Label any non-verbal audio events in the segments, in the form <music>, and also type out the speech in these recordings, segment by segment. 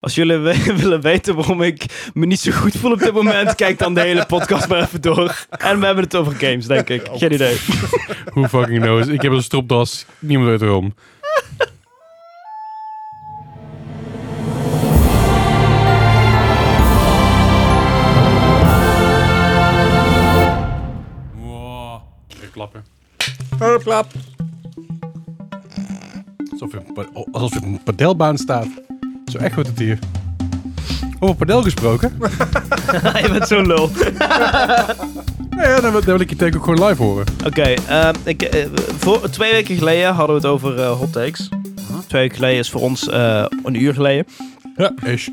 Als jullie we- <laughs> willen weten waarom ik me niet zo goed voel op dit moment, kijk dan de hele podcast maar even door. En we hebben het over games, denk ik. Geen idee. <laughs> Who fucking knows? Ik heb een stropdas. Niemand weet waarom. Wow. Even klappen. klap. Alsof je, op een pa- alsof je op een padelbaan staat. Zo echt goed het hier. Over padel gesproken. Je bent zo'n lul. Oké, Nou <laughs> ja, dan, wil- dan wil ik je take ook gewoon live horen. ehm, ik, eh, voor, twee weken geleden hadden we het over eh, hot takes. Twee weken geleden is voor ons eh, een uur geleden. Ja, ish.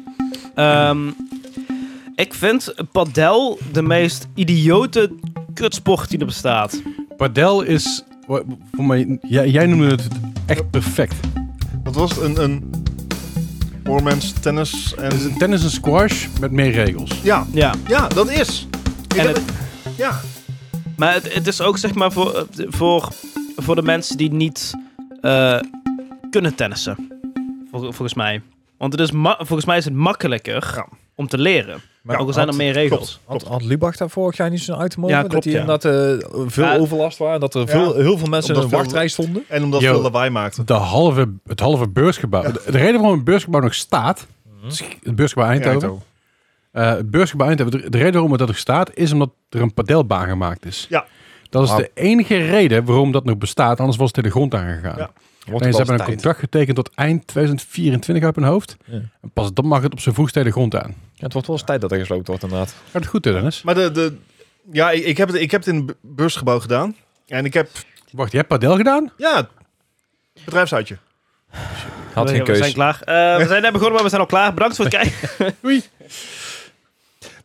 Ehm, ik vind padel de meest idiote kutsport die er bestaat. Padel is... wa- Voor mij, jij, jij noemde het echt perfect. Wat was het? Een, een Oormans tennis en... Het is een tennis en squash met meer regels. Ja, Ja. ja, dat is. Ik En heb- het- Ja. Maar het, het is ook zeg maar voor, eh, voor, voor de mensen die niet eh, kunnen tennissen. Vol- volgens mij. Want het is ma- volgens mij is het makkelijker Ja. om te leren. Maar ook al zijn er had- meer regels. Had, had Lubach daar vorig jaar niet zo'n item over? Ja, klopt, dat die ja. inderdaad eh, veel Ja. overlast waren. Dat er Ja. veel, heel veel mensen Omdat in een veel- wachtrij stonden. En omdat Yo. veel lawaai maakte. De halve, het halve beursgebouw. De, de reden waarom het beursgebouw nog staat, Mhm. het beursgebouw Eindhoven. Eindhoven. eh, het beursgebouw Eindhoven, de, de reden waarom het dat nog staat, is omdat er een padelbaan gemaakt is. Ja. Dat is Wauw. de enige reden waarom dat nog bestaat, anders was het in de grond aangegaan. Ja. En ze hebben een contract getekend tot eind 2024 uit mijn hoofd. Ja. En pas dan mag het op zijn vroegste de grond aan. Ja, het wordt wel eens tijd dat er gesloopt wordt inderdaad. Gaat het goed, Dennis? Maar de, de, ja, ik, ik heb het, ik heb het in het beursgebouw gedaan. En ik heb, Wacht, je hebt padel gedaan? ja, bedrijfsuitje. Had we, geen we zijn keus. klaar. Eh, we zijn net begonnen, maar we zijn al klaar. Bedankt voor het kijken.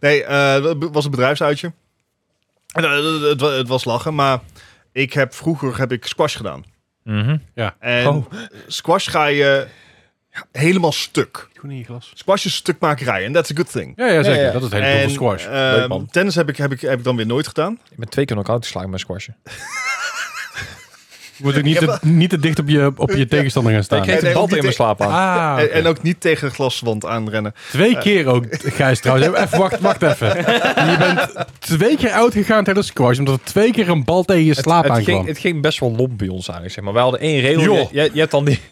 Nee, eh, het was een bedrijfsuitje. En, eh, Het, het, wa- het was lachen, maar ik heb, vroeger heb ik squash gedaan. Mhm. En Oh. squash ga je helemaal stuk. Goed in je glas. Squash is stukmakerij en that's a good thing. Ja, ja zeker. Ja, ja. Dat is het hele doel van squash. ehm, Leuk, man. tennis heb ik, heb, ik, heb ik dan weer nooit gedaan. Ik ben twee keer knock-out geslagen met squashen. Je moet ook niet, Ik heb te, niet te dicht op je, op je tegenstander gaan staan. Ik kreeg nee, de bal ook niet tegen mijn slaap aan. Ah, En- oké. En ook niet tegen de glaswand aanrennen. Twee keer ook, Gijs trouwens. Even, wacht, wacht even. Je bent twee keer uitgegaan tijdens squash, omdat er twee keer een bal tegen je slaap het, aankwam. ging, het ging best wel lomp bij ons eigenlijk. Zeg maar. Wij hadden één regel. Je, Joh. je, je hebt dan die... <laughs>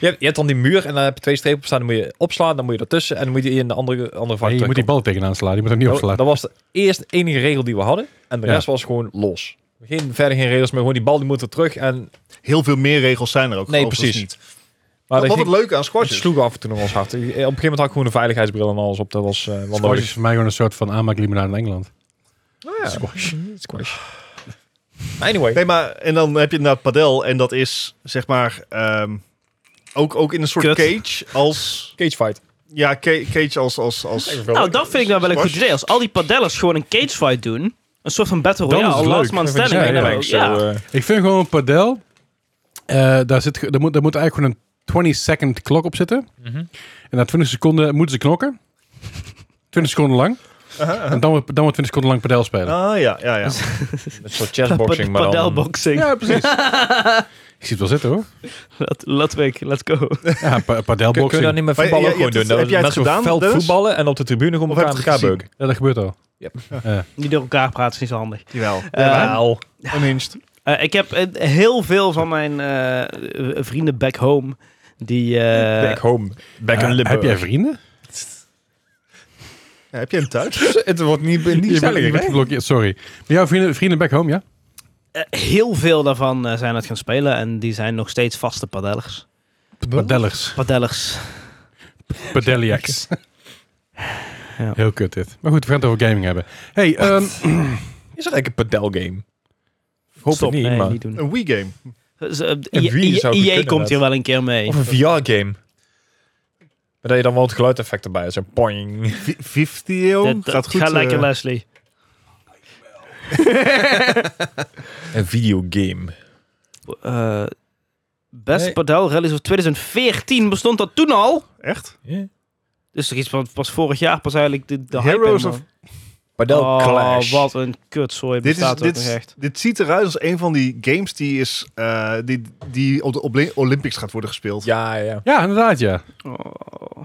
Je hebt, je hebt dan die muur en daar heb je twee strepen op staan. Dan moet je opslaan, dan moet je ertussen en dan moet je in de andere, andere vak Nee, je moet die bal tegenaan slaan, je moet hem niet Dat, opslaan. dat was de eerste enige regel die we hadden. En de Ja. rest was gewoon los. Geen, verder geen regels meer. Gewoon die bal die moet er terug. En, Heel veel meer regels zijn er ook. Nee, overigens precies. Niet. maar dat wat dat ging- het leuke aan squash het is. sloeg af en toe nog wel eens hard. Op een gegeven moment had ik gewoon een veiligheidsbril en alles op. Dat was eh wel Squash nodig. is voor mij gewoon een soort van aanmaaklimonade in Engeland. Squash. <laughs> Squash. Anyway. Nee, maar en dan heb je inderdaad padel en dat is zeg maar ehm, ook, ook in een soort Kut. cage als Cage fight. ja ca- cage als als als. nou, dat vind ik nou wel een goed idee. Als al die padellers gewoon een cagefight doen. Een soort van battle Dan is het royale. leuk. Last man Dat vind ik standing. zo, ja, en ja. dan- ja. eh, Ik vind gewoon padel, eh, daar, zit, ge- daar, moet, daar moet eigenlijk gewoon een 20 second klok op zitten. Mhm. En na 20 seconden moeten ze knokken. 20 seconden lang. En dan wordt dan wordt 20 seconden lang padel spelen. Ah ja ja <laughs> ja. Met zo'n chessboxing, maar dan... Padelboxing. <laughs> Ja, <laughs> precies. Ik zie het wel zitten hoor. Let- Letwijk, let's go. Ja, pa Kun kun je dat padelboxing. niet met Maar voetballen je- ook je gewoon doen? hebt het- Dat heb jij het mensen op gedaan, veld Dennis? voetballen en op de tribune gewoon Of heb elkaar aan je het elkaar beuken. Ja, dat gebeurt al. Niet door elkaar praten is niet zo handig. Jawel. Eh, Wel. Unhinged. Eh, ik heb eh, heel veel van mijn eh, eh, vrienden back home die... eh, Back home. Back in Eh, Limburg. heb jij vrienden? Ja, heb je hem thuis? Het wordt niet, niet Je bent- je bent geblokkeerd, sorry. Maar jouw vrienden, vrienden back home, ja? eh, heel veel daarvan eh, zijn het gaan spelen en die zijn nog steeds vaste padellers. Padellers. Padellers. <laughs> Padelliacs. Ja. Heel kut dit. Maar goed, we gaan het over gaming hebben. Hey, ehm, Is dat eigenlijk een padelgame? Ik hoop Stop, het niet, nee, maar... niet doen. Een Wii game. Dus, eh, En wie I- zou I- het EA kunnen, komt hier net? wel een keer mee. Of een VR-game. Maar dat je dan wel het geluideffect erbij hebt. Zo'n poing. <laughs> Viftio. Dat- dat Gaat goed. Ga lekker, eh, Leslie. Een videogame. Eh, best Nee. padel rallies of 2014 bestond dat toen al. Echt? Dus toch iets van pas vorig jaar pas eigenlijk de, de hype Heroes helemaal. Padel Clash. Oh, wat een kutzooi Dit, is, bestaat ook dit, nog is- echt. dit ziet eruit als een van die games die, is, eh, die, die op de Obli- Olympics gaat worden gespeeld. Ja, ja. ja, inderdaad, ja. Oh.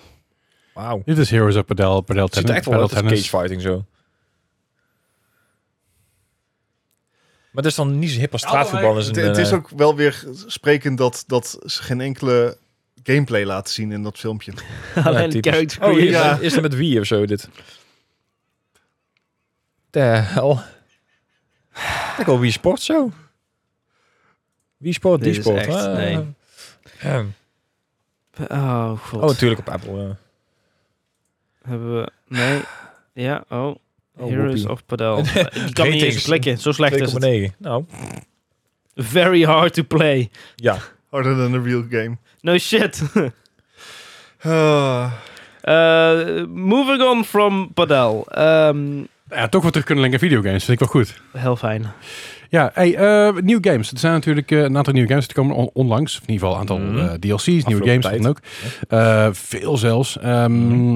Wauw. Dit is Heroes of Padel, Padel Het ziet er Tennis. echt wel Padel uit als tennis. cagefighting zo. Maar dat is dan niet zo hip als straatvoetbal. is Het, een, het is eh, ook wel weer sprekend dat, dat ze geen enkele gameplay laten zien in dat filmpje. Alleen typisch. character Oh, hier <laughs> creation. is Ja. het- is het met wie of zo dit? De hel. Ik wil Wii Sport zo. Wii Sport, Dit die is Sport. echt- Ah, nee. ehm. Oh, god. Oh, natuurlijk op Apple. ja. Hebben we... Nee. Ja, oh. Oh, Heroes whoopie. of <laughs> Padel. Je kan niet eens Ratings. klikken. Zo slecht is het. 2,9. Nou, Very hard to play. ja. Harder than a real game. No shit. <laughs> Ah. Eh, moving on from Padel. Ehm, Ja, toch weer terug kunnen linken aan videogames. Vind ik wel goed. heel fijn. Ja, hey, eh, nieuwe games. Er zijn natuurlijk eh, een aantal nieuwe games die komen on- onlangs. Of in ieder geval een aantal Mhm. eh, DLC's, nieuwe Afgelopen games. tijd. Mhm. dan ook. Eh, veel zelfs. Ehm,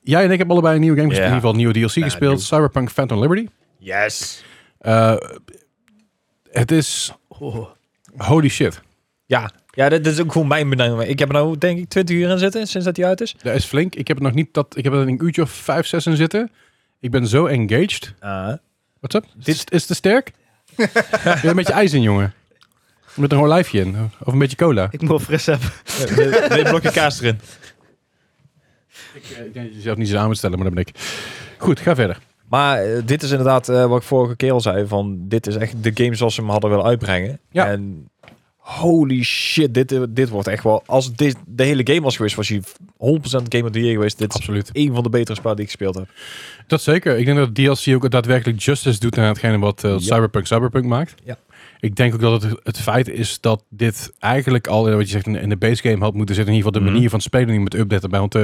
Jij en ik hebben allebei een nieuwe game gespeeld. Ja. In ieder geval een nieuwe DLC Ja, gespeeld. nieuw. Cyberpunk Phantom Liberty. Yes. Eh, het is... Oh. Holy shit. Ja. Ja, dat, dat is ook gewoon mijn benadering. Ik heb er nou denk ik 20 uur in zitten sinds dat hij uit is. Dat is flink. Ik heb het nog niet dat... Ik heb er een uurtje of vijf, zes in zitten. Ik ben zo engaged. What's up? Dit is, is het te sterk? Je hebt een beetje ijs in, jongen. Met een olijfje in. Of een beetje cola. Ik moet fris hebben. Twee blokje kaas erin. Ik denk dat je jezelf niet zo aan moet stellen, maar dat ben ik. Goed, ga verder. Maar eh, dit is inderdaad eh, wat ik vorige keer al zei. Van, dit is echt de game zoals ze hem hadden willen uitbrengen. Ja. En holy shit, dit, eh, dit wordt echt wel... Als dit de hele game was geweest, was hij 100% Game of the Year geweest. Dit is Absoluut. een van de betere spellen die ik gespeeld heb. Dat zeker. Ik denk dat DLC ook daadwerkelijk justice doet aan hetgene wat eh, Ja. Cyberpunk Cyberpunk maakt. Ja. Ik denk ook dat het, het feit is dat dit eigenlijk al, eh, wat je zegt, in, in de base game had moeten zitten. In ieder geval de Mhm. manier van spelen die moet updaten. Bij, want eh,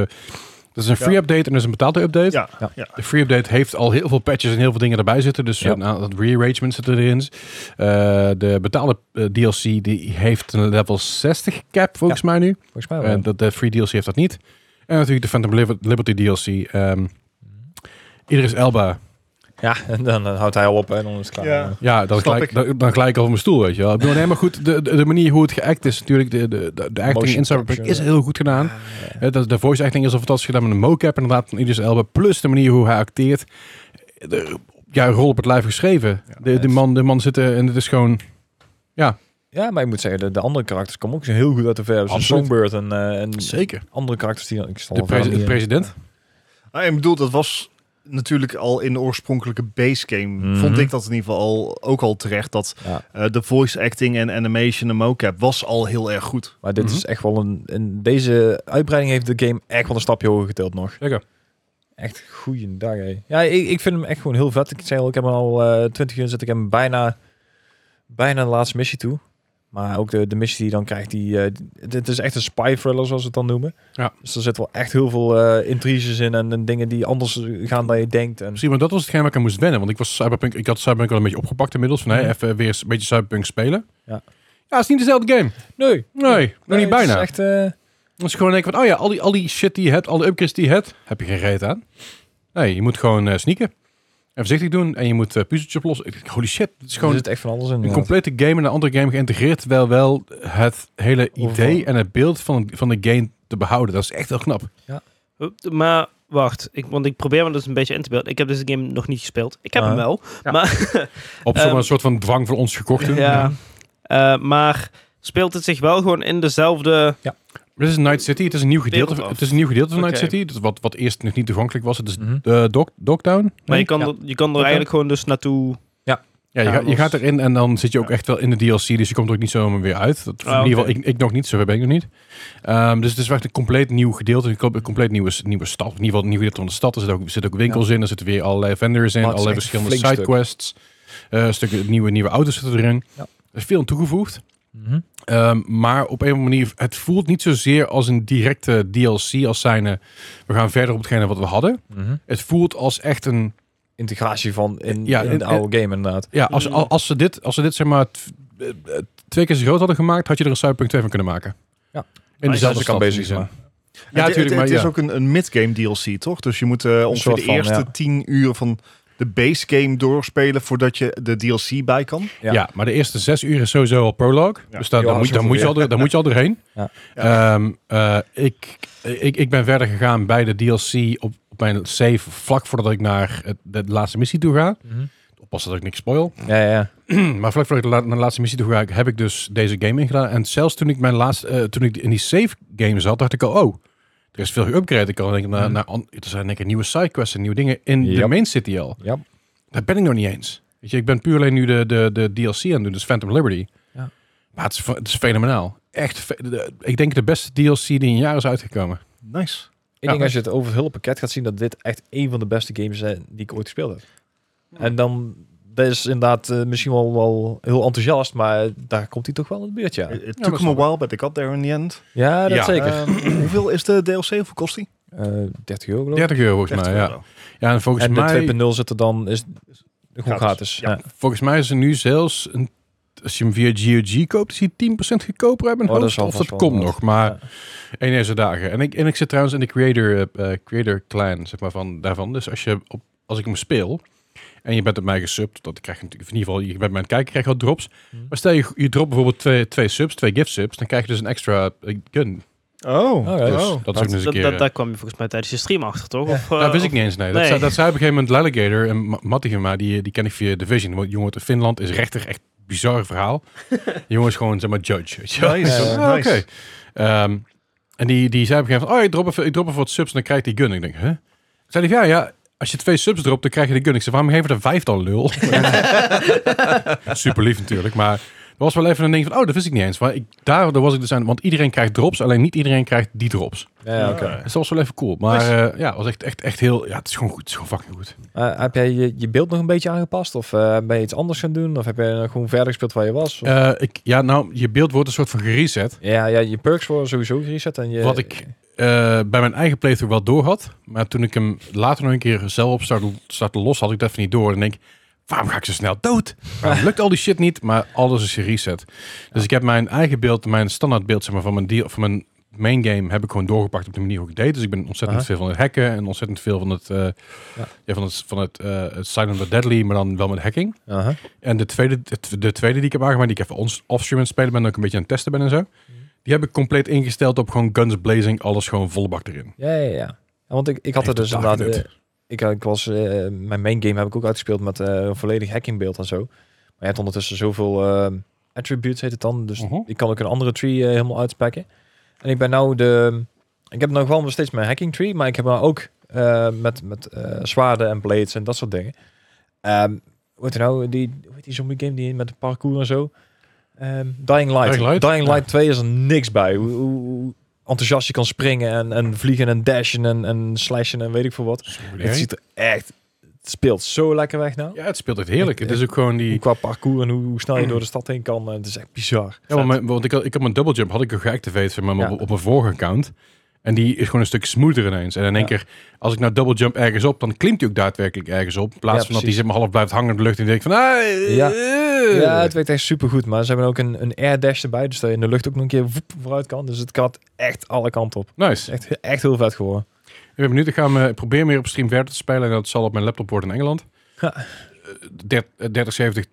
dat is een free Ja. update en dat is een betaalde update. Ja, Ja. ja. De free update heeft al heel veel patches en heel veel dingen erbij zitten. Dus Ja. een aantal rearrangements zitten erin. Eh, de betaalde eh, DLC die heeft een level 60 cap volgens mij nu. Volgens mij wel. En Eh, dat de free DLC heeft dat niet. En natuurlijk de Phantom Liber- Liberty DLC. ehm Idris Elba. ja, en dan, eh, houdt hij al op en dan is het klaar. Ja. Ja, dan Snap gelijk, ik. dan, dan gelijk over mijn stoel, weet je wel. Ik bedoel, nee, maar goed, de, de, de manier hoe het geact is natuurlijk, de, de, de, de acting Motion in Cyberpunk is capture. heel goed gedaan. Eh, De, de voice acting is al fantastisch gedaan met een mocap inderdaad van Idris Elba. Plus de manier hoe hij acteert. De, ja, rol op het lijf geschreven. de, de, nice. man, de man zit er en het is gewoon... Ja, maar ik moet zeggen, de, de andere karakters komen ook zo heel goed uit de verf. Zoals Absoluut. Songbird en, eh, en Zeker. andere karakters die dan... Ik stel De, al verder presi- de niet in. president. Ah, ik bedoel, dat was natuurlijk al in de oorspronkelijke base game. Mhm. Vond ik dat in ieder geval al, ook al terecht. Dat Ja. eh, de voice acting en animation en mocap was al heel erg goed. Maar dit Mhm. is echt wel een, een... Deze uitbreiding heeft de game echt wel een stapje hoger getild nog. Zeker. Echt goeiedag, hé. Ja, ik, ik vind hem echt gewoon heel vet. Ik zei al, ik heb hem al eh 20 uur zit Ik heb hem bijna, bijna de laatste missie toe. Maar ook de, de missie die je dan krijgt, die, eh, dit is echt een spy thriller, zoals ze het dan noemen. Ja. Dus er zit wel echt heel veel eh, intriges in en, en dingen die anders gaan dan je denkt. En, Misschien, maar dat was hetgeen waar ik aan moest wennen. Want ik, was Cyberpunk, ik had Cyberpunk al een beetje opgepakt inmiddels. Van, hé, Mhm. even weer een beetje Cyberpunk spelen. Ja. Ja, het is niet dezelfde game. nee, Nee, nog niet het is bijna. echt, eh, Dat is gewoon denk van, oh ja, al die, al die shit die je hebt, al de upgrades die je hebt, heb je geen reet aan. Nee, je moet gewoon eh, sneaken. En voorzichtig doen en je moet eh, puzzeltjes oplossen. Ik- Holy shit, het is gewoon er zit echt van alles in. een ja. complete game en een andere game geïntegreerd. Terwijl wel het hele idee Overal. en het beeld van, van de game te behouden. Dat is echt heel knap. Maar wacht, ik, want ik probeer me dus een beetje in te beelden. Ik heb deze game nog niet gespeeld. Ik heb hem Ah. wel. Op zo'n Ehm, een soort van dwang voor ons gekocht toen. Ja. Eh, maar speelt het zich wel gewoon in dezelfde... Dit is Night City. Het is een nieuw gedeelte, van- af. het is een nieuw gedeelte van Night Oké. City. Dat wat, wat eerst nog niet toegankelijk was. Het is Mhm. de Dog, Dogtown. Maar je Nee? kan, Ja. er, je kan er eigenlijk gewoon dus naartoe... Ja, je, Ja, ga- je dat gaat was- erin en dan zit je ook Ja. echt wel in de DLC. Dus je komt er ook niet zomaar weer uit. Ah, Dat, in ieder oké. geval, ik, ik nog niet, zover ben ik nog niet. Ehm, dus het is echt een compleet nieuw gedeelte. Een com- een compleet nieuwe, nieuwe stad. In ieder geval een nieuw gedeelte van de stad. Er zitten ook, zitten ook winkels in. Er zitten weer allerlei vendors in. Maar het is Allerlei echt een verschillende flink sidequests. stuk. Eh, stukken nieuwe, nieuwe auto's zitten erin. Ja. Er is veel aan toegevoegd. Mhm. Ehm, maar op een of andere manier, het voelt niet zozeer als een directe DLC. Als zijn we gaan verder op hetgene wat we hadden. Mhm. Het voelt als echt een Integratie van in, Ja, in en- de oude game inderdaad. Ja, als, Mm. al- als, ze dit, als ze dit zeg maar t- eh, eh, twee keer zo groot hadden gemaakt, had je er een Cyberpunk 2 van kunnen maken. Ja. In Maar dezelfde ze kan stad, bezig in die zijn. zin. Het- Ja, natuurlijk, Het, maar het ja. is ook een, een mid-game DLC, toch? Dus je moet eh ongeveer soort de van, eerste ja. tien uur van de base game doorspelen voordat je de DLC bij kan. Ja. Ja. maar de eerste zes uur is sowieso al prologue. Ja. Dus daar, Ja, daar, moet, zo daar, goed, moet, je ja. al, door- daar moet je al doorheen. Ja. Ehm, eh, ik, ik, ik ben verder gegaan bij de DLC op, op mijn save vlak voordat ik naar het- de laatste missie toe ga. Mhm. Oppassen dat ik niks spoil. <clears throat> Ja, ja, ja. maar vlak voordat ik la- naar de laatste missie toe ga, heb ik dus deze game ingedaan. En zelfs toen ik, mijn laatste, eh, toen ik in die save game zat, dacht ik al, oh, er is veel geüpgrade. Ik kan denken, naar, Mhm. naar, an- er zijn denk ik nieuwe sidequests en nieuwe dingen in de Yep. main city al. Ja. Daar ben ik nog niet eens. Weet je, ik ben puur alleen nu de, de, de DLC aan het doen, dus Phantom Liberty. Ja. Maar het is, fe- het is fenomenaal. Echt, fe- de- de- ik denk de beste DLC die in jaren is uitgekomen. Nice. Ik denk als je het over het hele pakket gaat zien, dat dit echt een van de beste games zijn die ik ooit gespeeld heb. En dan, dat is inderdaad eh, misschien wel, wel heel enthousiast, maar daar komt hij toch wel in het buurt, ja. It, it maar took him a snap ik. while, but I got there in the end. <clears throat> Ja, dat Eh, Ja. zeker. Ehm, hoeveel is de DLC? Hoeveel kost die? Eh 30 euro geloof ik. 30 euro volgens mij, 30 ja. euro. Ja, en volgens En mij, de 2.0 zit er dan, is gewoon gratis. Ja. Ja. volgens mij is er nu zelfs, een, als je hem via GOG koopt, is hij 10% goedkoper uit mijn Oh, dat hoofd. zal of vast dat wel komt wat. nog, maar Ja. één deze dagen. En ik, en ik zit trouwens in de creator, eh, eh, creator clan, zeg maar, van, daarvan. Dus als, je op, als ik hem speel en je bent op mij gesubt, dat krijg je natuurlijk, in ieder geval, je bent bij het kijken, krijg je wat drops. Mhm. Maar stel je, je dropt bijvoorbeeld twee, twee subs, twee gift subs, dan krijg je dus een extra eh, gun. Oh, Oh, ja, Dus Oh. dat is ook nog eens een Dat- keer... dat- eh, Daar kwam je volgens mij tijdens je stream achter, toch? Of, eh, dat Nou, wist ik of- niet eens, nee. Dat, nee. Zei, dat zei op een gegeven moment Alligator, en Ma- Mattie van mij, die, die ken ik via Division. Want jongen uit Finland is rechter, echt <laughs> bizar verhaal. Die jongen is gewoon, zeg maar, judge. Weet je wel. Nice, <laughs> Zo, nice. ah, Oké. Ehm, en die, die zei op een gegeven moment, oh, ik drop even, ik drop even wat subs en dan krijg ik die gun. Ik denk, hè? Huh? Zei hij, ja, ja, als je twee subs dropt, dan krijg je de gun. Ik zei, waarom geven we er vijf <laughs> dan, lul? Super lief natuurlijk, maar... Er was wel even een ding van, oh, dat wist ik niet eens. Maar ik, daardoor was ik dus aan, want iedereen krijgt drops, alleen niet iedereen krijgt die drops. Ja, ja, oké. Dus dat was wel even cool. Maar eh, ja, het was echt, echt, echt heel... Ja, het is gewoon goed. Het is gewoon fucking goed. Eh, heb jij je, je beeld nog een beetje aangepast? Of eh, ben je iets anders gaan doen? Of heb je eh, gewoon verder gespeeld waar je was? Of- Eh, ik, ja, nou, je beeld wordt een soort van gereset. ja, ja, je perks worden sowieso gereset. En je, Wat ik eh, bij mijn eigen playthrough wel door had. Maar toen ik hem later nog een keer zelf op startte, startte los, had ik dat even niet door. En denk ik, waarom ga ik zo snel dood? Waarom lukt al die shit niet? Maar alles is gereset. Dus ik heb mijn eigen beeld, mijn standaard beeld zeg maar, van, mijn deal, van mijn main game, heb ik gewoon doorgepakt op de manier hoe ik deed. Dus ik ben ontzettend Aha. veel van het hacken en ontzettend veel van het, eh, ja. Ja. van het, van het, eh, het Silent but Deadly, maar dan wel met hacking. Aha. En de tweede, de, de tweede die ik heb aangemaakt, die ik even ons offstream aan het spelen ben, dat ik een beetje aan het testen ben en zo. Die heb ik compleet ingesteld op gewoon guns blazing, alles gewoon volle bak erin. Ja, ja, ja. Ja, Want ik, ik had Echt het dus totaal inderdaad... eh, ik, ik was, eh, mijn main game heb ik ook uitgespeeld met eh, een volledig hackingbeeld en zo. Maar je hebt ondertussen zoveel eh, attributes, heet het dan. Dus Mhm. ik kan ook een andere tree eh, helemaal uitspekken. En ik ben nou de... Ik heb nog wel nog steeds mijn hacking tree, maar ik heb nou ook eh, met, met eh, zwaarden en blades en dat soort dingen. Ehm hoe heet het nou? Die, hoe heet die zombie game die met de parkour en zo? Ehm, Dying Light. Dying Light? Ja. 2 is er niks bij. Hoe, hoe, hoe enthousiast je kan springen en, en vliegen en dashen en, en slashen en weet ik veel wat. Het ziet er echt... Het speelt zo lekker weg nou. Ja, het speelt echt heerlijk. Het is ook gewoon die... Qua parcours en hoe, hoe snel je door de stad heen kan. eh, Het is echt bizar. Ja, want, mijn- want ik, had, ik had mijn double jump had ik al geactiveerd zeg maar, Ja. op, op mijn vorige account. En die is gewoon een stuk smoother ineens. En in één Ja. keer, als ik nou double jump ergens op, dan klimt hij ook daadwerkelijk ergens op. In plaats Ja, van dat hij precies. zeg maar, half blijft hangen in de lucht en denkt van... Ah, eh, Ja. eh. Ja, het werkt echt super goed. Maar ze hebben ook een, een air dash erbij. Dus dat je in de lucht ook nog een keer voep vooruit kan. Dus het kan echt alle kanten op. Nice. Het is Echt, echt heel vet geworden. Ik ben benieuwd. Ik ga hem, eh, proberen meer op stream verder te spelen. En dat zal op mijn laptop worden in Engeland. Ja. Eh, der- eh, 3070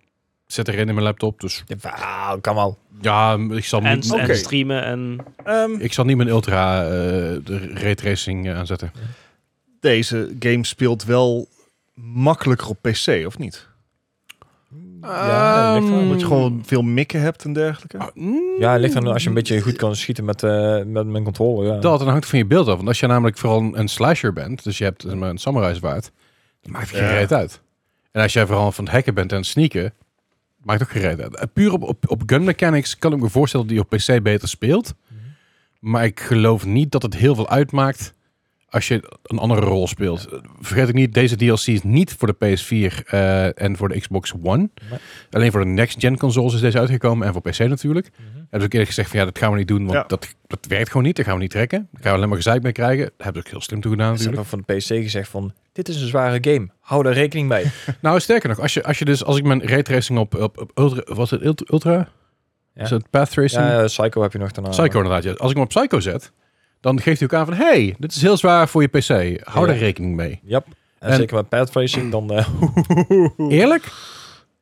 zit erin in mijn laptop. Dus Ja, wauw, kan wel. ja, ik zal, En, niet, en Oké. streamen en... ik zal niet mijn ultra eh, de raytracing eh, aanzetten. Deze game speelt wel makkelijker op PC, of niet? Ja, ligt eraan. Ehm, Omdat je gewoon veel mikken hebt en dergelijke. Ah, mm, Ja, het ligt aan als je een beetje goed kan schieten met, eh, met mijn controller. Ja. Dat en hangt van je beeld af. Want als je namelijk vooral een, een slasher bent, dus je hebt zeg maar, een samurai zwaard, dan maakt het geen Ja. reet uit. En als jij vooral van het hacken bent en het sneaken, maakt het ook geen reet uit. Eh, Puur op, op, op gun mechanics kan ik me voorstellen dat die op PC beter speelt. Mhm. Maar ik geloof niet dat het heel veel uitmaakt als je een andere rol speelt. Eh, Vergeet ik niet, deze DLC is niet voor de PS4 eh, en voor de Xbox One. Nee. Alleen voor de next-gen consoles is deze uitgekomen en voor PC natuurlijk. Mhm. Hebben ze ook eerlijk gezegd van ja, dat gaan we niet doen, want Ja. dat, dat werkt gewoon niet. Dat gaan we niet trekken. Daar gaan we alleen maar gezeik mee krijgen. Daar hebben ze ook heel slim toe gedaan Ze hebben natuurlijk. ook van de PC gezegd van, dit is een zware game. Hou daar rekening mee. Nou, sterker nog, als, je, als, je dus, als ik mijn raytracing op, op, op Ultra... Was het Ultra? ultra? Ja. Is het Path Racing? ja, eh, Psycho heb je nog daarna. Psycho inderdaad, ja. Als ik hem op Psycho zet, dan geeft hij ook aan van... hey, dit is heel zwaar voor je PC. Hou Ja. daar rekening mee. Yep. En, En- zeker met path tracing, dan... eh, Eerlijk?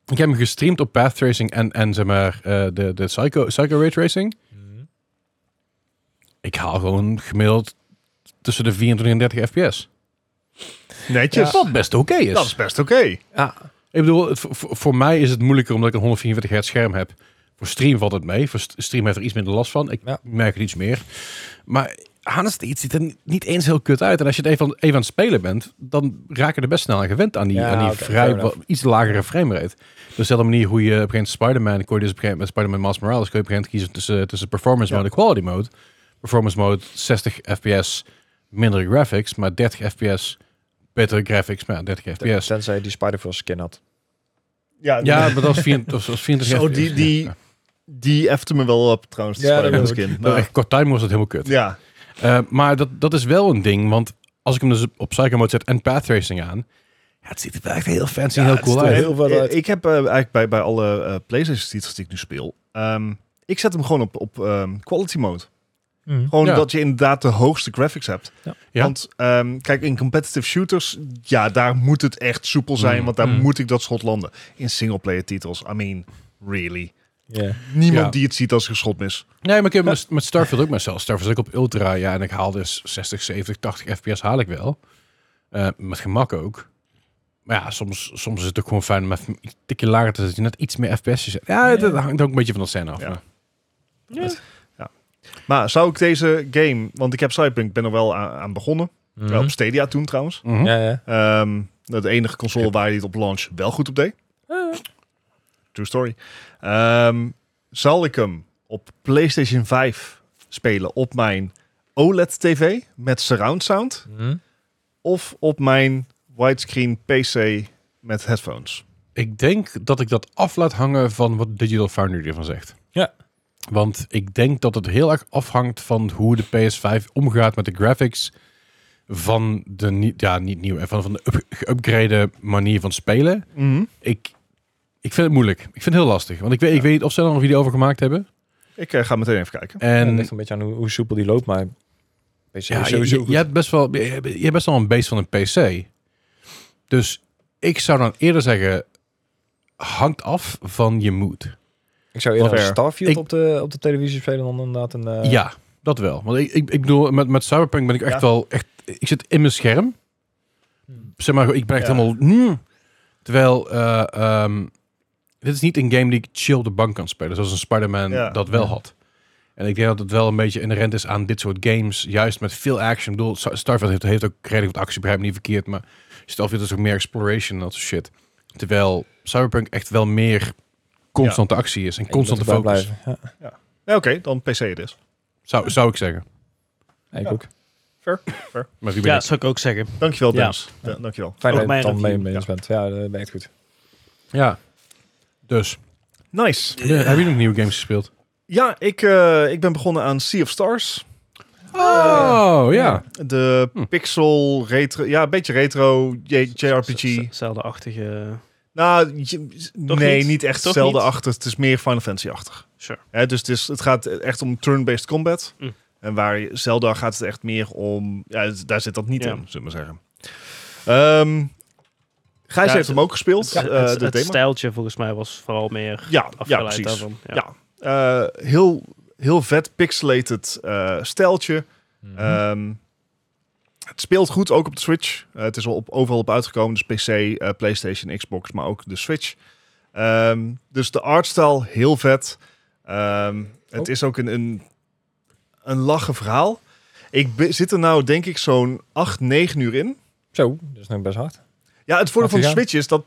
Ik heb hem gestreamd op Path Tracing en, en zeg maar eh, de, de Psycho, Psycho Ray Tracing. Ik haal gewoon gemiddeld tussen de 24 en 30 fps. Netjes. Wat best oké is. Dat is best oké. ja, Ik bedoel, het- voor, voor voor mij is het moeilijker omdat ik een 144 hertz scherm heb. Voor stream valt het mee. Voor st- stream heeft er iets minder last van. Ik Ja. merk het iets meer. Maar honest, het ziet er ni- niet eens heel kut uit. En als je het even, aan- even aan het spelen bent, dan raak je er best snel aan gewend. Aan die, Ja, aan die oké, vrij, fair enough. wat- iets lagere framerate. Dus dezelfde manier hoe je op een gegeven moment Spider-Man, kon je dus op een gegeven moment met Spider-Man Miles Morales, kon je op een gegeven moment kiezen tussen, tussen performance mode en quality mode. Performance mode 60 fps, minder graphics, maar 30 fps, betere graphics, maar 30 fps. tenzij je die Spider-Verse skin had. Ja, Ja, maar dat was 24. Dat was 24 Zo, die- die- Ja. die efte me wel op trouwens. Ja, Ja, dat dat is wil kind. Nou, echt, qua time was het helemaal kut. Ja. Eh, maar dat, dat is wel een ding, want als ik hem dus op Psycho Mode zet en Path Racing aan, ja, het ziet er wel echt heel fancy en heel cool uit. heel veel Eh, uit. Ik heb eh, eigenlijk bij, bij alle eh PlayStation titels die ik nu speel, ehm, ik zet hem gewoon op, op ehm, quality mode. eh, Mhm. Gewoon Ja. dat je inderdaad de hoogste graphics hebt. Ja. Ja. Want ehm, kijk, in competitive shooters, ja, daar moet het echt soepel zijn, Mm. want daar Mm. moet ik dat schot landen. In singleplayer titels, I mean, really. Ja. Niemand Ja. die het ziet als er een schot mis. Nee, maar ik heb met, met Starfield ook mezelf. Starfield is ook op Ultra, ja, en ik haal dus 60, 70, 80 fps haal ik wel. Eh, met gemak ook. Maar ja, soms, soms is het ook gewoon fijn om even een tikje lager te zetten, dat je net iets meer fps zet. Ja, dat hangt ook een beetje van de scène af. Ja. maar- Maar zou ik deze game, want ik heb Cyberpunk, ben er wel aan, aan begonnen. Wel op Stadia toen trouwens. Mhm. Ja, ja. Ehm, de enige console waar je het op launch wel goed op deed. True story. Ehm, zal ik hem op PlayStation 5 spelen op mijn E OLED-TV met surround sound? Of op mijn widescreen PC met headphones? Ik denk dat ik dat af laat hangen van wat Digital Foundry ervan zegt. Ja. Want ik denk dat het heel erg afhangt van hoe de PS5 omgaat met de graphics van de niet, ja, niet nieuw, van, van de up- geüpgrade manier van spelen. Ik, ik vind het moeilijk. Ik vind het heel lastig. Want ik weet, ik weet niet of ze daar nog een video over gemaakt hebben. Ik eh, ga meteen even kijken. En En het ligt een beetje aan hoe, hoe soepel die loopt, maar... PC ja, is je, sowieso je, goed. je hebt best wel, je, hebt- je hebt best wel een base van een PC. Dus ik zou dan eerder zeggen, hangt af van je mood. Ik zou eerder Fair. een Starfield Ik- op, de, op de televisie spelen dan inderdaad een... eh, Ja, dat wel. Want ik, ik, ik bedoel, met, met Cyberpunk ben ik echt Ja. wel echt. Ik zit in mijn scherm. Zeg maar, ik ben echt Ja. helemaal. hmm. Terwijl, eh, ehm, dit is niet een game die ik chill op de bank kan spelen, zoals een Spider-Man Ja. dat wel Ja. had. En ik denk dat het wel een beetje inherent is aan dit soort games, juist met veel action. Ik bedoel, Star- Starfield heeft, heeft ook redelijk wat actie, begrijp me niet verkeerd, maar Starfield is ook meer exploration en dat soort shit. Terwijl Cyberpunk echt wel meer constante actie is en ik moet constante erbij focus, blijven. Ja, Ja, Oké, dan PC het is. zou, zou ik zeggen. ik Ja. ook. Maar wie ben Ja, ik? zou ik ook zeggen. Dankjewel, Ja. Dennis. Ja. dankjewel. Fijn Ook dat je mijn het dan mee review, mee eens ja. bent. Ja, dat ben echt goed. Ja. Dus. Nice. Heb je nog nieuwe games gespeeld? Ja, ik, eh, ik ben begonnen aan Sea of Stars. Oh, ja. De Hm. pixel retro, ja, een beetje retro J- Z- JRPG. Zelda-achtige... Nou, je- Toch nee, niet? niet, echt Toch hetzelfde niet? achter. Het is meer Final Fantasy-achtig. Sure. Hè, dus het, is, het gaat echt om turn-based combat. Mm. En waar je- Zelda gaat het echt meer om... Ja, het- daar zit dat niet Ja. in, zullen we maar zeggen. Ehm Gijs Ja, heeft het- hem ook gespeeld, Het, eh, het- de het demo. stijltje volgens mij was vooral meer Ja, ja, afgeleid precies. daarvan. Ja. Ja. Eh, heel, heel vet pixelated eh stijltje. Mhm. Ehm, het speelt goed, ook op de Switch. Eh, het is al op, overal op uitgekomen. Dus PC, eh, PlayStation, Xbox, maar ook de Switch. Ehm, dus de artstyle, heel vet. Ehm, het Oh. is ook een, een, een lachen verhaal. Ik be- zit er nou denk ik zo'n 8, 9 uur in. Zo, dat is nog best hard. Ja, het voordeel van de Laten we Switch is dat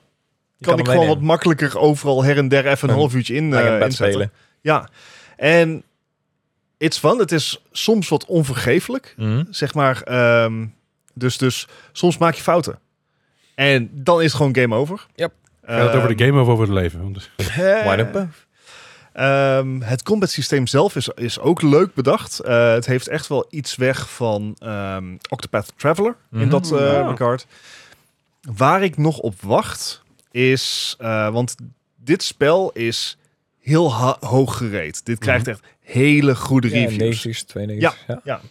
Je kan hem ik gewoon wat meenemen. makkelijker overal her en der even een Een half uurtje in, Lekker in eh, bed inzetten. spelen. Ja, en it's fun. Het is soms wat onvergeeflijk, Mhm. zeg maar. ehm, dus, dus soms maak je fouten. En dan is het gewoon game over. Yep. Gaat het Ehm, over de game of over het leven? Want- game? Wide open. Ehm, het combat systeem zelf is, is ook leuk bedacht. Eh, het heeft echt wel iets weg van ehm, Octopath Traveler Mhm. in dat eh, Ja. regard. Waar ik nog op wacht is, eh, want dit spel is heel ha- hoog gereed. Dit krijgt echt hele goede Mhm. Ja, reviews. 90's, 92's. Ja.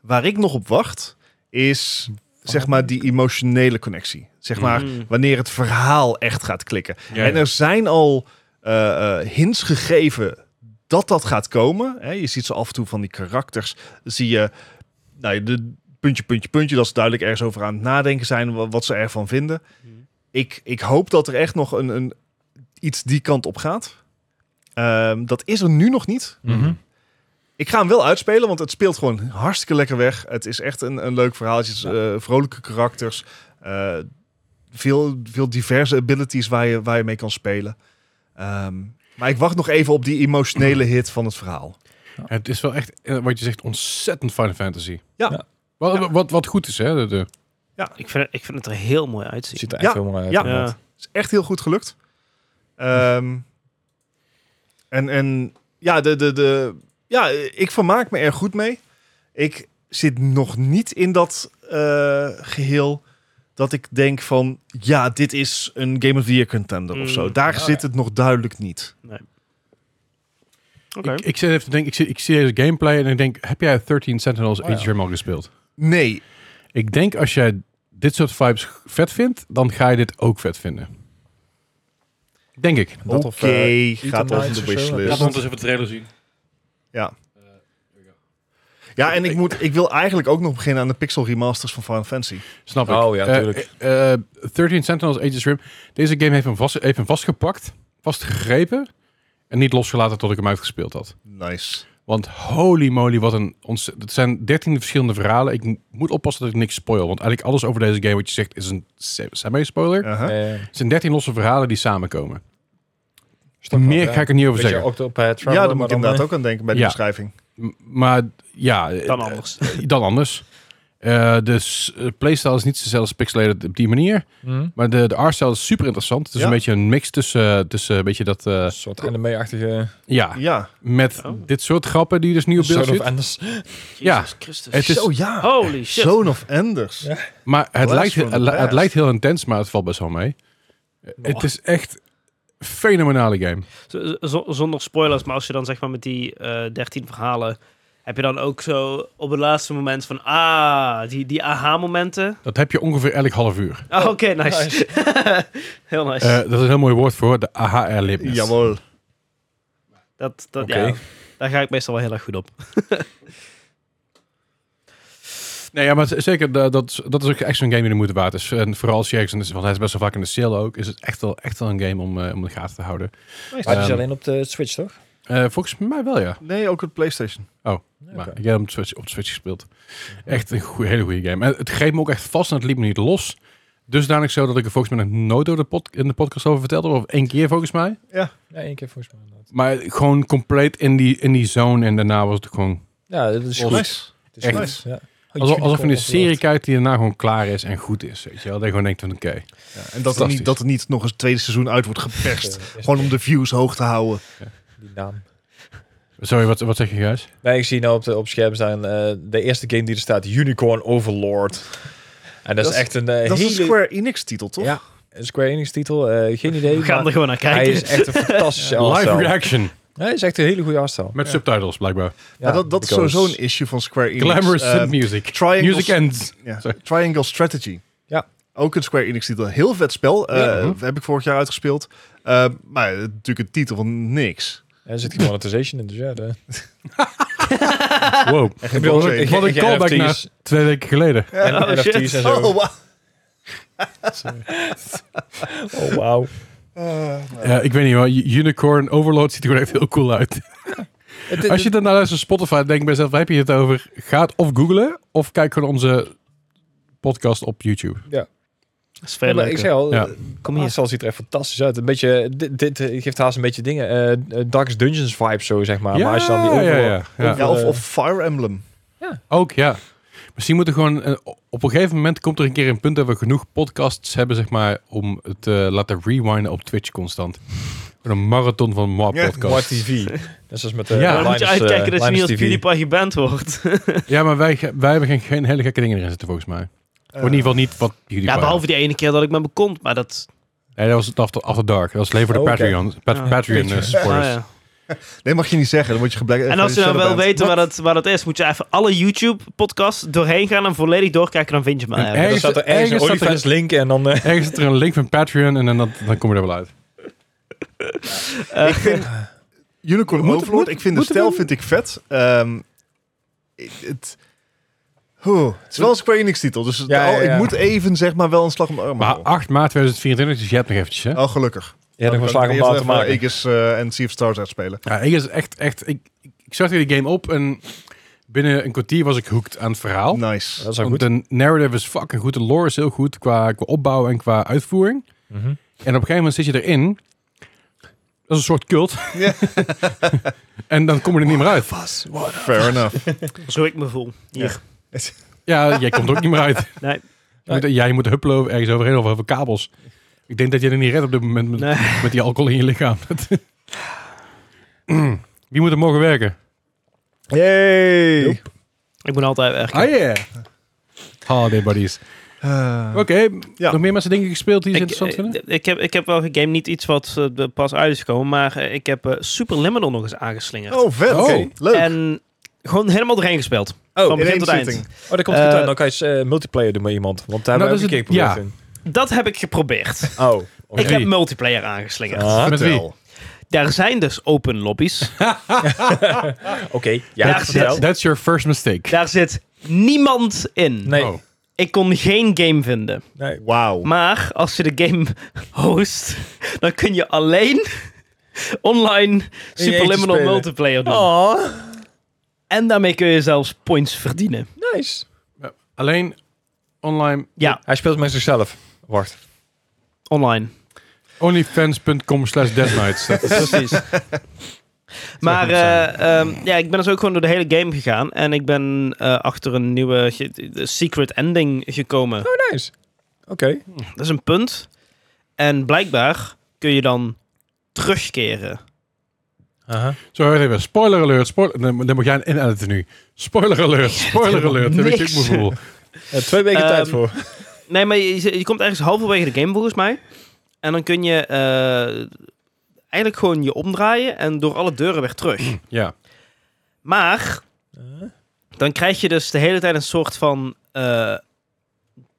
Waar ik nog op wacht is zeg maar, die emotionele connectie. Zeg maar, Mm. wanneer het verhaal echt gaat klikken. Mhm. Ja, En er zijn al eh, eh, hints gegeven dat dat gaat komen. Hè, je ziet ze af en toe van die karakters. Zie je, nou, ja, de puntje, puntje, puntje. Dat ze duidelijk ergens over aan het nadenken zijn. wa- Wat ze ervan vinden. Mhm. Ik, ik hoop dat er echt nog een, een, iets die kant op gaat. Ehm, dat is er nu nog niet. Mhm. Ik ga hem wel uitspelen, want het speelt gewoon hartstikke lekker weg. Het is echt een, een leuk verhaal. Het is, eh, vrolijke karakters. eh, veel, veel diverse abilities waar je, waar je mee kan spelen. Ehm, maar ik wacht nog even op die emotionele hit van het verhaal. Het is wel echt, eh, wat je zegt, ontzettend Final Fantasy. Ja. Ja. Wat, wat, wat goed is, hè? De, de- Ik vind, het- ik vind het er heel mooi Het uitzien. ziet er echt Ja, helemaal uit. ja. inderdaad. Ja. Het is echt heel goed gelukt. Ehm, en, en ja, de, de, de, ja, ik vermaak me er goed mee. Ik zit nog niet in dat eh, geheel dat ik denk van... ja, dit is een Game of the Year contender of Mm. zo. Daar Ja, zit Oh, ja. het nog duidelijk niet. Oké. ik, ik zit even te denken, ik zie, ik zie deze gameplay en ik denk, heb jij 13 Sentinels Oh, ja. Age of Dream al gespeeld? Nee, Ik denk als jij dit soort vibes g- vet vindt, dan ga je dit ook vet vinden. Denk ik. Dat oké, of, eh, gaat Eternals over de of zo. Eh, wishlist. Laat ons even de trailer zien. Ja. Ja, en ik, moet, ik wil eigenlijk ook nog beginnen aan de pixel remasters van Final Fantasy. Snap ik. Oh, ja, Eh, tuurlijk. eh, eh, 13 Sentinels Age of Rim. Deze game heeft hem, vast, heeft hem vastgepakt, vastgegrepen en niet losgelaten tot ik hem uitgespeeld had. Nice. Want holy moly, wat een ontz- Het zijn 13 verschillende verhalen. Ik m- moet oppassen dat ik niks spoil. Want eigenlijk alles over deze game wat je zegt is een se- semi-spoiler. Uh-huh. Eh, Het zijn 13 losse verhalen die samenkomen. stop maar, Meer ja. ga ik er niet over Beetje zeggen. Octopath Traveler, Ja, daar moet maar ik dan, inderdaad eh, ook aan denken bij de Ja. beschrijving. M- Maar ja, eh, Dan anders. <laughs> eh, dan anders. Eh, dus eh, playstyle is niet zelfs pixelated op die manier. mhm. Maar de, de artstyle is super interessant. Het is Ja. een beetje een mix tussen, eh, tussen een beetje dat... eh, Een soort anime-achtige... ja, Ja. met Oh. dit soort grappen die je dus nu op beeld Sword of ziet. Anders. Ja. Jezus Christus. Het is- Zo ja. Holy shit. Zoon of Anders. Oh, Ja. Maar het Blast lijkt, from the het, li- het past. lijkt heel intens, maar het valt best wel mee. Het is echt een fenomenale game. Z- z- zonder spoilers, maar als je dan zeg maar met die eh 13 verhalen. heb je dan ook zo op het laatste moment van. ah, die, die aha-momenten. Dat heb je ongeveer elk half uur. Ah, Oké, nice. <laughs> Heel nice. Eh, dat is een heel mooi woord voor, de aha-erlebnis. Jawel. dat, dat, oké. ja, daar ga ik meestal wel heel erg goed op. Nee, ja, maar z- zeker, da- dat, is- dat is ook echt zo'n game die de moeite waard is. En vooral als je ergens, in de- want hij is best wel vaak in de sale ook, is het echt wel, echt wel een game om, eh, om in de gaten te houden. Maar die is dus Ehm, alleen op de Switch, toch? Eh, volgens mij wel, ja. Nee, ook het PlayStation. Maar Oké. ik heb hem op de Switch, op de Switch gespeeld. Echt een goeie- hele goede game. En het greep me ook echt vast en het liep me niet los. Dusdanig zo dat ik er volgens mij nog nooit door de pod- in de podcast over vertelde. Of één keer volgens mij. Ja, één keer volgens mij inderdaad. Maar gewoon compleet in die, in die zone. En daarna was het gewoon... Ja, dat is goed. Oh, Nice. Het is Echt. goed, ja. Oh, Alsof, alsof je een serie kijkt die daarna gewoon klaar is en goed is. Weet je wel? Dat je gewoon denkt van oké. Ja, en dat er, niet, dat er niet nog eens tweede seizoen uit wordt geperst. Gewoon om de views hoog te houden. Die naam. Sorry, wat, wat zeg je juist? Nee, ik zie nou op, de, op scherm staan eh, de eerste game die er staat, Unicorn Overlord. En dat, Dat is is- echt een eh, Dat is hele... een Square Enix titel, toch? Ja, een Square Enix titel, eh, geen idee. We gaan er maar gewoon naar hij kijken. is <laughs> echt een fantastische Live artstyle. reaction. Hij is echt een hele goede artstyle. Met subtitles blijkbaar. Ja, Maar dat, dat is because- sowieso een issue van Square Enix. Glamorous Eh, synth music. Triangles- Music ends. Ja. Sorry. Triangle Strategy. Ja. uh-huh. Ook een Square Enix titel. Heel vet spel. Eh, Ja, mhm. Heb ik vorig jaar uitgespeeld. Eh, maar het is natuurlijk een titel van niks. Er zit geen monetization in, dus ja. de- Wow. En geen bedoel, blockchain. ik- Wat een ik- callback NFT's. naar twee weken geleden. En Oh, NFT's shit. en zo. Oh, wauw. Oh, wauw. Eh, ik weet niet hoor. U- Unicorn Overload ziet er gewoon echt heel cool uit. Het- Als je het- dan naar luistert op Spotify, denk ik bij jezelf, waar heb je het over? Gaat of googlen, of kijk gewoon onze podcast op YouTube. Dat is ja, veel maar ik leuker. zei al, Ja. Kom hier. Maar Marcel ziet er echt fantastisch uit. Een beetje, dit, dit eh, geeft haast een beetje dingen, eh Darkest Dungeons vibes zo, zeg maar. maar als je dan die ja, ja, overal- ja, ja. Ja, of, of Fire Emblem. Ook, ja. Misschien moeten we gewoon... eh, op een gegeven moment komt er een keer een punt dat we genoeg podcasts hebben, zeg maar, om het te laten rewinden op Twitch constant. Gewoon Een marathon van Moab Ja, Moab podcasts. TV. Net zoals dus met de Ja. dan moet je Linus, eh, uitkijken dat je Linus niet als TV. PewDiePie geband wordt. Ja, maar wij, ge- wij hebben geen, geen hele gekke dingen erin zitten, volgens mij. Of Eh. in ieder geval niet wat jullie Ja, behalve die ene keer dat ik met me kont, maar dat... Nee, dat was het After, after Dark. Dat was alleen voor de Oh, oké. Patreon, Pat- Ja. Patreon eh, Ah, supporters. ja. Nee, mag je niet zeggen. Dan word je eh, geblekt. En als je nou wel weet waar het, waar het is, moet je even alle YouTube-podcasts doorheen gaan en volledig doorkijken, dan vind je me. En eigenlijk. Dan staat er ergens een ergens staat er- OnlyFans link en dan... eh, Ergens zit er een link van Patreon en dan, dan, dan kom je er wel uit. Ik vind Unicorn Moet- Overlord, moet- ik vind de moeten stijl we- vind ik vet. Ehm, ik- het, Oeh, het is wel een Square Enix titel, dus Ja, ja, oh, ja. ik moet even zeg maar wel een slag om de arm Maar houden. 8 maart 2024, dus je hebt nog eventjes, hè? Oh, gelukkig. Ja, dan gaan we kan slagen ik om eerst maat te even maken. Aegis eh, en Sea of Stars uitspelen. Ja, ik is echt, echt... Ik, ik, ik zag die game op en binnen een kwartier was ik hooked aan het Oh. verhaal. Nice. Dat is wel Want goed. de narrative is fucking goed. De lore is heel goed qua, qua opbouw en qua uitvoering. Mhm. En op een gegeven moment zit je erin. Dat is een soort cult. Ja. <laughs> en dan kom je er niet meer uit. Fair <laughs> enough. Zo ik me voel. Hier. Ja, jij komt er ook niet meer <laughs> uit. Nee. Je moet, ja, je moet huppelen over- ergens overheen of over kabels. Ik denk dat je er niet redt op dit moment met, Nee. met die alcohol in je <laughs> lichaam. <clears throat> Wie moet er mogen werken? Yay! Ik ben altijd erg. Ah yeah. Holiday buddies. Eh, Oké, Ja. nog meer mensen dingen gespeeld die ze interessant vinden? ik, eh, ik, heb, ik heb wel game niet iets wat eh, de- pas uit is gekomen, maar eh, ik heb eh, Superliminal nog eens aangeslingerd. oh, vet. Oké, Oh. leuk. En gewoon helemaal doorheen gespeeld. Oh, van in begin één tot eind. zitting. oh, dat komt Eh, goed uit. Dan kan je eh, multiplayer doen met iemand. Want daar Nou, hebben we dat een is keer geprobeerd het- in. Dat heb ik geprobeerd. Oh, oké. Ik heb multiplayer aangeslingerd. Ah, Met wie? Vertel. Daar zijn dus open <laughs> lobby's. Oké, ja, Ja, vertel. That's your first mistake. Daar zit niemand in. Nee. Oh. Ik kon geen game vinden. nee. Wauw. Maar als je de game host, dan kun je alleen online Superliminal spelen. multiplayer doen. Oh, En daarmee kun je zelfs points verdienen. nice. Alleen online Ja, Hij speelt met zichzelf. Wacht. online. onlyfans.com slash deadnights. <laughs> Dat is- Precies. maar eh, ehm, ja, ik ben dus ook gewoon door de hele game gegaan. En ik ben eh, achter een nieuwe ge- de secret ending gekomen. Oh, nice. Oké. Dat is een punt. En blijkbaar kun je dan terugkeren. Zo, wacht even. Spoiler alert. Spoiler, dan, dan moet jij een editen nu. Spoiler alert. Spoiler alert. Dat weet je ook niks. mijn gevoel. Eh, twee weken Ehm, tijd voor. Nee, maar je, je komt ergens halverwege de game volgens mij. En dan kun je eh, eigenlijk gewoon je omdraaien en door alle deuren weer terug. Ja. Maar dan krijg je dus de hele tijd een soort van eh,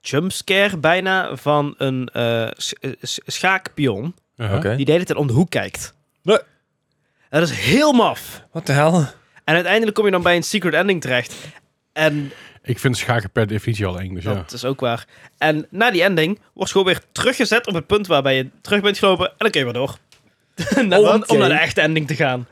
jumpscare bijna van een eh, sch- eh, sch- schaakpion Uh-huh. die de hele tijd om de hoek kijkt. Nee. En dat is heel maf. Wat de hel? En uiteindelijk kom je dan bij een secret ending terecht. En Ik vind schaken per definitie al eng. Dus ja. dat is ook waar. En na die ending wordt gewoon weer teruggezet op het punt waarbij je terug bent gelopen. En dan kun je weer door. <laughs> En dan- Oké. Om naar de echte ending te gaan.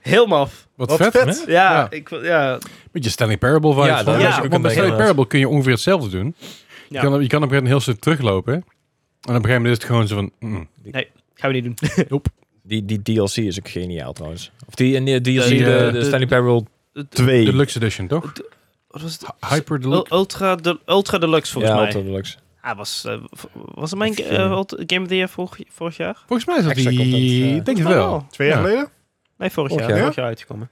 Heel maf. Wat, Wat vet. vet. Hè? Ja, Ja. ik, ja, Beetje Stanley Parable vibes. Ja, dat Want- was ik ook Want een bij Stanley beetje Parable kun je ongeveer hetzelfde doen. Je, Ja. kan, je kan op een gegeven moment heel stuk teruglopen. En op een gegeven moment is het gewoon zo van... mm. gaan we niet doen. Die, die DLC is ook geniaal trouwens. Of die, eh, nee, DLC, Die, de, de, eh, Stanley Parable de- 2. Deluxe edition, toch? <laughs> Wat was het? Hyper Oh. Ul- Deluxe. Ultra, de, ultra Deluxe volgens ja, mij. Ultra Deluxe. Ah, was, eh, v- was het mijn Of, ge- eh, eh, Ult- Game of the Year vorig, vorig jaar? Volgens mij is dat Extra content, die... eh. Ik denk het Volgens mij wel. Twee jaar Ja. geleden? Nee, vorig Vorig jaar. jaar. Vorig jaar uitgekomen.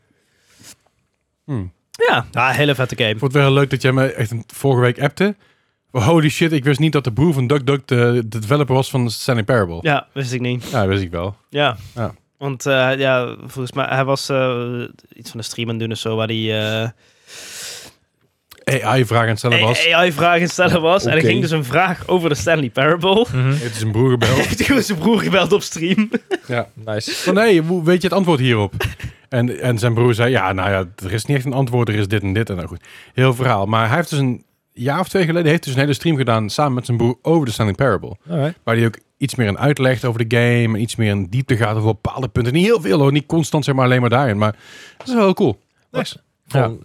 Hm. Ja, ah, hele vette game. Ik vond het wel heel leuk dat jij me echt een- vorige week appte. Holy shit, ik wist niet dat de broer van DuckDuck de, de developer was van Stanley Parable. Ja. Ja, wist ik niet. dat wist ik wel. Ja. Ja. Want eh, ja, volgens mij, hij was eh, iets van een stream aan het doen of zo, waar eh, hij AI-vraag aan het stellen was. AI-vragen stellen was. En Oké. er ging dus een vraag over de Stanley Parable. Het is een broer <laughs> gebeld. Heeft hij zijn broer gebeld op stream. Nice. Van, hey, Oh, hoe weet je het antwoord hierop? En, en zijn broer zei, ja, nou ja, er is niet echt een antwoord, er is dit en dit. En nou goed, heel verhaal. Maar hij heeft dus een jaar of twee geleden heeft dus een hele stream gedaan samen met zijn broer over de Stanley Parable. Alright. Waar hij ook iets meer in uitlegt over de game en iets meer in diepte gaat over bepaalde punten. Niet heel veel hoor, niet constant zeg maar alleen maar daarin. Maar dat is wel heel cool. Nice. Ja. Van,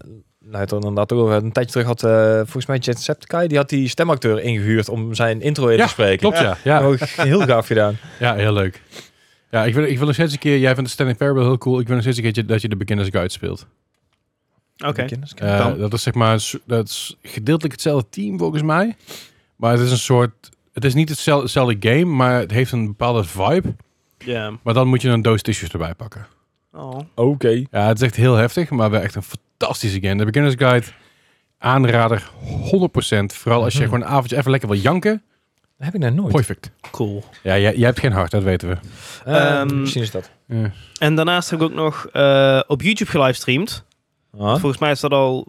nou, het had inderdaad ook over. Een tijdje terug had eh, volgens mij Jacksepticeye, die had die stemacteur ingehuurd om zijn intro in Ja, te spreken. Klopt, ja. Ja, Ja. Ook heel gaaf gedaan. ja heel leuk. Ja, ik wil, ik wil nog steeds een keer, jij vindt de Stanley Parable heel cool. Ik wil nog steeds een keertje dat je de Beginners Guide speelt. Oké. Oké. Eh, Kan. dat is zeg maar een so- dat is gedeeltelijk hetzelfde team volgens mij. Maar het is een soort. Het is niet hetzel- hetzelfde game, maar het heeft een bepaalde vibe. Ja. Maar dan moet je een doos tissues erbij pakken. Oh. Oké. Ja, het is echt heel heftig, maar wel echt een fantastische game. De Beginners Guide aanrader 100%. Vooral als je Mhm. gewoon een avondje even lekker wil janken. Dat heb ik net nooit. Perfect. Cool. Ja, jij, jij hebt geen hart, dat weten we. Eh, Ehm, misschien is dat. Ja. En daarnaast heb ik ook nog eh, op YouTube gelivestreamd. Ah. Volgens mij is dat al...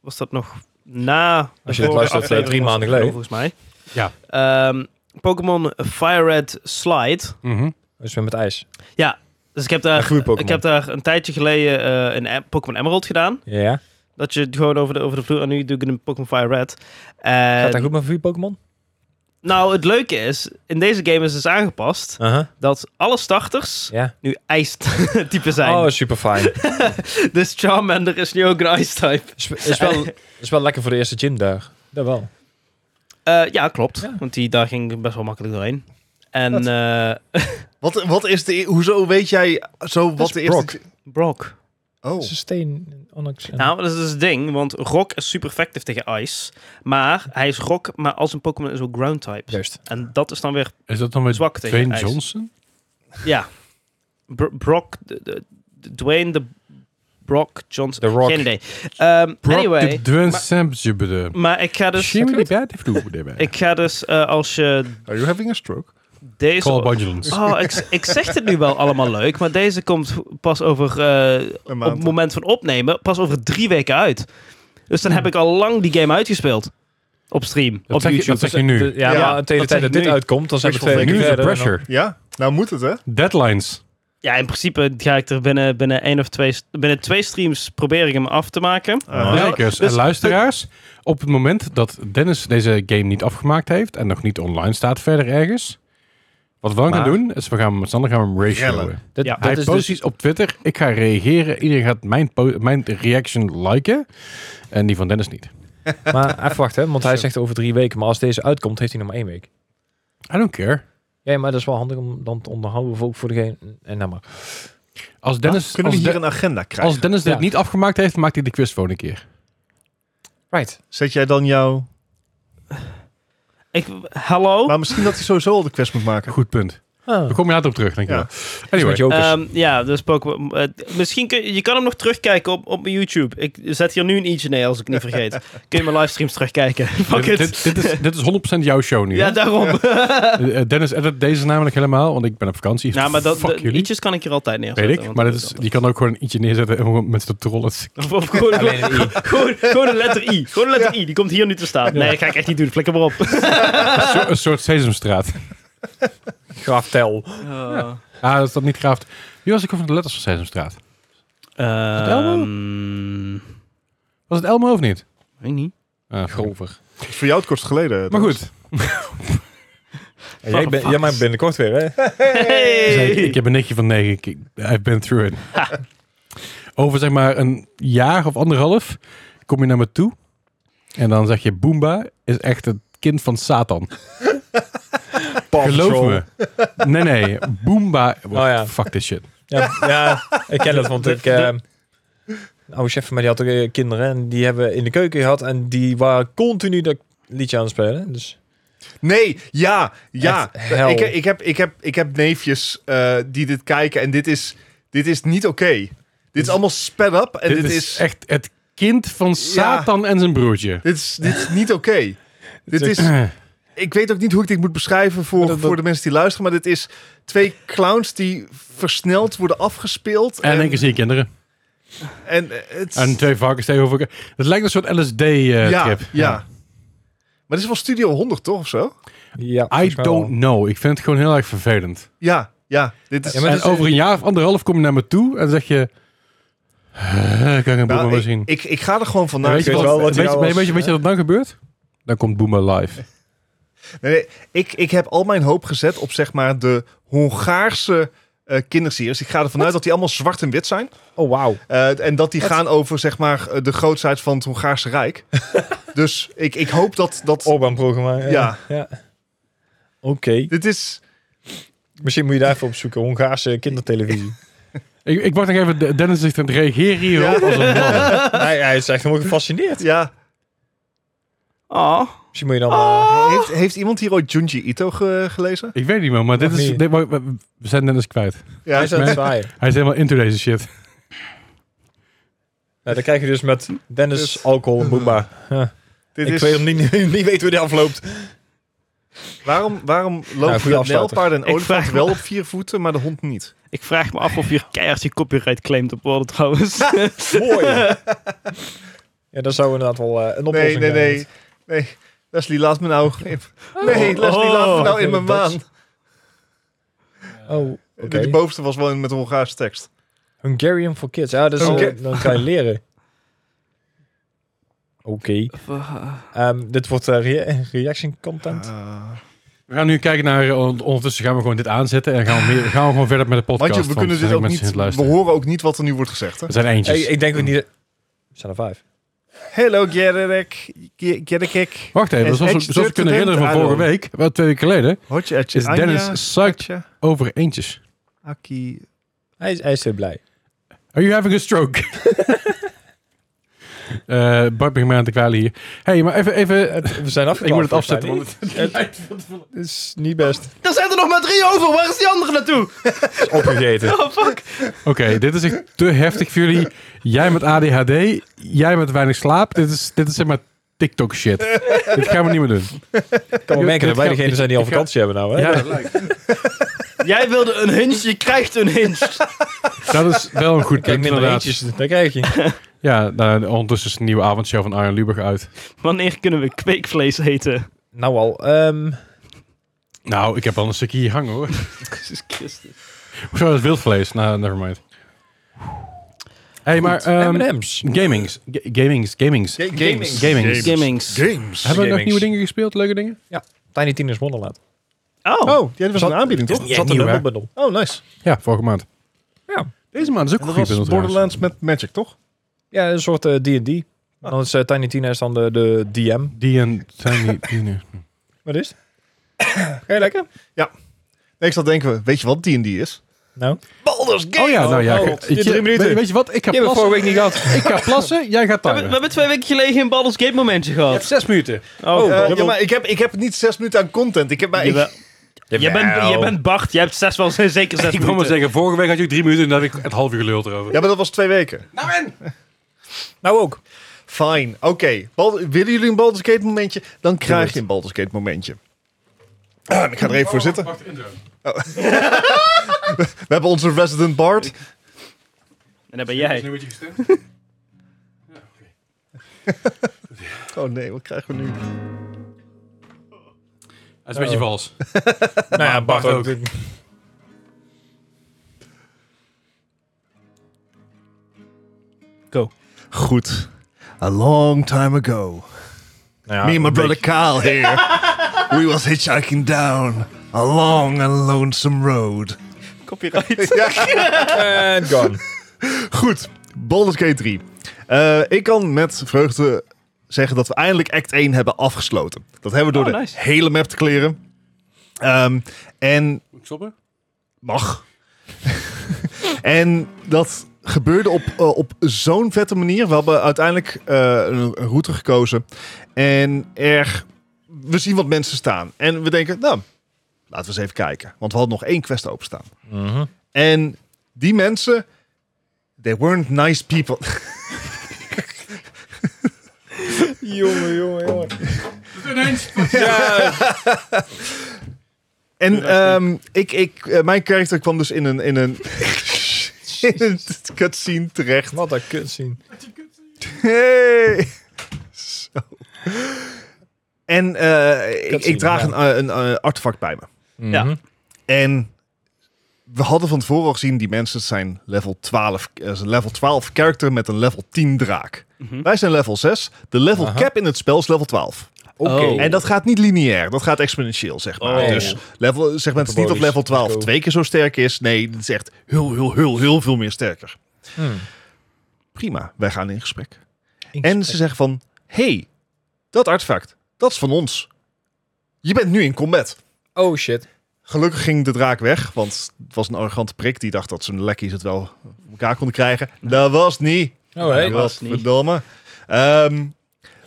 Was dat nog na... de Als je dit vorige luistert, eh, aflevering drie was maanden het al, geleden. Volgens mij. Ja. Ehm, Pokémon Fire Red Slide. Mhm. Dus met ijs. Dus ik heb daar, groei Pokémon. ik heb daar een tijdje geleden eh, een em- Pokémon Emerald gedaan. Ja. Dat je het gewoon over de, over de vloer... En nu doe ik een Pokémon Fire Red. En- Gaat dat goed met vier Pokémon? Nou, het leuke is... In deze game is dus aangepast... Uh-huh. dat alle starters Ja. nu ijstype zijn. Oh, super fijn. Dus Charmander is nu ook een ijstype. is, is, wel, is wel lekker voor de eerste gym daar. Dat wel. Eh ja, klopt. Ja. Want die, daar ging ik best wel makkelijk doorheen. En Wat? eh, Wat, wat is de... Hoezo weet jij zo wat is de eerste... Brock. Oh. Is een steen, Onyx. en- Nou, dat is dus het ding, want Rock is super effectief tegen Ice. Maar hij is Rock, maar als een Pokémon is ook Ground-type. Juist. En dat is dan weer, Is dat dan weer Zwak tegen Dwayne ijs. Johnson? ja. Br- Brock, de, de- de- Dwayne, de Brock Johnson. The Rock. Geen idee. Ehm, Brock anyway, de Dwayne Sampson bedoel. maar ik ga dus, Jimmy de Bad heeft de erbij. ik ga dus eh, als je Are you having a stroke? deze... Call Budgelons. Oh, ik, ik zeg het nu wel allemaal leuk, maar deze komt pas over, eh, Een op maand. het moment van opnemen, pas over drie weken uit. Dus dan heb ik al lang die game uitgespeeld. Op stream, Dat op Hmm. zeg je- YouTube. dat zeg je nu. Ja, Ja, maar tegen Dus, eh, de dat tijd zeg dat ik dit nu. uitkomt, dan zijn we Wishful twee Nu weken is er verder. en pressure. Ja, nou moet het, hè? Deadlines. Ja, in principe ga ik er binnen, binnen één of twee, binnen twee streams probeer ik hem af te maken. Ah. Kijkers dus- en luisteraars, op het moment dat Dennis deze game niet afgemaakt heeft en nog niet online staat verder ergens, wat we dan gaan Maar- doen, is we gaan hem- met z'n allen gaan we hem ratioen. Rellen. dan- Dat- Ja, dat Hij is post dus- iets op Twitter, ik ga reageren, iedereen gaat mijn, po- mijn reaction liken en die van Dennis niet. Maar even wachten, hè, want hij zegt over drie weken. Maar als deze uitkomt, heeft hij nog maar één week. I don't care. Ja, maar dat is wel handig om dan te onderhouden. Voor, ook voor degene... En nou maar. Als Dennis, Ah, Kunnen we als, hier De- een agenda krijgen? als Dennis dit Ja. niet afgemaakt heeft, maakt hij de quiz volgende keer. Right. Zet jij dan jouw... Oh. Ik, hallo? Maar Nou, misschien dat hij sowieso al de quest moet maken. Goed punt. Ah. Daar kom je later op terug, denk ik Ja. wel. Iets Anyway, met jokers. Ehm, ja, dus Pokémon. eh, misschien kun je, je kan hem nog terugkijken op, op YouTube. Ik zet hier nu een ietsje neer als ik het niet vergeet. Kun je mijn livestreams terugkijken? Fuck dit, it. dit, dit is, dit is 100% jouw show nu. hè? ja, daarom. Eh, Dennis edit deze namelijk helemaal, want ik ben op vakantie. Nou, maar dat, Fuck de, jullie. liedjes kan ik hier altijd neerzetten. Weet ik, want maar dat is, je kan ook gewoon een ietsje neerzetten en gewoon mensen te <laughs> trollen. Of, of <laughs> gewoon, Alleen een i. <laughs> gewoon, gewoon een letter I. Gewoon een letter I. Die komt hier nu te staan. Nee, dat ga ik echt niet doen. Flikker maar op. Een soort- een soort Sesamstraat. Graaf tel. <laughs> Ah, dat is dat niet graaft. Wie was ik over de letters van Sesamstraat? Ehm, Elmo? Was het Elmo of niet? weet ik niet. Ah, Grover. Dat is voor jou het kort geleden. Maar goed, Ja, jij, ben, jij maakt binnenkort weer, hè? Hey! Dus ik, ik heb een nichtje van negen. Ik, I've been through it. <laughs> Over zeg maar een jaar of anderhalf kom je naar me toe. En dan zeg je, Boomba is echt het kind van Satan. Geloof me. Nee, <laughs> nee. Boomba. ja. Fuck this shit. Ja, <laughs> ja, ik ken dat, want ik... eh, een oude chef van mij die had ook eh, kinderen en die hebben in de keuken gehad en die waren continu dat liedje aan het spelen. Dus Nee, ja, ja. Echt hel. Ik, ik, heb, ik, heb, ik heb neefjes eh, die dit kijken en dit is, dit is niet oké. Dit is allemaal sped up en dit, is, echt het kind van Satan en zijn broertje. dit is, dit is niet oké. <laughs> Dit is, <clears throat> ik weet ook niet hoe ik dit moet beschrijven voor, Maar dat- voor de mensen die luisteren, maar dit is twee clowns die versneld worden afgespeeld. En in één keer zie je kinderen. en, het, En twee varkens tegenover elkaar. Het lijkt een soort LSD-trip. ja, ja, Maar dit is wel Studio 100 toch of zo? ja, I volgens mij wel. don't know. Ik vind het gewoon heel erg vervelend. Ja, ja. Dit is, Ja, maar en dat is- eh, over een jaar of anderhalf kom je naar me toe en zeg je... "Eh, kan ik een Nou, Boema maar ik, zien? ik, ik ga er gewoon En vanuit. weet, je ik wat, weet wel wat hij weet, je- nou weet, was, je- weet je wat dan gebeurt? Dan komt Boema live. Nee, nee, ik, ik heb al mijn hoop gezet op zeg maar de Hongaarse eh kinderseries. Ik ga ervan uit dat die allemaal zwart en wit zijn. Oh, wauw. Eh, en dat die gaan over zeg maar eh, de grootsheid van het Hongaarse <laughs> Rijk. dus ik, ik hoop dat... dat Oh. Orban-programma. Ja. Oké. Dit is... Misschien moet je daar even op zoeken. Hongaarse kindertelevisie. Ik, ik wacht nog even. De- Dennis zegt aan het reageren hierop als een <laughs> man. hij, hij is echt helemaal gefascineerd. Ja. Oh. Misschien moet je dan... eh, Heeft, heeft iemand hier ooit Junji Ito ge- gelezen? Ik weet niet meer, maar dit Nog is, niet. dit- maar- maar we zijn Dennis kwijt. Ja, hij is aan het zwaaien. Hij is helemaal into deze shit. Nou, dan krijg je dus met Dennis, Dus- alcohol en <laughs> boomba. dit ik is... <laughs> weet hem niet, niet weten hoe die afloopt. Waarom, waarom goede lopen de afsluiter. nijlpaarden en Ik olifanten vraag wel op vier voeten, maar de hond niet? Ik vraag me af of hier keihard je copyright claimt op worden trouwens. <laughs> Mooi. ja, dat zou inderdaad wel eh, een Nee, oplossing nee, zijn. nee. nee. Leslie, laat me nou... in- Nee, Leslie, laat me nou in mijn maan. Eh, Oh, oké. De bovenste was wel in- met een Hongaarse tekst. Hungarian for kids. Ja, dat is, Oké. dan kan je leren. <laughs> Oké. Ehm, dit wordt eh, rea- reaction Eh, content. We gaan nu kijken naar... eh, on- Ondertussen gaan we gewoon dit aanzetten en gaan we, meer, gaan we gewoon verder met de podcast. Want je, we want kunnen er zijn dit ook mensen niet... aan het We luisteren. horen ook niet wat er nu wordt gezegd, hè? Er zijn eentjes. ik, ik denk ook niet... dat- Er zijn er vijf. Hello, Gerrit. Gerrit. Wacht even, En- zoals we, en- zoals we kunnen herinneren van vorige Aaron. week, wel twee weken geleden, Hotje, etje, is Anja, Dennis psyched Atje, over eentjes. Aki. Hij is, hij is heel blij. Are you having a stroke? <laughs> Eh Bart begint mij aan te kwalen hier. hey, maar even... even eh, We zijn afgekwaald. ik moet het afzetten, want Het is niet best. Er zijn er nog maar drie over. Waar is die andere naartoe? Het is opgegeten. Oh, fuck. Oké, dit is echt te heftig voor jullie. Jij met ADHD, jij met weinig slaap. Dit is, dit is zeg maar TikTok shit. dit gaan we niet meer doen. Ik kan wel Dit merken dat wij gaat- degene zijn die al dit gaat- vakantie hebben nou. Hè? Ja, Jij wilde een hinge, je krijgt een hinge. dat is wel een goed Kijk, punt minder inderdaad. eentjes. Daar krijg je. Ja, nou, ondertussen is een nieuwe avondshow van Arjen Lubach uit. Wanneer kunnen we kweekvlees eten? Nou al. ehm, Nou, ik heb al een stukje hier hangen hoor. Jezus Christus. Hoezo, dat is wildvlees. Nou, nevermind. hey, maar ehm M&M's. gamings. Ga- gamings, gamings. Games. Gamings. Gamings. Gamings. Hebben Games. we nog gamings. nieuwe dingen gespeeld? Leuke dingen? Tiny Tina's Wonderland. Oh, Oh, die was Zat- een aanbieding, toch? Zat nieuw, een hè? lumberbundel. Oh, nice. Ja, vorige maand. Ja. Deze maand is ook En een dat goede was bundel trouwens. Borderlands met Magic, toch? Ja, een soort eh, D&D. Ah. Dan is eh, Tiny Tina is dan de, de DM. Die en Tiny Tina. Wat is het? Ga je lekker? Nee, ik zat denken, we, weet je wat D&D is? Nou. Baldur's Oh ja, nou ja. Oh, ik- God. ik- Je drie minuten. Weet, weet je wat? Ik ga Je hebt het plassen. vorige week niet gehad. Ik ga plassen. Jij gaat we, hebben- we timen. hebben twee weken geleden een Baldur's Gate momentje gehad. zes minuten. Oh, Oh, eh, god. ja, maar ik heb, ik heb niet zes minuten aan content. Ik heb maar... Ik, Jawel. Je bent, je bent Bart, je hebt zes wel zeker zes Ik wil maar minuten. zeggen, vorige week had je ook drie minuten en dan heb ik het half uur geluld erover. ja, maar dat was twee weken. Nou ook. Fine. Oké. Bald- Willen jullie een Baldur's Gate momentje? Dan krijg je een Baldur's Gate momentje. Ah, ik ga er even voor zitten. Wacht, intro. We hebben onze resident bard. En dat ben jij. beetje gestemd. Oh nee, wat krijgen we nu? Dat is een beetje vals. Nou ja, Bart ook. Goed. A long time ago. Nou ja, Me and my een brother Kyle here. we was hitchhiking down a long and lonesome road. Copyright. beetje. And gone. Goed, Baldur's Gate 3. Eh, ik kan met vreugde zeggen dat we eindelijk Act 1 hebben afgesloten. Dat hebben we door Oh, de nice. hele map te kleren. Ehm, en Moet ik stoppen? mag. <laughs> en dat gebeurde op, eh, op zo'n vette manier. We hebben uiteindelijk eh, een een route gekozen. En er, we zien wat mensen staan. En we denken, nou, laten we eens even kijken. Want we hadden nog één quest openstaan. Mhm. En die mensen, they weren't nice people. <laughs> Jongen, jongen, jongen. Ineens. Ja. En ehm, ik, ik, eh, mijn karakter kwam dus in een, in een, <laughs> in een cutscene terecht. Wat een kutzien. Hey. Zo. En eh, ik, Cutscene, ik draag ja. een, eh, een, eh, artefact bij me. Ja. Mhm. En we hadden van tevoren al gezien, die mensen zijn level 12, eh, is een level 12 character met een level 10 draak. Mhm. Wij zijn level 6. De level Aha. cap in het spel is level 12. Oké. Oh. En dat gaat niet lineair, dat gaat exponentieel, zeg maar. Oh. Dus level, zeg maar het is niet of level Metabolisch. 12 twee keer zo sterk is. Nee, het is echt heel, heel, heel, heel veel meer sterker. Hmm. Prima, wij gaan in gesprek. En En ze zeggen van, hey, dat artefact, dat is van ons. Je bent nu in combat. oh shit. Gelukkig ging de draak weg, want het was een arrogante prik. Die dacht dat zijn lekkies het wel voor elkaar konden krijgen. Dat was niet. Oh hey. Ja. was niet. verdomme. Ehm,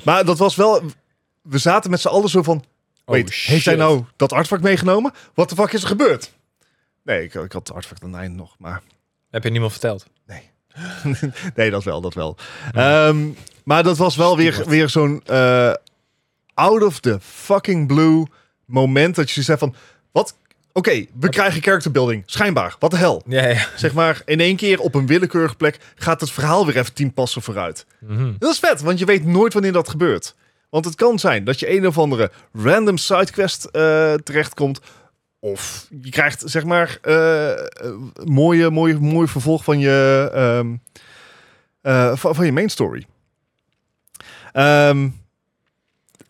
maar dat was wel... We zaten met z'n allen zo Oh, van... oh, Wait, heeft hij nou dat artefact meegenomen? Wat de fuck is er gebeurd? Nee, ik, ik had het artefact aan het eind nog, maar... Heb je niemand verteld? Nee, dat wel, dat wel. Ehm, maar dat was wel weer, weer zo'n eh, out of the fucking blue moment dat je zegt van... Wat? Oké, we krijgen character building. Schijnbaar. Wat de hel? Ja, ja. Zeg maar, in één keer op een willekeurige plek gaat het verhaal weer even tien passen vooruit. Dat is vet, want je weet nooit wanneer dat gebeurt. Want het kan zijn dat je een of andere random sidequest eh terechtkomt. Of je krijgt, zeg maar, eh, eh, mooie, mooie, mooi vervolg van je, ehm, eh, van, van je main story. Ehm,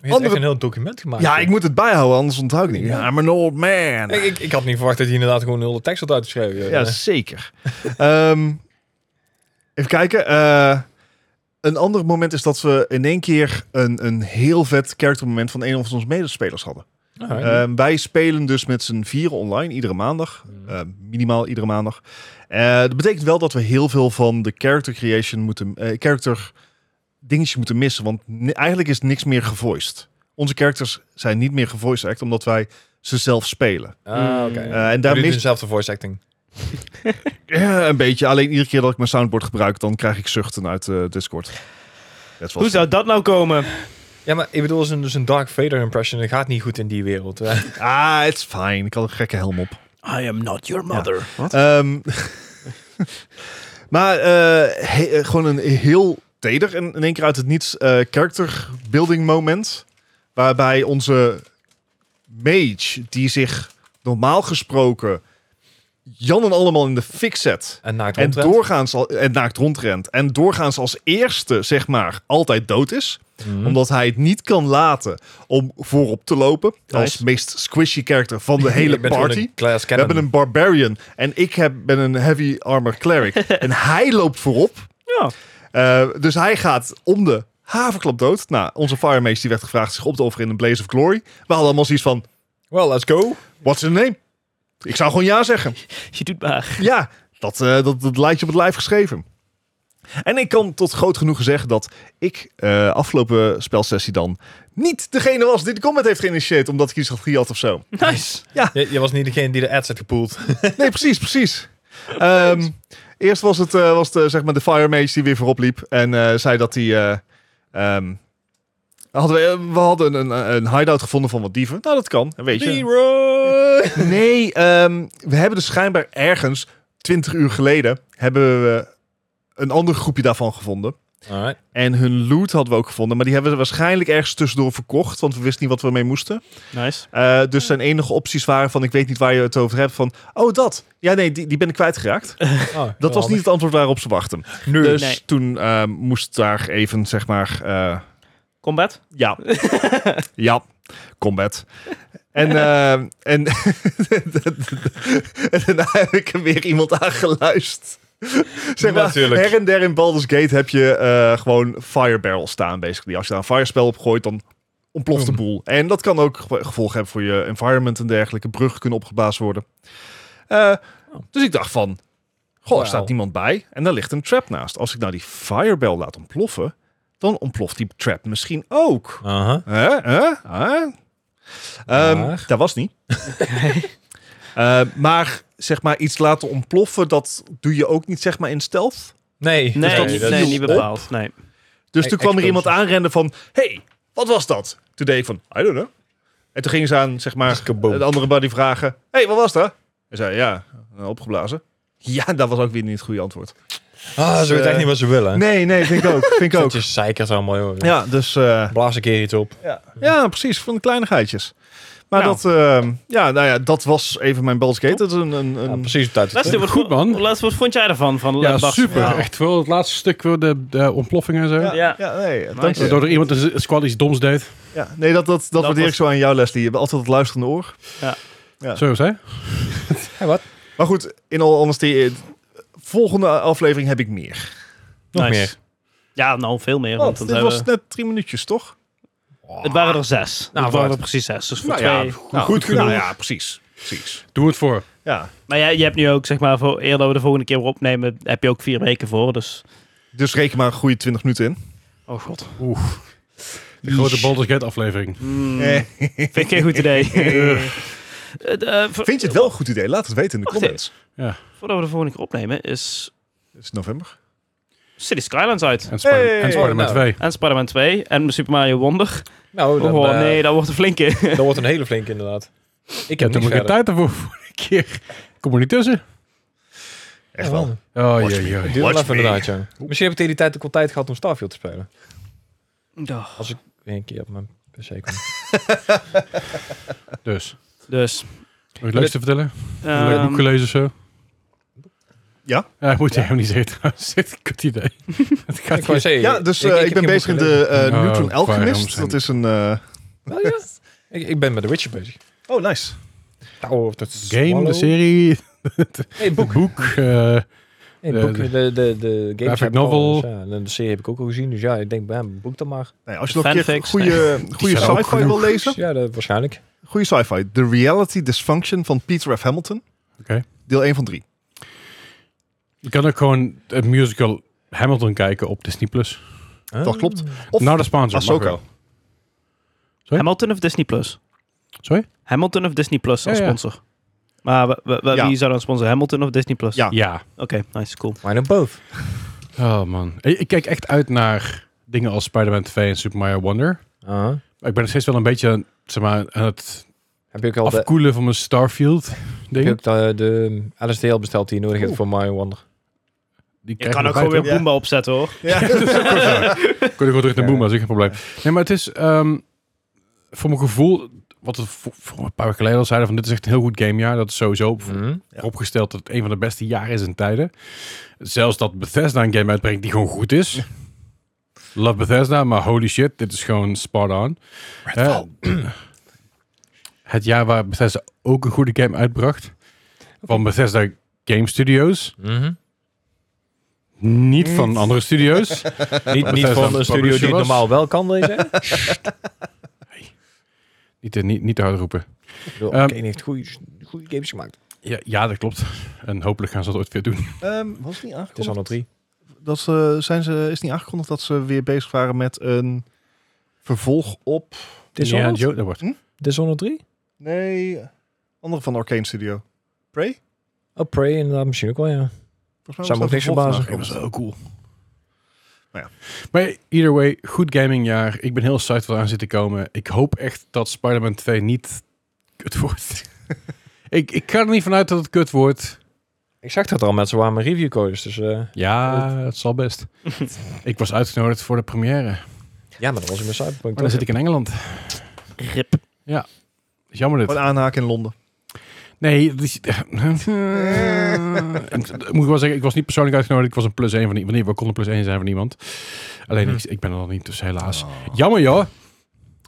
Je hebt Andere- echt een heel document gemaakt. ja, ik moet het bijhouden, anders onthoud ik niet. Ah, Ja, I'm an old man. Ik, ik, ik had niet verwacht dat hij inderdaad gewoon heel de tekst had uitgeschreven. Ja, zeker. Eh, <laughs> Ehm, even kijken. eh, een ander moment is dat we in één keer een, een heel vet charactermoment van een van onze medespelers hadden. Alright. Ehm, wij spelen dus met z'n vieren online iedere maandag. Eh, minimaal iedere maandag. Eh, dat betekent wel dat we heel veel van de character creation moeten... eh, character dingetjes moeten missen. Want ni- eigenlijk is niks meer gevoiced. Onze characters zijn niet meer gevoiced act, omdat wij ze zelf spelen. ah, oké. Eh, en Daar daar doet mis, dezelfde voice acting. Ja, Eh, een beetje. Alleen iedere keer dat ik mijn soundboard gebruik, dan krijg ik zuchten uit eh, Discord. Dat Hoe zou dat nou komen? Ja, maar ik bedoel, zo'n zo'n Dark Vader impression dat gaat niet goed in die wereld. Eh, <laughs> Ah, it's fine. Ik had een gekke helm op. I am not your mother. Wat? Ehm, <laughs> maar eh, he- eh, gewoon een heel teder en in één keer uit het niets eh character building moment. Waarbij onze mage, die zich normaal gesproken Jan en allemaal in de fik zet. en naakt En rondrent. doorgaans al, en naakt rondrent. En doorgaans als eerste, zeg maar, altijd dood is. Mhm. Omdat hij het niet kan laten om voorop te lopen. Als Nice. meest squishy character van <laughs> de hele Ik ben gewoon party. een glass We cannon. hebben een barbarian en ik heb, ben een heavy armor <laughs> cleric. en hij loopt voorop. Ja. Eh, dus hij gaat om de haverklap dood. Nou, onze fire mage die werd gevraagd zich op te offeren in een blaze of glory. We hadden allemaal zoiets van, Well, let's go. what's the name? Ik zou gewoon ja zeggen. <laughs> Je doet maar. Ja, dat, eh dat, dat lijkt je op het lijf geschreven. En ik kan tot groot genoegen zeggen dat ik eh, afgelopen spelsessie dan niet degene was die de comment heeft geïnitieerd omdat ik iets had gejat of zo. Nice. Je, je was niet degene die de ads had gepoeld. Nee, precies, precies. Ehm, eerst was het, eh, was de, zeg maar de Fire Mage die weer voorop liep en eh, zei dat hij... eh, ehm, hadden eh, we, we hadden een, een, een hideout gevonden van wat dieven. Nou, dat kan, weet je. Leroy! Nee, ehm, we hebben dus schijnbaar ergens, 20 uur geleden, hebben we een ander groepje daarvan gevonden. Alright. En hun loot hadden we ook gevonden, maar die hebben we waarschijnlijk ergens tussendoor verkocht, want we wisten niet wat we ermee moesten. Nice. Eh, dus zijn enige opties waren van, ik weet niet waar je het over hebt, van, oh dat, ja nee, die, die ben ik kwijtgeraakt. Oh, Dat was niet het antwoord waarop ze wachten. nu. Dus Nee. toen ehm, moest daar even, zeg maar, eh, Combat? <laughs> ja. ja. Combat. En, <laughs> eh, en, <laughs> en daarna heb ik er weer iemand aan geluisterd. Zeg maar, Natuurlijk. her en der in Baldur's Gate heb je eh, gewoon fire barrel staan, basically. Als je daar een firespel op gooit, dan ontploft Hmm. de boel. En dat kan ook gevo- gevolgen hebben voor je environment en dergelijke. Bruggen kunnen opgeblazen worden. Eh, Dus ik dacht van, goh, er Oh. Wauw. staat niemand bij en daar ligt een trap naast. Als ik nou die firebell laat ontploffen, dan ontploft die trap misschien ook. Aha. Hè? Hè? Hè? Ehm, Maar? dat was niet. <laughs> Eh, maar zeg maar iets laten ontploffen, dat doe je ook niet zeg maar in stealth. Nee. Dus Nee, dat nee, viel niet op. bepaald. Nee. Dus E- toen kwam er explosie. iemand aanrennen van, hey, wat was dat? Toen deed ik van, I don't know. En toen gingen ze aan zeg maar Dus kaboom. de andere buddy vragen, hey, wat was dat? En zei, ja, opgeblazen. Ja, dat was ook weer niet het goede antwoord. Ah, ze Dus, weet eh, echt niet wat ze willen. Nee, nee, vind ik ook. Vind <laughs> ik ook. Het is zeikers allemaal, joh. Ja, dus eh, Blaas een keer iets op. ja. ja, precies, van de kleinigheidjes. Maar Nou. dat, eh, ja, nou ja, dat was even mijn Baldur's Gate. Dat is een, een, Ja, een precies op tijd. Laatste, wat, Goed, man. Laatste, wat vond jij ervan? Van Ja, Bas? super. Ja. Echt vooral het laatste stuk, voor de, de ontploffingen en zo. ja, ja. Ja. nee, Nice. dank je. Waardoor er iemand een squad iets doms deed. Ja, nee, dat, dat, dat, waardeer was- ik zo aan jou, Leslie. Je hebt altijd het luisterende oor. Ja. Zo is hè? Hey, wat? Maar goed, in al honesty, eh, volgende aflevering heb ik meer. Nog Nice. meer. Ja, nou veel meer. Want Want dan Oh, dit zijn was we- net drie minuutjes, toch? Het waren er zes. Nou, het waren wat. er precies zes. Dus voor Nou twee. ja, nou, goed nou genoeg. ja, precies. precies. Doe het voor. Ja. Maar ja, je hebt nu ook, zeg maar, voor eerder we de volgende keer weer opnemen, heb je ook vier weken voor. Dus. Dus reken maar een goede 20 minuten in. Oh god. De grote Baldur's Gate aflevering. Mm, Eh, Vind ik geen goed <laughs> idee. Eh, eh, voor- Vind je het wel een goed idee? Laat het weten in de Wacht comments. Voordat we de volgende keer opnemen, is Het is november. City Skylines uit. En, Spider- Hey! en Spider-Man Oh, nou. 2. En Spider-Man 2 en Super Mario Wonder. Nou, dan, Oh eh, nee, dat wordt een flinke. <laughs> dat wordt een hele flinke inderdaad. Ik Ik heb heb er niet maar geen verder. tijd ervoor vorige keer. Kom er niet tussen. Echt wel. Oh Watch jee, me. jee. Duur wel Watch even me. inderdaad, ja. Misschien heb ik tegen die tijd ook wel tijd gehad om Starfield te spelen. Weer een keer op mijn <laughs> pc kom. Dus, heb Dus. je het leuks te vertellen? Heb je een ehm, boek gelezen of zo? Ja? Ja, moet je hem niet zeggen trouwens. <laughs> Dit is een kut idee. Het gaat Ik wou hier- zeggen, Ja, dus eh, heb ik, geen ben boek bezig in de gelezen. eh, Oh, Neutron Alchemist. waarom Dat is een... eh, Wel, ja. Oh, ik, ik ben met The Witcher bezig. Oh, nice. Tower Oh, of the Game, de <laughs> serie, Nee, boek. het boek. eh, Nee, De- boek, de- de, de, de, games graphic heb ik al, novel. dus ja, en de serie heb ik ook al gezien, dus ja, ik denk, ja, boek dan maar. Nee, als je nog een keer Fanfics, goede, goede zijn ook sci-fi genoeg. wil lezen. Ja, dat, waarschijnlijk. Goede sci-fi. The Reality Dysfunction van Peter F. Hamilton. Oké. Deel 1 van 3. je kan ook gewoon het musical Hamilton kijken op Disney+. Plus. Dat Ah. klopt. Of Nou, de sponsor. mag Ahsoka. wel. Huh? Hamilton of Disney Plus? Sorry? Hamilton of Disney Plus als Ja, ja. sponsor. Maar wa- wa- wa- Ja. wie zou dan sponsoren? Hamilton of Disney Plus? Ja. Ja. Oké, nice, cool. Why not both? Oh man. Ik, ik kijk echt uit naar dingen als Spider-Man 2 en Super Mario Wonder. Uh-huh. Maar ik ben nog steeds wel een beetje aan, zeg maar, aan het Heb je ook al de, afkoelen van mijn Starfield heb je ding. ook de, de LSDL besteld die je nodig hebt Oeh. voor Mario Wonder? Die Je kan ook gewoon weer toch? Boomba opzetten hoor. <laughs> Ja. Kun je gewoon terug naar Ja. Boomba, dat is geen probleem. Nee, maar het is ehm, voor mijn gevoel, wat we voor, voor een paar weken geleden al zeiden, van dit is echt een heel goed gamejaar. Dat is sowieso op- Mhm. Ja. opgesteld dat het een van de beste jaren is in tijden. Zelfs dat Bethesda een game uitbrengt die gewoon goed is. Love Bethesda, maar holy shit, dit is gewoon spot on. Redfall. Eh, <clears throat> het jaar waar Bethesda ook een goede game uitbracht. Van Bethesda Game Studios. Mhm. Niet van andere studios. Niet, niet Bethesda van Eh, een studio die publisher het was. normaal wel kan lezen. <laughs> Ik niet, te- niet, niet te hard roepen. bedoel, Ehm. Kane heeft goede goede games gemaakt. Ja, ja, dat klopt. En hopelijk gaan ze dat ooit weer doen. <laughs> Ehm, was het niet Het is al aangekondigd? een drie. Dat ze, zijn ze, is niet aangekondigd dat ze weer bezig waren met een vervolg op... Ja, Dishonored? Joe, dat wordt. Dishonored 3? Nee, andere van Arcane Studio. Prey? Oh, Prey inderdaad, misschien ook wel, ja. Volgens mij Zou me was ook niks daar vervolg verbazen. van aangekondigd. heel cool. Nou ja. Maar either way, goed gamingjaar. Ik ben heel psyched wat aan zit te komen. Ik hoop echt dat Spider-Man 2 niet kut wordt. <laughs> ik, ik ga er niet vanuit dat het kut wordt. Ik zag dat al, mensen waren mijn reviewcodes, dus... eh, Ja, het zal best. <laughs> ik was uitgenodigd voor de première. Maar ja, maar dat was in mijn Cyberpunk. Oh, dan zit ik in Engeland. Rip. Is jammer dit. Gewoon aanhaken in Londen. Nee, dat is- <laughs> En t- moet ik wel zeggen, ik was niet persoonlijk uitgenodigd. Ik was een plus 1 van iemand. We konden plus 1 zijn van iemand. Alleen ik, ik ben er dan niet, dus helaas. Jammer joh.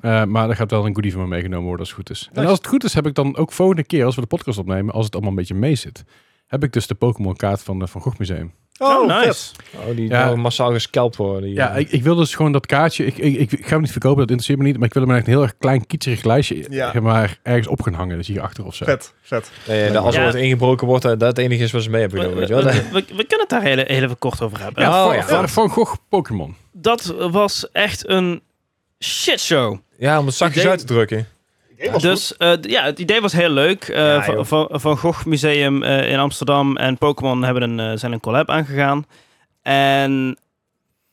Eh, maar er gaat wel een goodie van me meegenomen worden als het goed is. En als het goed is, heb ik dan ook volgende keer, als we de podcast opnemen, als het allemaal een beetje mee zit, heb ik dus de Pokémon kaart van het Van Gogh Museum. Oh, vet. nice. Oh, die Ja. nou massaal gescalpt worden. die, Ja, eh, ik, ik wil dus gewoon dat kaartje, ik, ik, ik, ik ga hem niet verkopen, dat interesseert me niet, maar ik wil hem echt een heel erg klein, kitscherig lijstje, eh, Ja. zeg maar ergens op gaan hangen, dus hierachter of zo. Vet, vet. nee, nee, eh, als er Ja. Eh, wat ingebroken wordt, eh, dat het enige is wat ze mee hebben We, genomen, we, weet je wel. we- we- we kunnen het daar heel, heel even kort over hebben. Ja. Van- Oh, Van, van Gogh Pokémon. Dat was echt een shitshow. <laughs> Ja, om het zakjes Idee- uit te drukken. Dus eh, d- ja, het idee was heel leuk. Eh, Ja, van, joh. van, van Gogh Museum eh, in Amsterdam en Pokémon hebben een, eh, zijn een collab aangegaan. En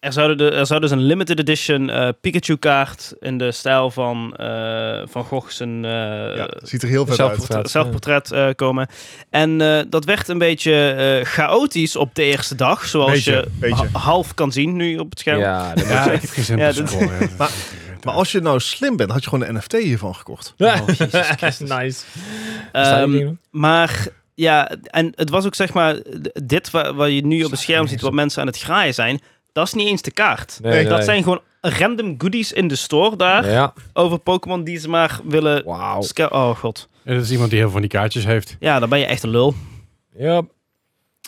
er zou, de, er zou dus een limited edition eh, Pikachu-kaart in de stijl van, eh, van Gogh zijn eh, ja, ziet er heel vet zelf- uit. portret- zelfportret eh, komen. En eh, dat werd een beetje eh, chaotisch op de eerste dag, zoals Beetje, je beetje. ha- half kan zien nu op het scherm. <laughs> Ja, dat Ja, moet- ik heb geen zin Ja, om te dat- scrollen. Ja. Maar- Maar als je nou slim bent, had je gewoon een NFT hiervan gekocht. Oh, Jezus Christus. nice. Ehm, Maar ja, en het was ook zeg maar, d- dit wa- wat, je nu op het scherm ziet, wat mensen aan het graaien zijn, dat is niet eens de kaart. Nee, Dat zijn gewoon random goodies in de store daar Ja, over Pokémon die ze maar willen. wauw. sca- Oh god. En dat is iemand die heel veel van die kaartjes heeft. Ja, dan ben je echt een lul. Ja,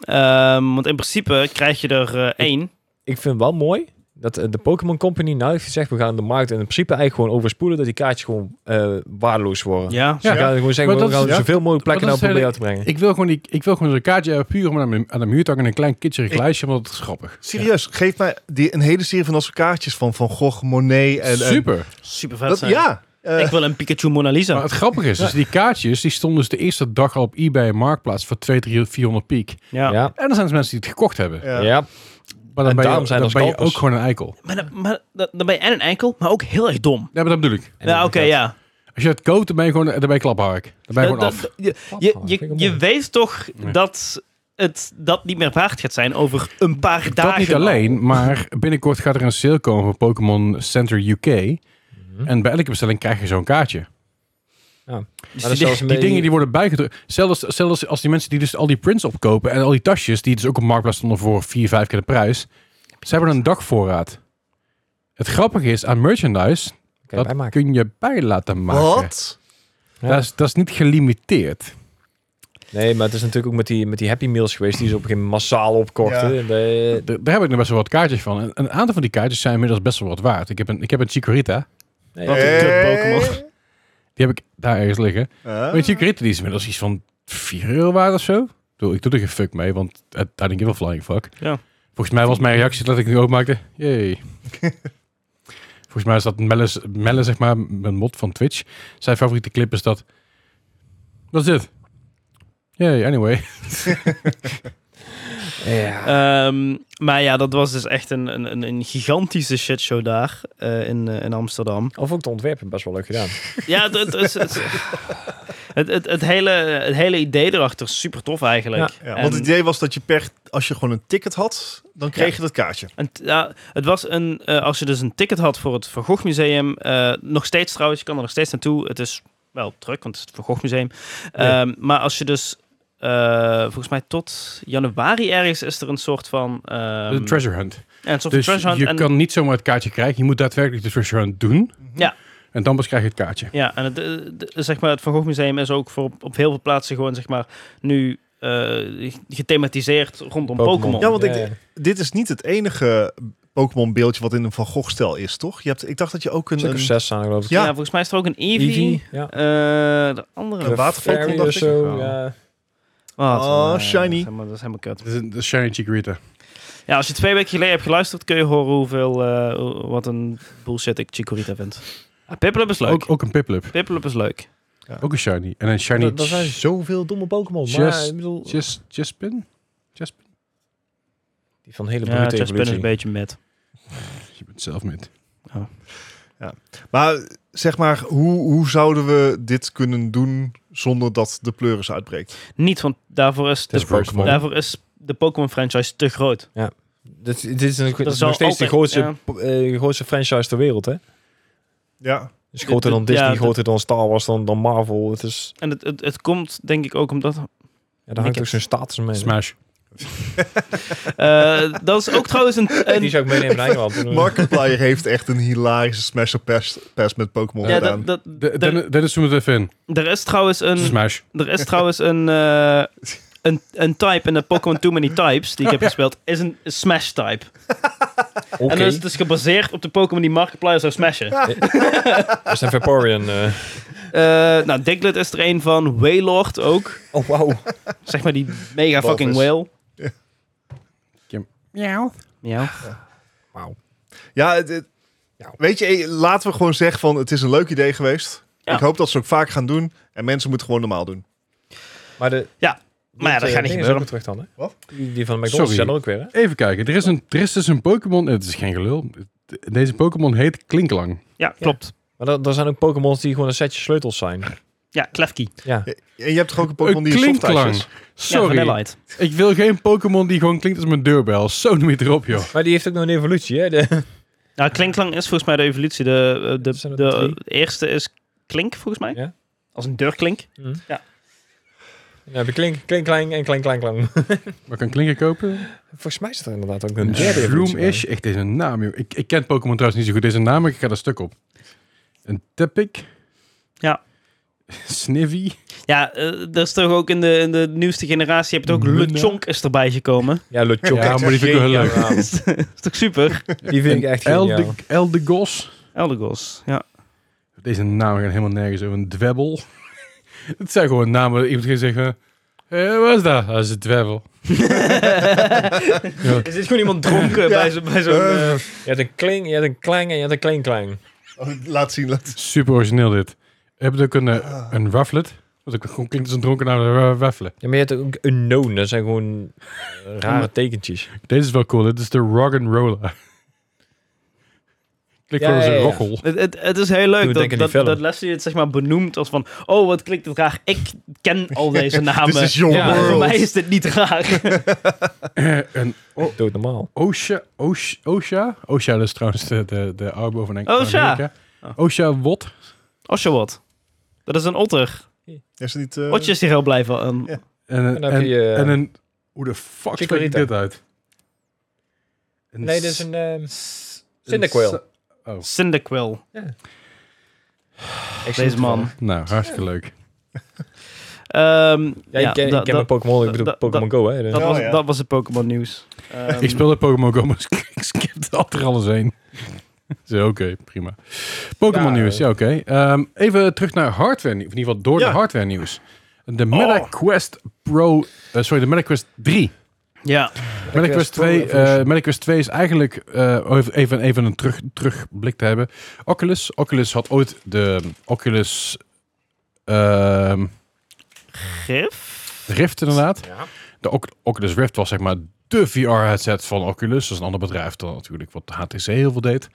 Ehm, want in principe krijg je er eh, één. ik vind wel mooi dat eh, de Pokémon Company nou heeft gezegd, we gaan de markt in principe eigenlijk gewoon overspoelen, dat die kaartjes gewoon eh, waardeloos worden. Ja. Dus we gaan gewoon zeggen, Maar we dat gaan is- ja. zoveel mogelijk plekken Maar nou dat is proberen uit te brengen. Ik wil gewoon, die, ik wil gewoon zo'n kaartje hebben, puur om aan de, aan de muur te hangen. en Een klein kitscherig Ik- lijstje, want dat is grappig. Serieus, geef mij die, een hele serie van dat soort kaartjes van Van Gogh, Monet en... en- Super. Super vet Dat, zijn. ja. eh, Ik wil een Pikachu Mona Maar Lisa. het grappige is, dus die kaartjes die stonden dus de eerste dag al op eBay en Marktplaats voor 2, 3, 400 piek. Ja. Ja, En dan zijn er mensen die het gekocht hebben. ja. ja. Maar Maar dan En ben je, daarom zijn dan er ben je scalpers. ook gewoon een eikel. Maar, dan- maar dan dan ben je en een enkel, maar ook heel erg dom. Ja, maar dat bedoel ik. Ja, Nou, oké, ja. Als je het koopt, dan ben je gewoon, dan ben je klaphark. Dan ben je gewoon Dat- af. dat- je, Oh, je, je, je weet toch Nee. dat het dat niet meer waard gaat zijn over een paar dagen. Dat niet al. alleen, maar binnenkort gaat er een sale komen voor Pokémon Center UK. En bij elke bestelling krijg je zo'n kaartje. Dus Maar dat die- is zelfs een Die beetje- dingen die worden bijgedrukt. Zelfs, zelfs als die mensen die dus al die prints opkopen en al die tasjes, die dus ook op Marktplaats stonden voor vier, vijf keer de prijs. Ze hebben een dagvoorraad. Het grappige is aan merchandise, Kan je dat bijmaken. kun je bij laten maken. Wat? Ja. Dat, is, dat is niet gelimiteerd. Nee, maar het is natuurlijk ook met die, met die Happy Meals geweest die ze op een gegeven moment massaal opkochten. Ja. En de- D- Daar heb ik nog best wel wat kaartjes van. En een aantal van die kaartjes zijn inmiddels best wel wat waard. Ik heb een, ik heb een Chikorita. nee, Wat een kut Pokémon. Die heb ik daar ergens liggen. Eh? Weet je, Grit, die is inmiddels iets van 4 euro waard of zo. Ik bedoel, ik doe er geen fuck mee, want I I don't give a flying fuck. Ja. Volgens mij was mijn reactie dat ik het openmaakte. <laughs> Jee. Volgens mij is dat Melle, Melle, zeg maar, mijn mod van Twitch. Zijn favoriete clip is dat... Wat is dit? Jee, anyway. Ja. Ehm, maar ja, dat was dus echt een, een, een- een gigantische shitshow daar eh, in, eh, in Amsterdam. Of ook de ontwerpen best wel leuk gedaan. Ja, het, het, het, <laughs> het, het, het- het hele, het hele idee erachter is super tof eigenlijk. Ja, En- want het idee was dat je per, als je gewoon een ticket had, dan kreeg Ja. je dat kaartje. En t- ja, het was een, eh, als je dus een ticket had voor het Van Gogh Museum, eh, nog steeds trouwens, je kan er nog steeds naartoe. Het is wel druk, want het is het Van Gogh Museum. Ja. Ehm, maar als je dus, eh, volgens mij tot januari ergens is er een soort van... ehm, de treasure hunt. ja, een soort Dus treasure hunt. je en, kan niet zomaar het kaartje krijgen. Je moet daadwerkelijk de treasure hunt doen. Mhm. Ja. En dan pas krijg je het kaartje. Ja, en het, eh, de- zeg maar, het Van Gogh Museum is ook voor, op- op heel veel plaatsen gewoon zeg maar, nu eh, gethematiseerd rondom Pokémon. Ja, want ik- Dit is niet het enige Pokémon beeldje wat in een Van Gogh stijl is, toch? Je hebt, ik dacht dat je ook een, Stuk of een, zes staan geloof ik. Ja, Ja. volgens mij is er ook een Eevee. Eevee, ja. eh, de andere een waterval. Fairy of zo, ik. ja. Wat Oh, een, eh, shiny. Dat is, helemaal, dat is helemaal kut. Dat is een- dat is shiny Chikorita. Ja, als je twee weken geleden hebt geluisterd, kun je horen hoeveel, eh, hoe- wat een bullshit ik Chikorita vind. Ah, Piplup is leuk. Ook, ook een Piplup. Piplup is leuk. Ook een shiny. En een shiny... Er er zijn zoveel domme Pokémon. Maar Just- ik bedoel, Just, Jaspin? Jaspin? die van hele Ja, brute Chespin is een evolutie. beetje met. Je bent zelf met. Maar zeg maar, hoe, hoe zouden we dit kunnen doen zonder dat de pleuris uitbreekt? Niet, want daarvoor is is de, Pokémon. daarvoor is de Pokémon franchise te groot. Dit, dit is, nog- dit is zal nog steeds altijd- de grootste, ja. po- eh, grootste franchise ter wereld, hè? <laughs> Ja, Dus groter dan dit- ja, Disney, dit- groter dan Star Wars, dan, dan Marvel. Het is, En het, het, het komt denk ik ook omdat ja, daar hangt het. ook zijn status mee. Smash. Eh, dat is ook trouwens een... een- Die zou ik meenemen naar Engeland. Markiplier heeft echt een hilarische smash up pass, pass met Pokémon ja, gedaan. dat, dat, De- er, Den- Dennis zoemt het even in. er is trouwens een... Smash. Er is trouwens een... eh, een, een type in de Pokémon Too Many Types die ik heb gespeeld, is een Smash type. Oké, En dus het is gebaseerd op de Pokémon die Markiplier zou smashen. dat is een Vaporeon. eh. Eh, nou, Diglett is er een van. Waylord ook. Oh, wauw. Zeg maar die mega fucking Walvis. whale. Miauw. Ja. Wauw. Ja, het- het- Ja. weet je, eh, laten we gewoon zeggen van het is een leuk idee geweest. Ja. Ik hoop dat ze ook vaak gaan doen. En mensen moeten gewoon normaal doen. Maar, de, Maar ja, dat eh, gaat niet ding is gebeuren. ook weer terug dan, hè? Wat? Die die van Sorry. de McDonald's zijn er ook weer, hè? Even kijken. Er is, een, er is dus een Pokémon... Het is geen gelul. Deze Pokémon heet Klinklang. Ja, klopt. Maar er- er zijn ook Pokémons die gewoon een setje sleutels zijn. Ja, Klefki. Ja. En je hebt toch ook een Pokémon Een die een softijs Klinklang. is? Ja, Eh, Sorry. Vanilla Ice. ik wil geen Pokémon die gewoon klinkt als mijn deurbel. Zo noem je het erop, joh. Maar die heeft ook nog een evolutie, hè? De, <laughs> Nou, Klinklang is volgens mij de evolutie. De, eh, de, Zijn de, er eerste is Klink, volgens mij. Ja. Als een deurklink. dan heb je klink, klink, klein en klein, klein, klein. Maar ik kan Klinker kopen. Volgens mij is er inderdaad ook een Een derde evolutie. Shroom-ish. Echt, deze naam, joh. Ik, ik ken Pokémon trouwens niet zo goed. Deze naam, maar ik ga daar stuk op. Een Tepic. Ja. Snivy. Ja, eh, dat is toch ook in de, in de nieuwste generatie. Heb je hebt ook Luna. Lechonk is erbij gekomen. Ja, Lechonk. Ja, maar die vind ik wel heel leuk. Geniaal. <laughs> dat is toch super? Die vind ik echt geniaal. Elde- Eldegos. Eldegoss, ja. Deze namen gaan helemaal nergens over. Een dwebbel. <laughs> het zijn gewoon namen. Iemand gaat zeggen... Hé, wat is dat? Dat is een <laughs> dwebbel. Ja. Er zit gewoon iemand <laughs> dronken bij zo'n... Bij zo'n Eh. eh, Je hebt een kling, je hebt een klang en je hebt een klein, klein. Oh, laat zien, laat zien. Super origineel dit. Heb je ook een, eh, een rufflet? Want ik gewoon klinkt als een dronkenaar eh, waffelen. Ja, maar je hebt ook unknown. Dat zijn gewoon eh, rare tekentjes. Deze is wel cool. Dit is de <laughs> rock'n'roller. Klik Ja, voor ja, zijn ja. <clears throat> rochel. Het, het, het is heel leuk Doe dat, denken aan die dat, film. dat Leslie het zeg maar benoemt als van... Oh, wat klinkt het raar. Ik ken <laughs> al <laughs> deze namen. This is your Ja, Voor world. mij is dit niet raar. <laughs> En O- Dood normaal. Osha, Osha, Osha, Osha dat is trouwens de, de, de arbo van Enk- Osha. van Amerika. Oh. Osha Wot. Oshawott. Dat is een otter. Is het niet... eh, Otje is hier heel blij van. Ja. En, een- En dan en- heb je... eh, en een... Hoe de fuck spreek ik Chikorita. dit uit? Een nee, dat is s- een... eh, s- Cyndaquil. een s- Oh, Cyndaquil. ik zie Deze het wel. man. nou, hartstikke leuk. Ehm, Ja, ik ken, dat- ik ken dat- mijn Pokémon. Ik bedoel dat- Pokémon Go, hè. dus- dat Ja, was- ja. Dat was het Pokémon <laughs> nieuws. Ehm, Ik speelde Pokémon Go, maar <laughs> ik skipte altijd alles heen. Zo, oké, prima. Pokémon Ja, nieuws, eh. ja, oké. Ehm, even terug naar hardware, nieuws, of in ieder geval door Ja. de hardware nieuws. De MetaQuest Pro, eh, sorry, de MetaQuest 3. Ja, MetaQuest 2, eh MetaQuest 2 is eigenlijk, eh, even- even, even een terug, terugblik te hebben. Oculus, Oculus had ooit de Oculus ehm, gif. Rift inderdaad. Ja. De Oc- Oculus Rift was zeg maar de VR-headset van Oculus. Dat is een ander bedrijf dan natuurlijk wat HTC heel veel deed.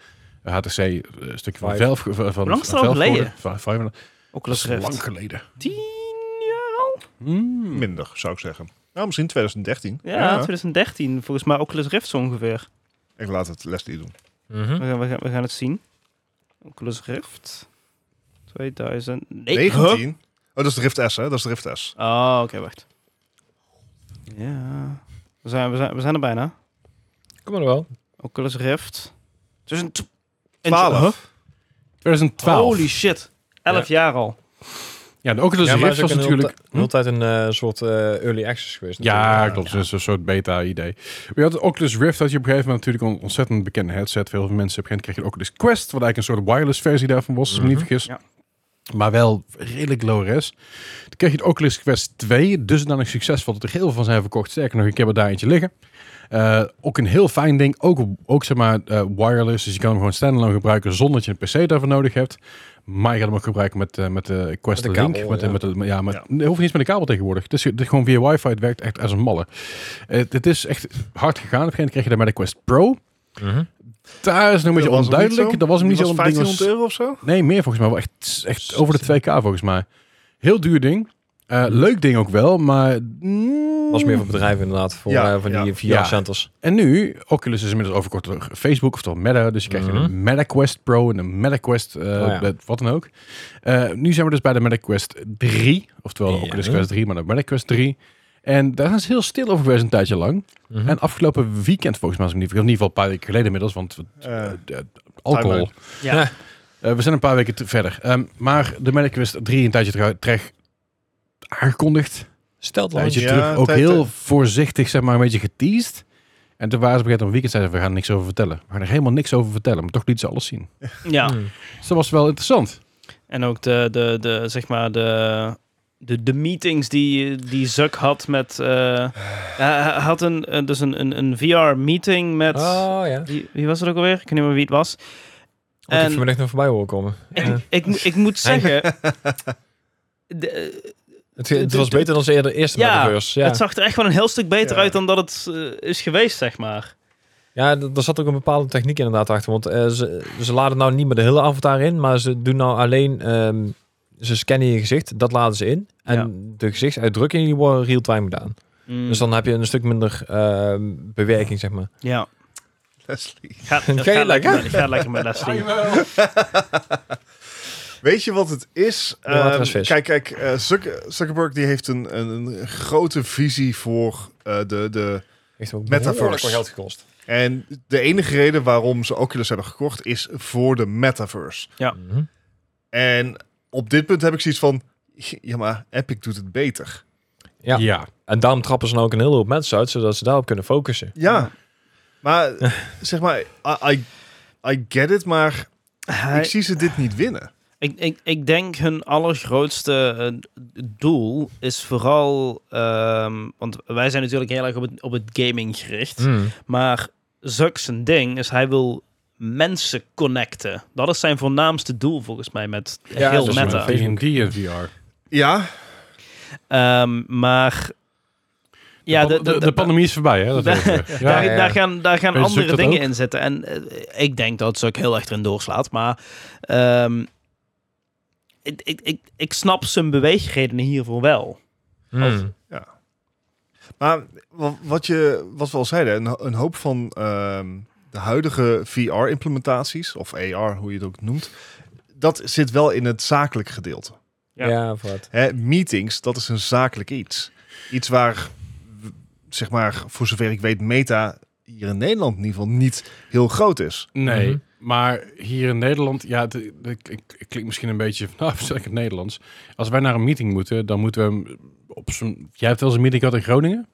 Eh, HTC, eh, een stukje van Vive. Valve. Van, van lang is het al Valve geleden? geworden. Va- Vive. Dat Oculus is lang Rift. geleden. Tien jaar al? Hmm. Minder, zou ik zeggen. Nou, misschien 2013. Ja, 2013. Volgens mij Oculus Rift zo ongeveer. Ik laat het Leslie doen. We Mhm. gaan, we gaan, we gaan het zien. Oculus Rift. 2000. Nee, huh? 19? Oh, dat is de Rift S, hè? Dat is de Rift S. Oh, oké, wacht. Ja. We zijn, we, zijn, we zijn er bijna. Kom maar wel. Oculus Rift. 2012. 12. 2012. Holy shit. 11 jaar al. Ja, de Oculus ja, maar Rift is ook was een Dus natuurlijk... Hm? heel- heel tijd een eh, soort eh, early access geweest. Ja, natuurlijk. klopt. Dat is een soort beta-idee. Maar je had de Oculus Rift, had je op een gegeven moment natuurlijk een ontzettend bekende headset. Veel mensen op een gegeven moment kreeg je de Oculus Quest, wat eigenlijk een soort wireless versie daarvan was, als ik me niet Mhm. vergis. Maar wel redelijk low res. Toen kreeg je de Oculus Quest 2, dusdanig succesvol dat er heel veel van zijn verkocht. Sterker nog, ik heb er daar eentje liggen. Eh, ook een heel fijn ding, ook, ook zeg maar eh, wireless. Dus je kan hem gewoon standalone gebruiken zonder dat je een PC daarvoor nodig hebt. Maar je gaat hem ook gebruiken met, eh, met de Quest Met de Link. kabel, met, de- ja. met, de- ja, met, Ja. nee, hoeft niet eens met een kabel tegenwoordig. Het is, het is gewoon via wifi, het werkt echt als een malle. Het, het is echt hard gegaan. Op een gegeven moment kreeg je daar met de Quest Pro. Mhm. Daar is het nog een beetje onduidelijk. Dat was hem niet zo. Die want het ding was- 1500 euro of zo? Nee, meer volgens mij. Wel echt, echt over de 2K volgens mij. Heel duur ding. Eh, leuk ding ook wel, maar... mm. was meer voor bedrijven inderdaad, voor Ja, eh, van ja. die Ja. VR-centers. En nu, Oculus is inmiddels overkort door Facebook, oftewel Meta. Dus je krijgt Mhm. Oh een Meta Quest Pro en een Meta Quest, eh, ja. met wat dan ook. Eh, nu zijn we dus bij de Meta Quest 3. Oftewel de Ja. Oculus Quest 3, maar de Meta Quest 3. En daar is het heel stil over geweest een tijdje lang. Mhm. En afgelopen weekend volgens mij, als ik me niet vergis, of in ieder geval een paar weken geleden inmiddels, want eh, Eh, de- alcohol... timeout. Ja. Ja. Eh, we zijn een paar weken te- verder. Ehm, maar de Meta Quest 3 een tijdje terug- terug aangekondigd. Stelt Een tijdje Ja, terug ook tijd- heel voorzichtig, zeg maar, een beetje geteased. En toen waren ze begrepen een weekend zeiden ze, we gaan er niks over vertellen. We gaan er helemaal niks over vertellen, maar toch lieten ze alles zien. <laughs> Ja. Dus dat was wel interessant. En ook de, de, de zeg maar, de, de, de meetings die, die Zuck had met... eh, hij hij had een, eh, dus een, een, een VR-meeting met... Oh ja. Wie, wie was het Ah. ook alweer? Ik weet niet meer wie het was. En... Ik heb En- vanmiddag nog voorbij horen komen. Ja. Ik, ik, mo- ik moet zeggen... de, eh, Het, het was beter dan ze eerder eerste Ja, metaverse. Ja, Het zag er echt wel een heel stuk beter Ja. uit dan dat het eh, is geweest, zeg maar. ja d- daar zat ook een bepaalde techniek inderdaad achter. Want eh, ze, ze laden nou niet meer de hele avatar in, maar ze doen nou alleen... ehm, ze scannen je gezicht, dat laden ze in. En de gezichtsuitdrukkingen die worden real-time gedaan. Mm. Dus dan heb je een stuk minder ehm, bewerking, zeg maar. Ja. Leslie. Ga, Ga je lekker? met- Ga lekker met Leslie. Weet je wat het is? De water Ehm, is vis. kijk, kijk eh, Zuck- Zuckerberg die heeft een, een, een grote visie voor eh, de, de... Heeft ook Metaverse. behoorlijk wat geld gekost. En de enige reden waarom ze Oculus hebben gekocht is voor de metaverse. Ja. Mhm. En op dit punt heb ik zoiets van... Ja, maar Epic doet het beter. Ja. En daarom trappen ze nou ook een hele hoop mensen uit, zodat ze daarop kunnen focussen. Ja. Maar <laughs> zeg maar, I, I, I get it, maar ik Hij- zie ze dit niet winnen. Ik, ik, ik denk hun allergrootste eh, d- doel is vooral. ehm, want wij zijn natuurlijk heel erg op het, op het gaming gericht. Hm. Mm. Maar Zuck zijn ding is hij wil mensen connecten. Dat is zijn voornaamste doel volgens mij met Ja, heel dat is Dus meta. met D&D en VR. Ja, Ehm, maar Ja, de, de, pandemie is voorbij, hè? Dat Da- weet je. ja. daar, ja. daar gaan, daar gaan Weet je, andere zoekt dat dingen ook? in zitten. En eh, ik denk dat ze ook heel erg erin doorslaat. Maar ehm, ik, ik, ik, ik snap zijn beweegredenen hiervoor wel. Mm. Hmm. Maar wa- wat, je, wat we al zeiden, een, ho- een hoop van ehm, de huidige VR-implementaties, of AR, hoe je het ook noemt, dat zit wel in het zakelijk gedeelte. Ja. Ja, wat. Hè, meetings, dat is een zakelijk iets. Iets waar, w- zeg maar, voor zover ik weet, meta hier in Nederland in ieder geval niet heel groot is. Nee, Mhm. maar hier in Nederland, ja, het, het- het klink- het klinkt misschien een beetje <laughs> van, nou, zeg ik het Nederlands. Als wij naar een meeting moeten, dan moeten we hem op zo'n. Jij hebt wel eens een meeting gehad in Groningen?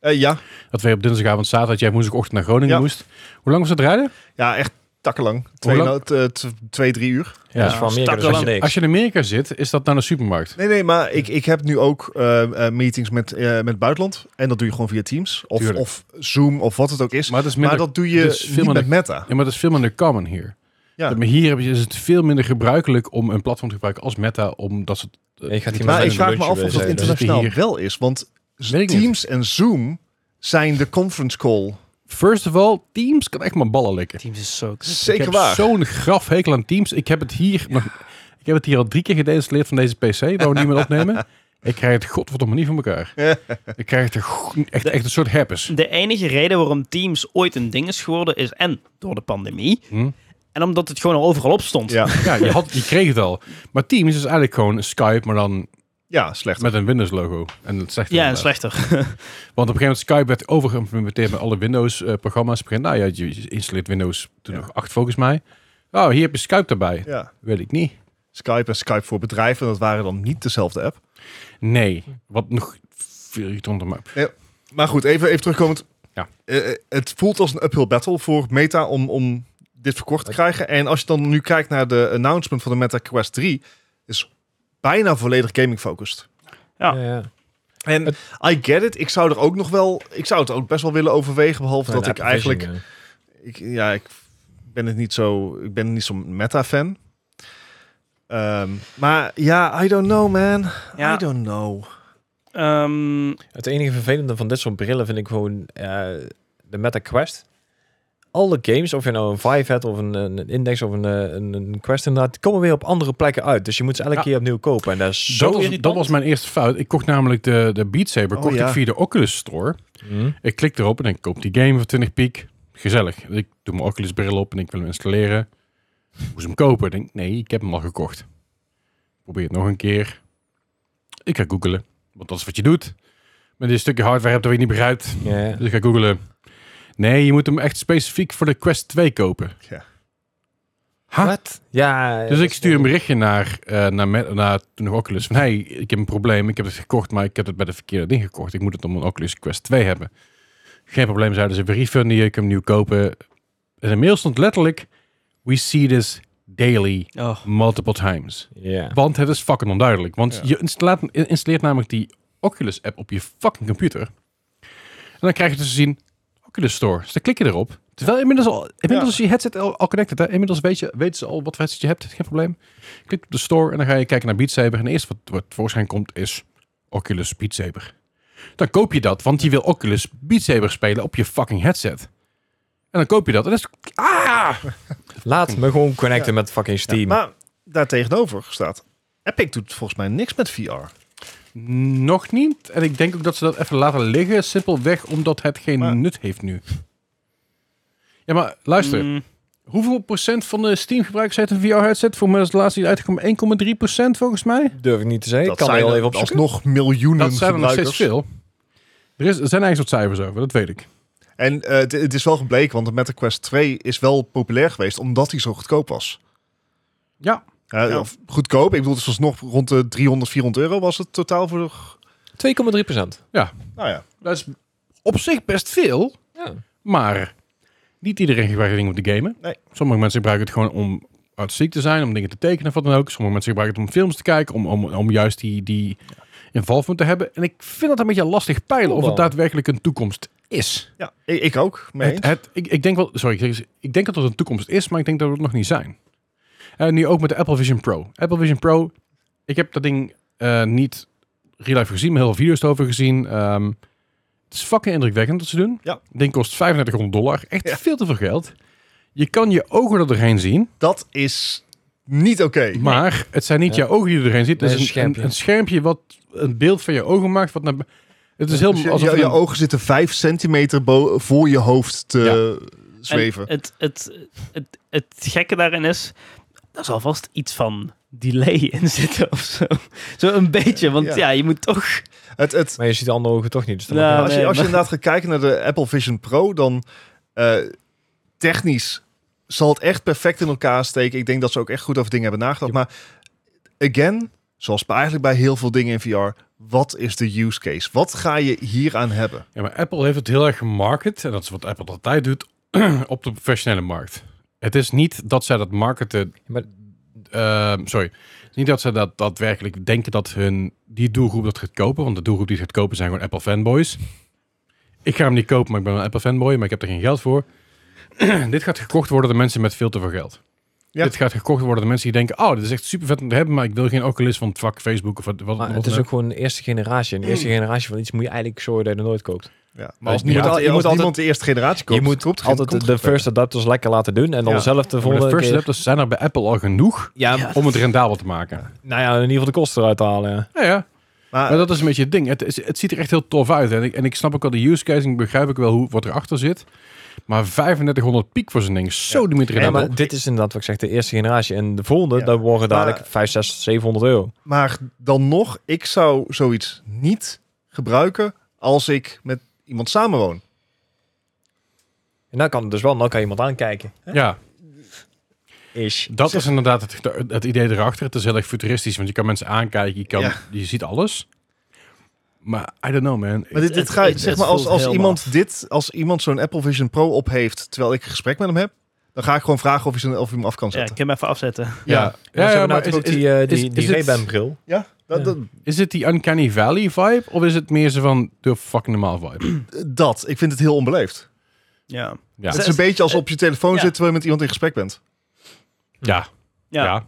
Eh, ja. Dat wij op dinsdagavond, zaterdag, jij woensdagochtend naar Groningen Ja. moest. Hoe lang was dat rijden? ja, echt takkenlang. Twee, lang? nou, t- t- twee, drie uur. Dat is van Amerika, dus stakken dat is lang. niks. Als je in Amerika zit, is dat naar de supermarkt. Nee, nee, maar ik, ik heb nu ook eh, eh, meetings met, eh, met het buitenland. En dat doe je gewoon via Teams. Of, Tuurlijk. of Zoom, of wat het ook is. Maar het is Maar minder, dat doe je dus veel niet met minder- Meta. ja, maar dat is veel minder common hier. Ja. Dat- Maar hier heb je- is het veel minder gebruikelijk om een platform te gebruiken als Meta, om dat soort... Ja, je gaat hier Maar zijn ik een vraag me lunchje af of dat bezig. internationaal Dus Hier. wel is. Want Weet ik niet. Teams en Zoom zijn de conference call. First of all, Teams kan echt maar ballen likken. Teams is zo... Zeker ik heb waar. zo'n graf hekel aan Teams. Ik heb het hier nog, ik heb het hier al drie keer gedeïnstalleerd van deze PC, waar we niet meer <laughs> opnemen. Ik krijg het godverdomme niet van elkaar. Ik krijg het er go- echt, echt een soort <laughs> herpes. De enige reden waarom Teams ooit een ding is geworden is en door de pandemie Hm? en omdat het gewoon al overal op stond. Ja, Ja, je, had, je kreeg het al. Maar Teams is eigenlijk gewoon Skype, maar dan ja slecht. met een Windows logo. En dat zegt Ja, en inderdaad. slechter. Want op een gegeven moment Skype werd overgeïmplementeerd met alle Windows eh, programma's. Op een gegeven moment, Nou ja, je installeert Windows toen Ja. nog 8 volgens mij. Oh, hier heb je Skype erbij. Ja. Weet ik niet. Skype en Skype voor bedrijven, dat waren dan niet dezelfde app. Nee. Wat nog veel irritanter maakt. Maar goed, even, even terugkomend. Ja. Eh, eh, het voelt als een uphill battle voor Meta om, om dit verkocht te krijgen. En als je dan nu kijkt naar de announcement van de Meta Quest 3, is bijna volledig gaming focused. Ja. Ja, ja. En Het- I get it. Ik zou er ook nog wel, ik zou het ook best wel willen overwegen, behalve dat ik Apple eigenlijk, Vision, ik, ja, ik ben het niet zo, ik ben niet zo'n Meta fan. Ehm, maar ja, I don't know, man. Ja. I don't know. Ehm, ja. Het enige vervelende van dit soort brillen vind ik gewoon eh, de Meta Quest. Alle games, of je nou een Vive hebt of een, een een Index of een, eh, een, een Quest inderdaad, die komen weer op andere plekken uit. Dus je moet ze elke Ja. keer opnieuw kopen. En dat is zo Dat was, irritant. dat was mijn eerste fout. Ik kocht namelijk de, de Beat Saber Oh, kocht ja. ik via de Oculus Store. Hm. Ik klik erop en ik koop die game voor 20 piek. Gezellig. Ik doe mijn Oculus bril op en ik wil hem installeren. Ik Moest hem kopen. Ik denk, nee, ik heb hem al gekocht. Probeer het nog een keer. Ik ga googelen. Want dat is wat je doet. Met dit stukje hardware heb dat je niet begrijpt. Ja. Dus ik ga googelen. Nee, je moet hem echt specifiek voor de Quest 2 kopen. Ja. Ha? Ja, ja, Dus Eh, dat ik is- stuur een berichtje naar, eh, naar, me- naar toen nog Oculus. Van, hey, ik heb een probleem. Ik heb het gekocht, maar ik heb het bij de verkeerde ding gekocht. Ik moet het om een Oculus Quest 2 hebben. Geen probleem, zeiden ze. We refunden je, ik hem nieuw kopen. En de mail stond letterlijk... We see this daily, oh. multiple times. Ja. Want het is fucking onduidelijk. Want Ja. je installaat, installeert namelijk die Oculus-app op je fucking computer. En dan krijg je dus te zien... Oculus Store. Dus dan klik je erop. Terwijl inmiddels al... Inmiddels is je headset al, al connected. Hè? Inmiddels weet je, weten ze al wat voor headset je hebt. Geen probleem. Klik op de store en dan ga je kijken naar Beat Saber. En eerst wat, wat voorschijn komt is Oculus Beat Saber. Dan koop je dat, want je wil Oculus Beat Saber spelen op je fucking headset. En dan koop je dat. En dat is... Ah! Laat me gewoon connecten met fucking Ja, Steam. maar daartegenover staat, Epic doet volgens mij niks met VR. Nog niet. En ik denk ook dat ze dat even laten liggen. Simpelweg omdat het geen Maar- nut heeft nu. Ja, maar luister. Mm, Hoeveel procent van de Steam-gebruikers heeft een VR-headset? Voor mij is het laatste die uitgekomen 1,3 procent volgens mij. Durf ik niet te zeggen. Ik kan zijn heel er even opzoeken. alsnog miljoenen Dat zijn er nog gebruikers. steeds veel. Er, is, er zijn eigenlijk wat cijfers over, dat weet ik. En eh, het- het is wel gebleken, want de Meta Quest 2 is wel populair geweest omdat hij zo goedkoop was. Ja. Eh, Ja. Of goedkoop, ik bedoel, het was nog rond de 300, 400 euro was het totaal voor. de- 2,3 procent. Nou ja, Dat is op zich best veel, Ja. maar niet iedereen gebruikt het ding om te gamen. Nee. Sommige mensen gebruiken het gewoon om artistiek te zijn, om dingen te tekenen of wat dan ook. Sommige mensen gebruiken het om films te kijken, om, om, om juist die, die involvement te hebben. En ik vind dat een beetje lastig peilen of Cool het dan. daadwerkelijk een toekomst is. ja ik, ik ook. Mee Het, eens. het- ik, ik denk wel, sorry, ik, zeg eens, ik denk dat het een toekomst is, maar ik denk dat we het nog niet zijn. En nu ook met de Apple Vision Pro. Apple Vision Pro, ik heb dat ding eh, niet real life gezien, maar heel veel video's erover gezien. Ehm, het is fucking indrukwekkend wat ze doen. Ja. Het ding kost 3500 dollar. Echt Ja. veel te veel geld. Je kan je ogen er doorheen zien, Dat is niet oké. maar het zijn niet Ja. je ogen die er doorheen zien. Het Nee, is een, een schermpje. Een, een schermpje wat een beeld van je ogen maakt. Wat naar, bu- het is heel Dus je, alsof je, het je een- ogen zitten vijf centimeter bo- voor je hoofd te zweven. En het, het, het, het gekke daarin is, daar zal vast iets van delay in <laughs> zitten of zo. Zo een beetje, want Ja. ja, je moet toch... het, het, Maar je ziet de andere ogen toch niet. Dus dan Nou, maakt als je, nee, als je maar- inderdaad gaat kijken naar de Apple Vision Pro, dan eh, technisch zal het echt perfect in elkaar steken. Ik denk dat ze ook echt goed over dingen hebben nagedacht. Maar again, zoals bij- eigenlijk bij heel veel dingen in VR, wat is de use case? Wat ga je hier aan hebben? Ja, maar Apple heeft het heel erg gemarket, en dat is wat Apple altijd doet, <clears throat> op de professionele markt. Het is niet dat zij dat marketen... Ja, maar- Ehm, sorry. Het is niet dat zij dat daadwerkelijk denken dat hun, die doelgroep dat gaat kopen, want de doelgroep die het gaat kopen zijn gewoon Apple fanboys. Ik ga hem niet kopen, maar ik ben een Apple fanboy, maar ik heb er geen geld voor. <clears throat> dit gaat gekocht worden door mensen met veel te veel geld. Ja. Dit gaat gekocht worden door mensen die denken, oh, dit is echt super vet om te hebben, maar ik wil geen Oculus van het vak Facebook of wat, wat Maar wat het dan is ook. ook gewoon de eerste generatie. En <clears throat> de eerste generatie van iets moet je eigenlijk zorgen dat je er nooit koopt. Ja, Ja, maar als je moet niemand, al- je als moet altijd- niemand de eerste generatie komt, je moet komt altijd de, de first adapters lekker laten doen. En dan Ja. zelf Ja, de maar volgende de first keer- adapters zijn er bij Apple al genoeg Ja, Ja. om het rendabel te maken. nou ja, in ieder geval de kosten eruit te halen. Ja. Ja, ja. Ah. Maar, Maar dat is een beetje het ding. Het, is- het ziet er echt heel tof uit. En ik, en ik snap ook wel de use case. En ik begrijp ook wel hoe, wat erachter zit. Maar 3500 piek voor zo'n ding. Zo, Dimitri. Ja, Ja, maar dit is inderdaad wat ik zeg, de eerste generatie. En de volgende, Ja. daar worden dadelijk Maar- 5, 6, 700 euro. maar dan nog, ik zou zoiets niet gebruiken als ik met iemand samenwoon. En dan kan het dus wel, dan kan iemand aankijken. ja, Is. dat is inderdaad het, het idee erachter. Het is heel erg futuristisch. Want je kan mensen aankijken. Je, kan, Ja. je ziet alles. Maar I don't know, man. Maar dit, dit Het- ga je, het- zeg het maar, als, voelt als heel iemand af. dit, als iemand zo'n Apple Vision Pro op heeft, terwijl ik een gesprek met hem heb, dan ga ik gewoon vragen of hij, zijn, of hij hem af kan Ja, ik zetten. heb hem even afzetten. ja, Ja, ja, maar is, ook is, die, eh, die, is- die is het- Ray-Ban bril. Ja, dat, Ja. Dat, is het die Uncanny Valley vibe? Of is het meer zo van de fucking normaal vibe? dat. Ik vind het heel onbeleefd. Ja. Ja. Het is een beetje alsof op je telefoon Ja. zit terwijl je met iemand in gesprek bent. Ja, ja. Ja.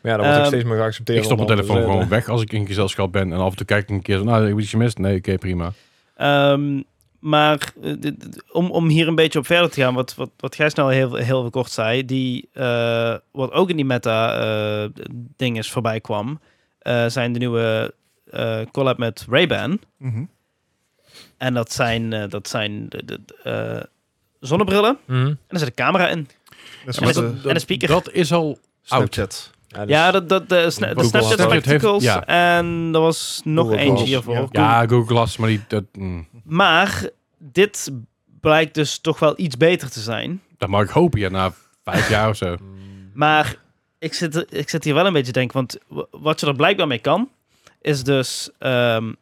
Maar ja, dat wordt ook Ehm, steeds meer geaccepteerd. Ik stop mijn onder telefoon andere. gewoon weg als ik in gezelschap ben. En af en toe kijk ik een keer zo, nou, heb je iets gemist? Nee, oké, prima. Ehm, maar eh, dit- dit- om, om hier een beetje op verder te gaan, wat, wat, wat Gijs nou heel, heel kort zei, die, eh, wat ook in die meta-ding is voorbij kwam, eh, zijn de nieuwe eh, collab met Ray-Ban. Mhm. En dat zijn, eh, dat zijn de, de- de, eh, zonnebrillen. Mhm. En er zit een camera in. Dat is En wat dat- de en een speaker. Dat is al Snapchat. dus- ja, dat, dat, de, sna- de Google Snapchat Glass. Spectacles. Heeft- En er was nog Google eentje Glass, hiervoor. ja. Ja, Google Glass, maar die, dat, mm, Maar dit blijkt dus toch wel iets beter te zijn. dat mag ik hopen, ja, na vijf jaar of zo. Maar ik zit, er- ik zit hier wel een beetje te denken, want w- wat je er blijkbaar mee kan, is dus ehm,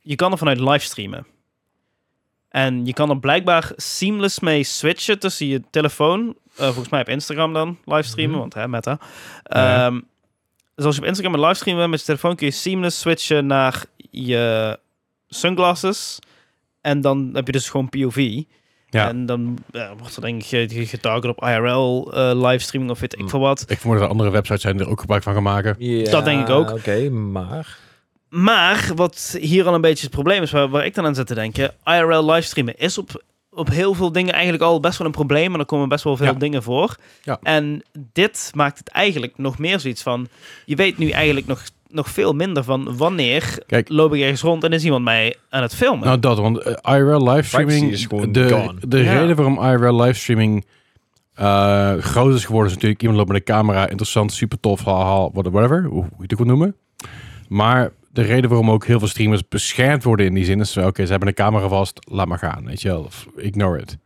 je kan er vanuit livestreamen. En je kan er blijkbaar seamless mee switchen tussen je telefoon, eh, volgens mij op Instagram dan livestreamen, Mhm. want hè, meta. Ja. Ehm dus als je op Instagram een livestream bent met je telefoon, kun je seamless switchen naar je sunglasses. En dan heb je dus gewoon POV. Ja. En dan ja, wordt er denk ik ge- ge- getarget op IRL eh, livestreaming of weet ik Hmm. veel wat. Ik vermoed dat er andere websites zijn die er ook gebruik van gaan maken. dus- Ja, Dat denk ik ook. Oké, maar... Maar wat hier al een beetje het probleem is, waar, waar ik dan aan zit te denken, IRL livestreamen is op, op heel veel dingen eigenlijk al best wel een probleem. En er komen best wel veel Ja. dingen voor. Ja. En dit maakt het eigenlijk nog meer zoiets van, je weet nu eigenlijk nog, nog veel minder van wanneer Kijk. loop ik ergens rond en is iemand mij aan het filmen. Nou, dat, want eh, IRL livestreaming... Privacy is gewoon de gone. de Ja. reden waarom IRL livestreaming eh, groot is geworden, is natuurlijk iemand loopt met een camera, interessant, super tof, haha, whatever, whatever, hoe hoe je het ook wil noemen. Maar de reden waarom ook heel veel streamers beschermd worden in die zin is, van, oké, ze hebben een camera vast, laat maar gaan, weet je wel, of ignore it.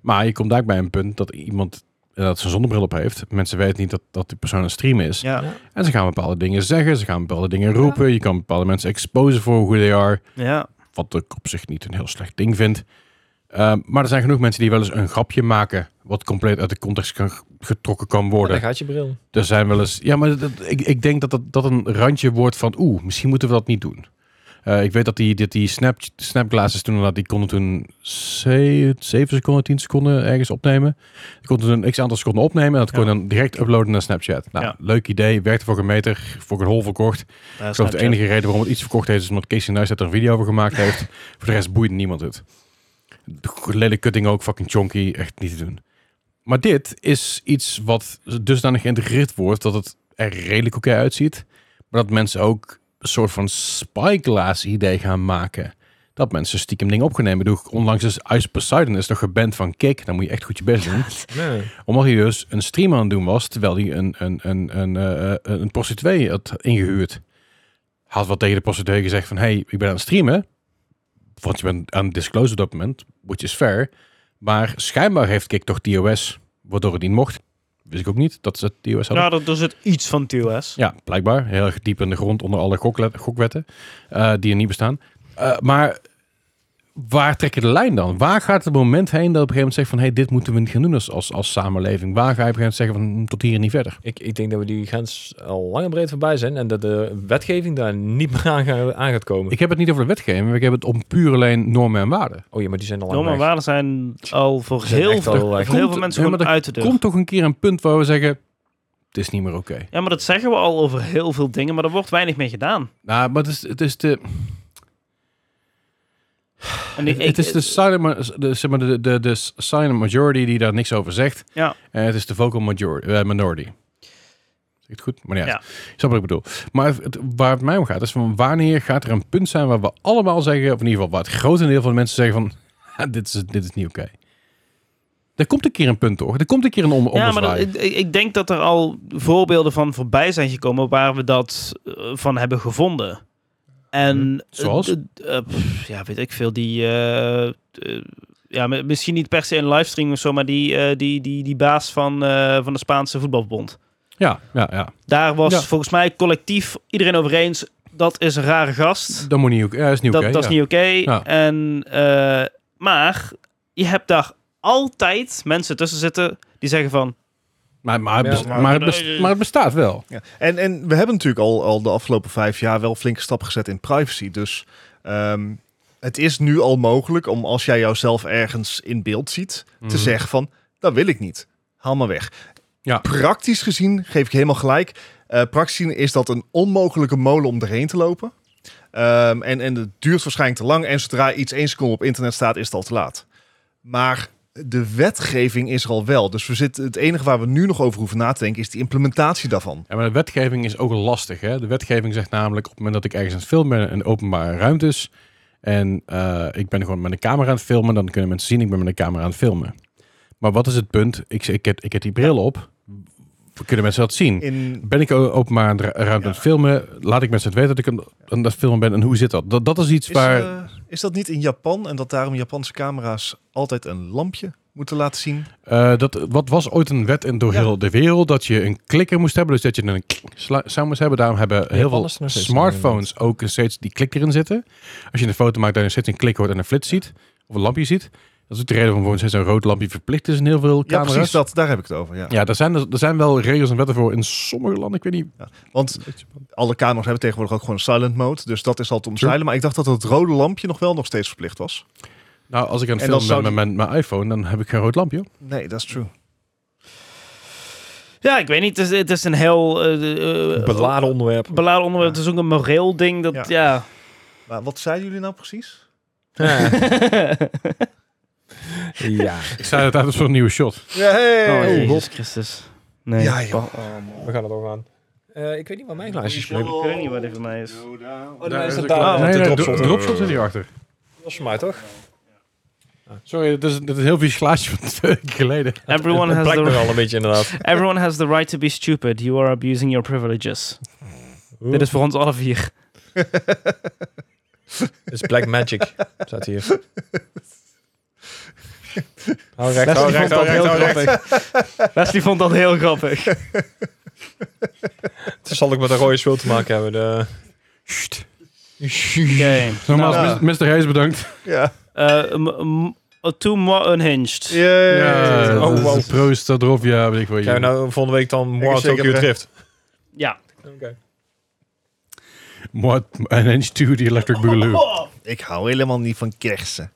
Maar je komt daar bij een punt dat iemand eh, dat zijn zonnebril op heeft. Mensen weten niet dat, dat die persoon een stream is. ja. En ze gaan bepaalde dingen zeggen, ze gaan bepaalde dingen roepen. Je kan bepaalde mensen exposen voor hoe they are. ja. Wat ik op zich niet een heel slecht ding vind. Ehm, maar er zijn genoeg mensen die wel eens een grapje maken. wat compleet uit de context kan- getrokken kan worden. Dan gaat je bril. Er zijn wel eens. Ja, maar dat, ik, ik denk dat, dat dat een randje wordt van. Oeh, misschien moeten we dat niet doen. Eh, ik weet dat die, dat die snap, snapglasses toen, inderdaad, die konden toen ze- 7 seconden, 10 seconden ergens opnemen. Die konden toen een x-aantal seconden opnemen en dat kon je dan direct uploaden naar Snapchat. Nou, Ja. leuk idee. Werkte voor een meter, voor een hol verkocht. Eh, Ik geloof de enige reden waarom het iets verkocht heeft, is omdat Casey Neistat er een video over gemaakt heeft. Voor de rest boeit niemand het. Lelijk cutting ook, fucking chonky, echt niet te doen. Maar dit is iets wat dusdanig geïntegreerd wordt dat het er redelijk oké uitziet. Maar dat mensen ook een soort van spyglass idee gaan maken. Dat mensen stiekem dingen opgenomen. Ik bedoel, onlangs is Ice Poseidon is nog geband van Kick. Dan moet je echt goed je best doen. Nee. Omdat hij dus een stream aan het doen was, terwijl hij een, een, een, een, eh, een prostituee had ingehuurd. Had wat tegen de prostituee gezegd van, hey, ik ben aan het streamen. Want je bent aan het disclosen op dat moment, which is fair. Maar schijnbaar heeft Kik toch TOS, waardoor het niet mocht. Wist ik ook niet, dat ze TOS hadden. Ja, dat is het iets van TOS. Ja, blijkbaar. Heel erg diep in de grond onder alle gokle- gokwetten eh, die er niet bestaan. Eh, maar waar trek je de lijn dan? Waar gaat het moment heen dat op een gegeven moment zegt van... hé, hey, dit moeten we niet gaan doen als, als, als samenleving. Waar ga je op een gegeven moment zeggen van "Hm, tot hier en niet verder? Ik, ik denk dat we die grens al lang en breed voorbij zijn en dat de wetgeving daar niet meer aan, ga- aan gaat komen. Ik heb het niet over de wetgeving, maar ik heb het om puur alleen normen en waarden. oh ja, maar die zijn al lang Normen weg. waarden zijn al voor Zijn heel echt veel, al, voor eh, heel veel Komt- mensen ja, gewoon maar uit de Er deur. komt toch een keer een punt waar we zeggen... het is niet meer oké. Ja, maar dat zeggen we al over heel veel dingen, maar er wordt weinig mee gedaan. Nou, maar het is, het is de... En ik- Het- het ik- is dus de silent, ma- de, zeg maar, de, de, de silent majority die daar niks over zegt. Ja. En Eh, het is de vocal majority, eh, minority. Zeg ik het goed? Maar ja, Ja. ik snap wat ik bedoel. Maar het- waar het mij om gaat, is van wanneer gaat er een punt zijn waar we allemaal zeggen, of in ieder geval waar het grotendeel van de mensen zeggen van, <laughs> "Ha, dit, is, dit is niet oké. Er komt een keer een punt, toch? Er komt een keer een om, Ja, maar dat- ommezwaai. ik, ik denk dat er al voorbeelden van voorbij zijn gekomen waar we dat eh, van hebben gevonden. En zoals? eh, d- eh, pff, ja, weet ik veel. Die, eh, eh, ja, mi- misschien niet per se een livestream of zo, maar die, eh, die, die, die baas van, eh, van de Spaanse voetbalbond. Ja, ja, ja. Daar was Ja. volgens mij collectief iedereen over eens. Dat is een rare gast. Dat moet niet oké. Ja, is niet dat, oké. dat is ja. niet oké. Ja. En, eh, maar je hebt daar altijd mensen tussen zitten die zeggen van... Maar, maar, het Ja, best- maar- maar het best- maar het bestaat wel. Ja. En, en we hebben natuurlijk al, al de afgelopen vijf jaar wel flinke stappen gezet in privacy. Dus ehm, het is nu al mogelijk om als jij jouzelf ergens in beeld ziet, te Mhm. zeggen van, dat wil ik niet. Haal maar weg. Ja. Praktisch gezien geef ik helemaal gelijk. Eh, praktisch gezien is dat een onmogelijke molen om erheen te lopen. Ehm, en, en het duurt waarschijnlijk te lang. En zodra iets één seconde op internet staat, is het al te laat. Maar de wetgeving is er al wel. Dus we zitten, het enige waar we nu nog over hoeven na te denken... is de implementatie daarvan. Ja, maar de wetgeving is ook lastig. Hè? De wetgeving zegt namelijk op het moment dat ik ergens aan het filmen ben in openbare ruimtes. En eh, ik ben gewoon met een camera aan het filmen. Dan kunnen mensen zien ik ben met een camera aan het filmen. Maar wat is het punt? Ik, ik, heb, ik heb die bril op. Kunnen mensen dat zien? In, Ben ik o- openbaar aan de ru- ruimte aan het filmen? Laat ik mensen het weten dat ik aan- aan dat filmen ben? En hoe zit dat? Dat, dat is iets is, waar... eh, is dat niet in Japan en dat daarom Japanse camera's altijd een lampje moeten laten zien? Eh, dat, wat was ooit een wet in door Ja. heel de wereld? Dat je een klikker moest hebben, dus dat je een klik sla- sound moest hebben. Daarom hebben heel veel alles is er nog steeds smartphones ook steeds die klik erin zitten. Als je een foto maakt, dan steeds een klik hoort en een flits ziet. Of een lampje ziet. Dat is ook de reden waarom steeds een rood lampje verplicht is in heel veel Ja, camera's. precies dat. Daar heb ik het over, ja. Ja, er zijn, dus, er zijn wel regels en wetten voor in sommige landen. Ik weet niet. Want alle camera's hebben tegenwoordig ook gewoon silent mode. Dus dat is al te omzeilen. Maar ik dacht dat het rode lampje nog wel nog steeds verplicht was. Nou, als ik aan het En dan filmen zou ben met mijn, mijn iPhone, dan heb ik geen rood lampje. Nee, dat is true. Ja, ik weet niet. Het is, het is een heel... eh, eh, Beladen <laughs> onderwerp. beladen onderwerp. Het is ook een moreel ding. Dat, Ja. ja. Maar wat zeiden jullie nou precies? Ja. ja. Ik zei dat uit als voor een nieuwe <laughs> shot. Ja, hey. oh, Oh, Jezus Christus. Nee. Oh, Ja, joh. We gaan het ook aan. Eh, ik weet niet waar mijn glaasje is. Ik weet niet wat dit voor mij is. Oh, Daar is het het klaar. Oh, Nee, de nee, dropshot. dro- dropshot zit hierachter. Dat was voor mij toch? Sorry, dat is, dat is een heel vies glaasje van twee weken geleden. Everyone Het has, plakt me the, al een beetje inderdaad. <laughs> everyone has the right to be stupid. You are abusing your privileges. Dit is voor ons alle vier. Het is Black Magic. Staat hier. Hou recht, Leslie hou recht, vond hou dat recht, heel hou recht. <laughs> Leslie vond dat heel grappig. Het zal ook met een rode spul te maken hebben. De... Sst. Oké. Normaal Nou, is Mr. Hayes bedankt. Ja. eh, m- m- Too more unhinged. Yay. Ja, Oh, oh, wow. nou. wow. Proost, dat erop, ja, weet ik wel. Gaan we nou volgende week dan Ik morgen zeker Tokyo recht. Drift? Ja. Oké. What an inch to the electric boogaloo. Ik hou helemaal niet van kersen.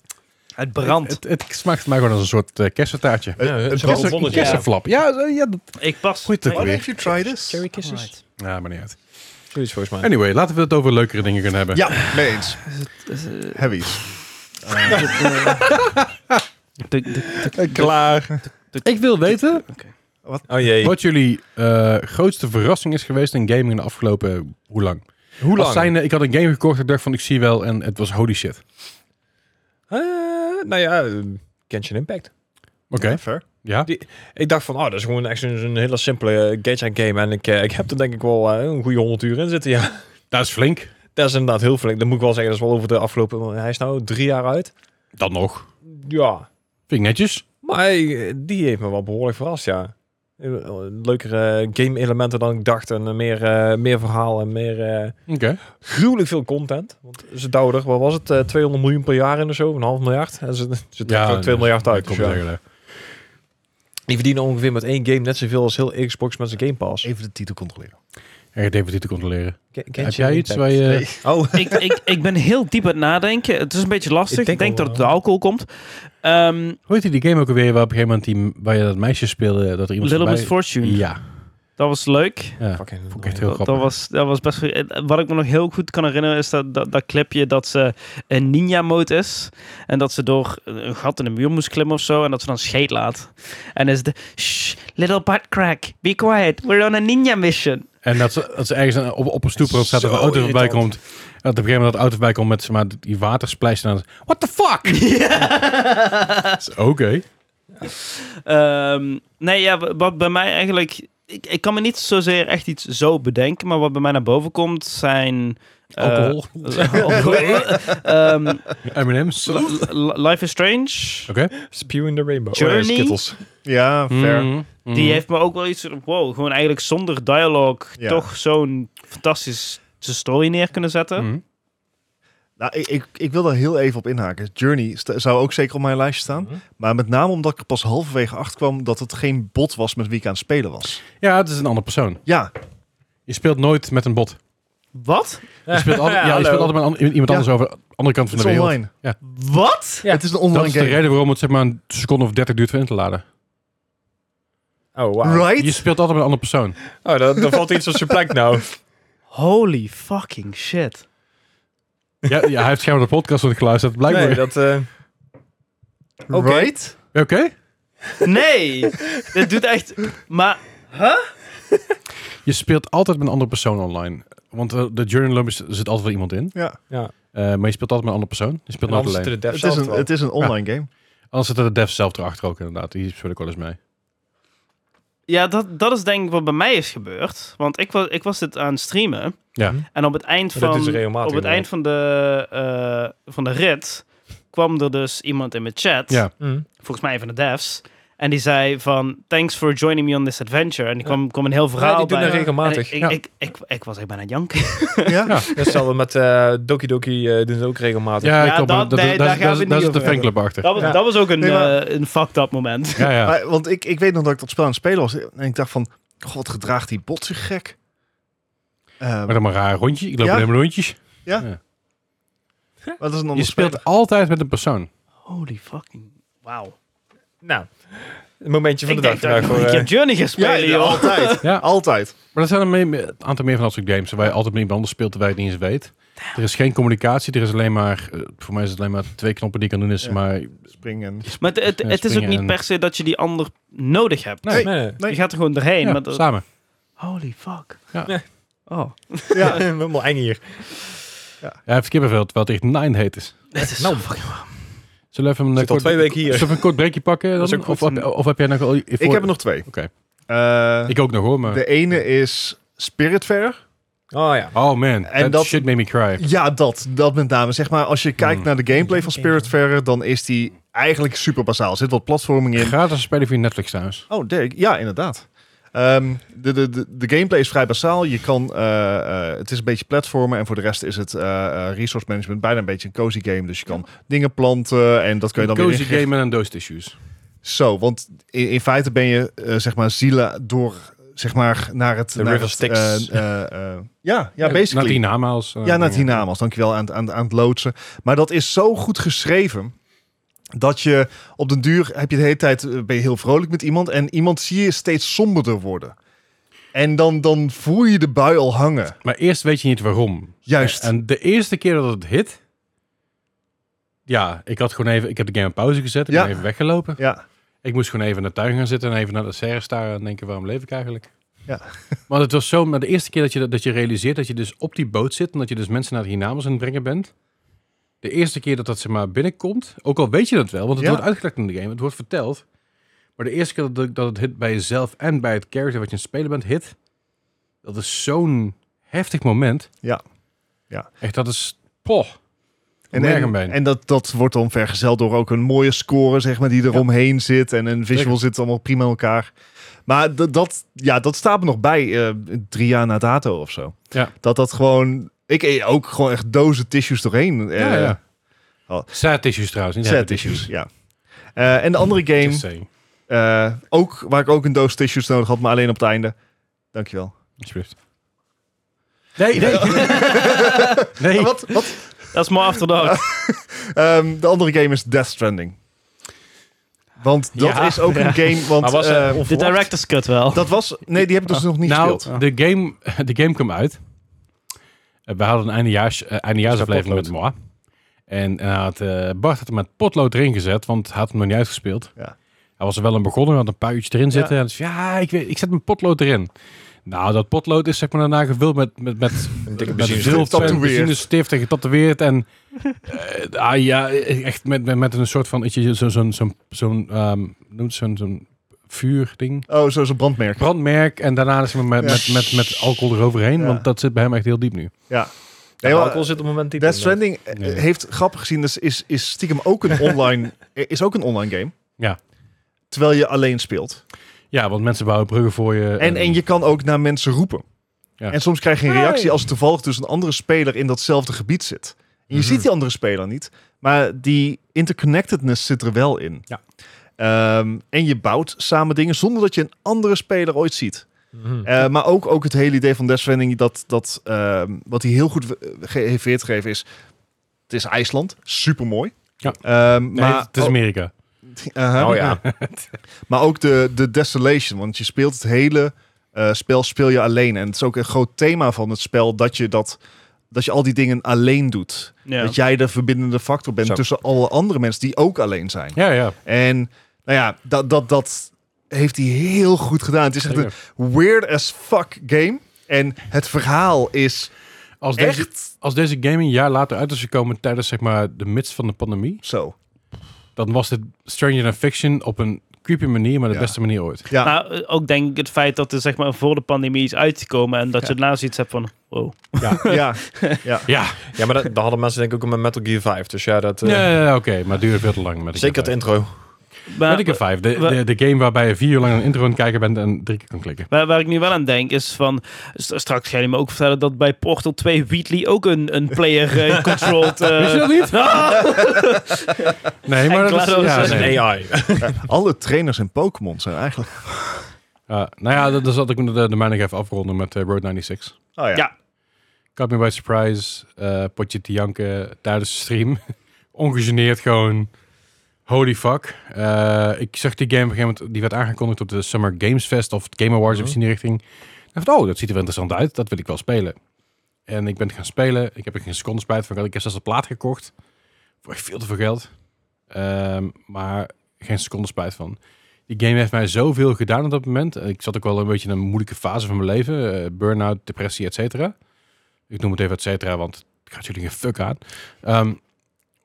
Het brandt. Het, het smaakt mij gewoon als een soort eh, kersentaartje. Eh, het het is wel was ook- zonnig, ja. Kersenflap. Ja, eh, ja, dat- Ik pas. Goed, Nee, ook weer. you try this? alright. ja, maar niet uit. Zoiets volgens mij. Anyway, laten we het over leukere dingen kunnen hebben. Ja, mee eens. Heavies. <laughs> Tuk, tuk, tuk. Klaar. Ik wil weten Oh jee. wat jullie eh, grootste verrassing is geweest in gaming in de afgelopen... Hoe lang? Hoe Als zijnde, ik had een game gekocht, ik dacht van ik zie wel en het was holy shit. Eh, nou ja, eh, Genshin Impact. Oké, Fair. ja. Ik dacht van, oh, dat is gewoon echt een, een hele simpele eh, gacha game. En ik, eh, ik heb er denk ik wel eh, een goede 100 uur in zitten, ja. <laughs> Dat is flink. Dat is inderdaad heel flink. Dat moet ik wel zeggen, dat is wel over de afgelopen... Hij is nou drie jaar uit. Dan nog. Ja. Vind ik netjes. Maar eh, die heeft me wel behoorlijk verrast, ja. Eh, Leukere game-elementen dan ik dacht. En eh, meer, eh, meer verhaal en meer... eh, Oké. gruwelijk veel content. Want ze douwen er, wat was het, eh, 200 miljoen per jaar in of zo? Een half miljard? En ze, ze trekken ook 2 miljard uit. Kom dus ja. zeggen, hè. Die verdienen ongeveer met één game net zoveel als heel Xbox met zijn Game Pass. Even de titel controleren. Echt even dit te controleren. Ken- ken Heb je jij die iets tag? waar je... Nee. <laughs> Oh, ik, ik, ik ben heel diep aan het nadenken. Het is een beetje lastig. Ik Ik denk, denk dat al het wel. door alcohol komt. Ehm Hoe heette die game ook alweer waar op een gegeven moment die, waar je dat meisje speelde, dat er iemand Little Miss voorbij... Fortune. Ja, Dat was leuk. ja. fucking Vond ik echt heel Dat, grappig. dat, was, dat was best... goed. Wat ik me nog heel goed kan herinneren is dat, dat, dat clipje dat ze een ninja mode is. En dat ze door een gat in een muur moest klimmen of zo. En dat ze dan scheet laat. En is de... Shh, little butt crack. Be quiet. We're on a ninja mission. En dat ze, dat ze ergens aan- op, op een stoep staat er een Zo auto voorbij irritant. komt. En dat op een gegeven moment dat auto voorbij komt met zeg maar, die watersplijst. En dan what the <laughs> fuck? Oké. Ehm, nee, ja, wa- wat bij mij eigenlijk... Ik, ik kan me niet zozeer echt iets zo bedenken. Maar wat bij mij naar boven komt zijn... eh, Alcohol. <laughs> alcohol. Ehm, M&M's. Oké. Li- Li- Life is Strange. Spew in the Rainbow. Journey? Oh, nee, Skittles. Ja, fair. Mm, mm. Die heeft me ook wel iets. Wow, gewoon eigenlijk zonder dialoog Ja. toch zo'n fantastische story neer kunnen zetten. Mm. Nou, ik, ik, ik wil daar heel even op inhaken. Journey st- zou ook zeker op mijn lijstje staan. Mhm. Maar met name omdat ik er pas halverwege achter kwam dat het geen bot was met wie ik aan het spelen was. Ja, het is een andere persoon. Ja, Je speelt nooit met een bot. Wat? Je <laughs> speelt altijd, ja, je speelt altijd met een an- iemand Ja. anders over de andere kant van het is de wereld. online. Wat? Ja. Het is een Dat online is de game. reden waarom het zeg maar een seconde of 30 duurt voor in te laden. Oh, wow. Je speelt altijd met een andere persoon. Oh, daar, daar valt iets op zijn plek nou. Holy fucking shit. Ja, ja, hij heeft schijnbaar de podcast niet geluisterd. Blijkbaar. Nee, dat... eh, Oké. Right? Oké. Nee, <laughs> dit doet echt. Maar Je speelt altijd met een andere persoon online. Want eh, de Journey Lump is- zit altijd wel iemand in. Ja. Eh, maar je speelt altijd met een andere persoon. Je speelt En nooit anders alleen. zitten de devs Het is, zelf een, wel. het is een online game. Anders zitten de devs zelf erachter ook inderdaad. Die speel ik wel eens mee. ja, dat, dat is denk ik wat bij mij is gebeurd. Want ik was, ik was dit aan het streamen. Ja. En op het eind Maar dat van, is regelmatig, op het eind van, de, eh, van de rit kwam er dus iemand in mijn chat. Ja. Mm. volgens mij een van de devs. En die zei van, thanks for joining me on this adventure. En die kwam, kwam een heel verhaal Ja, die doen bij. dat regelmatig. En Ik, Ja. ik, ik, ik, ik was echt bijna aan het janken. Ja. Ja. Dat is hetzelfde met eh, Doki Doki, eh, doen ze ook regelmatig. Ja, Ja, klopt, maar dat- dat- nee, dat- daar dat- gaan we dat- niet Daar zit over de fanclub achter. Dat was, Ja. dat was ook een, Nee, maar- eh, een fucked up moment. Ja, ja. Maar- want ik, ik weet nog dat ik dat spel aan het spelen was. En ik dacht van, god, wat gedraagt die bot zich gek. Eh, Maar maar dan maar een raar rondje. Ik loop Ja. alleen maar rondjes. dat is een Je ander spel. speelt altijd met een persoon. Holy fucking... Wauw. Nou, een momentje van Ik de dag denk dat ik vandaag. nog Voor, een <laughs> eh, keer Journey ga Ja, spelen, joh. <laughs> altijd. Ja. Altijd. Maar er zijn een, me- een aantal meer van dat soort games waar je altijd met iemand anders speelt terwijl je het niet eens weet. Er is geen communicatie, er is alleen maar, eh, voor mij is het alleen maar twee knoppen die je kan doen. Is Ja. maar, Springen. Maar het, het, Ja, het is ook springen niet en- per se dat je die ander nodig hebt. Nee. nee, Je gaat er gewoon doorheen. Ja, maar dat- samen. holy fuck. Ja. Nee. Oh, Ja, <laughs> <laughs> helemaal eng hier. Ja, even kippenvel, terwijl het echt nine heet is. dat Nou, is zo fucking... Zullen we even een, Zit al kort, twee weken hier. zullen we even een kort breakje pakken? Dan? Dat is ook of, goed. heb, of heb jij nog... al- Ik heb er nog twee. Oké. Eh, Ik ook nog hoor, maar... de ene is Spiritfarer. Oh ja. Oh man, that dat- shit made me cry. Ja, dat. Dat met name. Zeg maar, als je kijkt Hmm. naar de gameplay van Spiritfarer, dan is die eigenlijk super basaal. Er zit wat platforming in. Gratis spelen via Netflix trouwens. Oh, Dirk. Ja, inderdaad. Ehm, de, de, de, de gameplay is vrij basaal. Je kan, eh, eh, het is een beetje platformen en voor de rest is het eh, eh, resource management bijna een beetje een cozy game. Dus je kan dingen planten en dat kun je dan Een weer cozy <laughs> inrichten. game met een doos tissues. Zo, want in, in feite ben je eh, zeg maar zielen door zeg maar, naar het... De naar River het, Styx. eh, eh, eh, ja, ja, Naar basically. die naam als... eh, Ja, naar dingen. Dynamas. Dankjewel aan, het- aan, aan het loodsen. Maar dat is zo goed geschreven. Dat je op den duur heb je de hele tijd eh, ben je heel vrolijk met iemand. En iemand zie je steeds somberder worden. En dan, dan voel je de bui al hangen. Maar eerst weet je niet waarom. Juist. En de eerste keer dat het hit... Ja, ik had gewoon even... Ik heb de game op pauze gezet. Ik Ja. ben even weggelopen. ja. Ik moest gewoon even in de tuin gaan zitten en even naar de serre staren en denken, waarom leef ik eigenlijk? <laughs> Ja. Maar het was zo, maar de eerste keer dat je, dat je realiseert dat je dus op die boot zit en dat je dus mensen naar Hinamas aan het brengen bent. De eerste keer dat dat zeg maar binnenkomt, ook al weet je dat wel, want het Ja. wordt uitgelegd in de game, het wordt verteld. Maar de eerste keer dat, dat het hit bij jezelf en bij het character wat je aan het spelen bent hit, dat is zo'n heftig moment. Ja. Ja. Echt, dat is, poh. En, merk hem en, bijna. en dat, dat wordt dan vergezeld door ook een mooie score, zeg maar, die eromheen zit. En een visual Zeker. zit allemaal prima in elkaar. Maar d- dat, ja, dat staat me nog bij eh, drie jaar na dato of zo. Ja. Dat dat gewoon... Ik eet ook gewoon echt dozen tissues doorheen. ja, eh, ja. oh. Sad issues trouwens. niet Sad happy tissues, ja. Eh, en de andere game, Just saying. eh, ook, waar ik ook een doos tissues nodig had, maar alleen op het einde. Dankjewel. Alsjeblieft. Nee, nee. nee. Eh, Wat? Wat? Dat is maar afterdag. Ehm, de andere game is Death Stranding. Want dat Ja. is ook Ja. een game, want Maar was eh, er De director's cut wel. dat was... Nee, die heb ik dus nog niet nou, gespeeld. de game, <laughs> de game kwam uit. Eh, We hadden een eindejaars, eh, eindejaarsaflevering met Potlood. Moi. En eh, had, eh, Bart had hem met potlood erin gezet, want hij had hem nog niet uitgespeeld. Ja. Hij was er wel aan begonnen, had een paar uurtjes erin zitten. En hij zei, ja, ik, weet, ik zet mijn potlood erin. Nou, dat potlood is zeg maar daarna gevuld met, met, <laughs> met, Een met dikke veel benzine. Tatoeëerd. pen, benzinestift en getatoeëerd. En eh, ah, ja, echt met, met, met een soort van, weet je, zo- zo'n, zo'n, zo'n, ehm, noemt zo'n, zo'n vuurding. Oh, zo is een brandmerk. Brandmerk en daarna is hij met, Ja. met, met, met alcohol eroverheen, Ja. want dat zit bij hem echt heel diep nu. Nee, maar, alcohol zit op het moment diep. Death Stranding eh, Nee. heeft, grappig gezien, dus is, is stiekem ook een online, eh, is ook een online game. Ja. Terwijl je alleen speelt. Ja, want mensen bouwen bruggen voor je. En, en je kan ook naar mensen roepen. Ja. En soms krijg je een reactie Hey. als er toevallig dus een andere speler in datzelfde gebied zit. En je Mhm. ziet die andere speler niet, maar die interconnectedness zit er wel in. Ja. Ehm, en je bouwt samen dingen zonder dat je een andere speler ooit ziet. Mhm. Eh, maar ook, ook het hele idee van Death Stranding, dat, dat, ehm, wat hij heel goed we- ge- heeft weergegeven is... Het is IJsland, supermooi. Ja. Ehm, Nee, maar, het is oh, Amerika. aha. Oh ja. <laughs> Maar ook de, de Desolation, want je speelt het hele eh, spel speel je alleen. En het is ook een groot thema van het spel dat je, dat, dat je al die dingen alleen doet. Ja. Dat jij de verbindende factor bent Zo. tussen alle andere mensen die ook alleen zijn. Ja, ja. En nou ja, dat, dat, dat heeft hij heel goed gedaan. Het is echt een weird as fuck game. En het verhaal is Als deze, echt als deze game een jaar later uit is gekomen tijdens zeg maar de midst van de pandemie, zo. dan was dit Stranger Than Fiction op een creepy manier, maar de Ja. beste manier ooit. Ja. Maar eh, ook denk ik het feit dat er zeg maar voor de pandemie is uitgekomen en dat je daarna zoiets hebt van, wow. <laughs> ja. Ja, Ja, maar dat, dat hadden mensen denk ik ook met Metal Gear 5. Dus ja, dat... eh, ja, ja, ja, oké, maar het duurde veel te lang. Met Zeker het de intro. Maar- Met 5, de, de, de game waarbij je vier uur lang een intro aan het kijken bent en drie keer kan klikken. Waar, waar ik nu wel aan denk is van, st- straks ga je me ook vertellen dat bij Portal 2 Wheatley ook een, een player <laughs> eh, controlled... eh, Wist <laughs> je dat <laughs> niet? Ah! Nee, En maar dat is... GLaDOS ja, is nee. een AI. Alle trainers in Pokémon zijn eigenlijk... Ja, nou ja, dat- dan zat ik de, de mijne nog even afronden met eh, Road 96. Oh ja. Ja. Caught me by surprise, eh, potje te janken tijdens de stream. <laughs> Ongegeneerd gewoon, holy fuck. Eh, ik zag die game op een gegeven moment, die werd aangekondigd op de Summer Games Fest of het Game Awards of iets in die richting. Ik dacht, oh, dat ziet er wel interessant uit, dat wil ik wel spelen. En ik ben het gaan spelen, ik heb er geen seconde spijt van gehad. Ik heb zelfs een plaat gekocht, voor echt veel te veel geld. Ehm, maar geen seconde spijt van. Die game heeft mij zoveel gedaan op dat moment. Ik zat ook wel een beetje in een moeilijke fase van mijn leven. Eh, burn-out, depressie, et cetera. Ik noem het even et cetera, want het gaat jullie geen fuck aan. Ehm,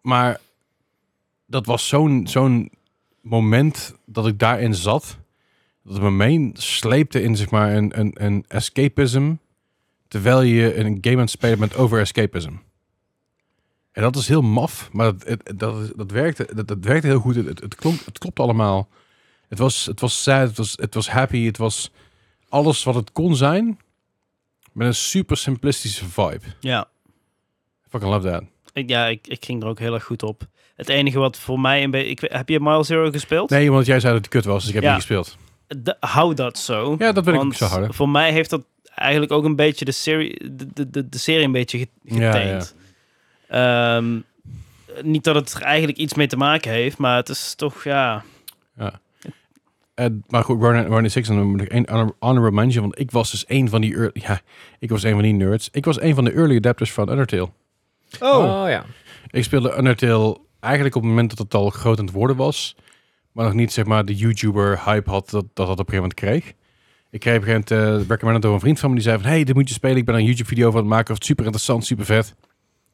maar dat was zo'n zo'n moment dat ik daarin zat. Dat het me meen sleepte in zeg maar een, een, een escapism. Terwijl je een game aan het spelen bent over escapism. En dat is heel maf, maar dat, het- dat, is- dat, werkte, dat, dat werkte heel goed. Het, het, het klonk, het klopt allemaal. Het was, het was sad, het was, het was happy, het was alles wat het kon zijn. Met een super simplistische vibe. Ja, Fucking love that. ik, ja ik, ik ging er ook heel erg goed op. Het enige wat voor mij een beetje... ik weet- Heb je Mile Zero gespeeld? Nee, want jij zei dat het kut was, dus ik heb Ja. niet gespeeld. d- hou dat zo. Ja, dat wil ik Want ook zo houden. Voor mij heeft dat eigenlijk ook een beetje de serie, de, de, de, de serie een beetje ge- Ja, getankt. Ehm, niet dat het er eigenlijk iets mee te maken heeft, maar het is toch, ja... Eh, maar goed, Warner, Warner Six, en dan moet ik één honor- honorable mention, want ik was dus een van die, ear- ja, ik was een van die nerds. Ik was een van de early adapters van Undertale. Oh, ja. Ik speelde Undertale eigenlijk op het moment dat het al groot aan het worden was. Maar nog niet zeg maar de YouTuber-hype had dat, dat dat op een gegeven moment kreeg. Ik kreeg op een gegeven moment uh, recommended door een vriend van me. Die zei van, hey, dit moet je spelen. Ik ben er een YouTube-video van aan het maken. Of het super interessant, super vet. Ik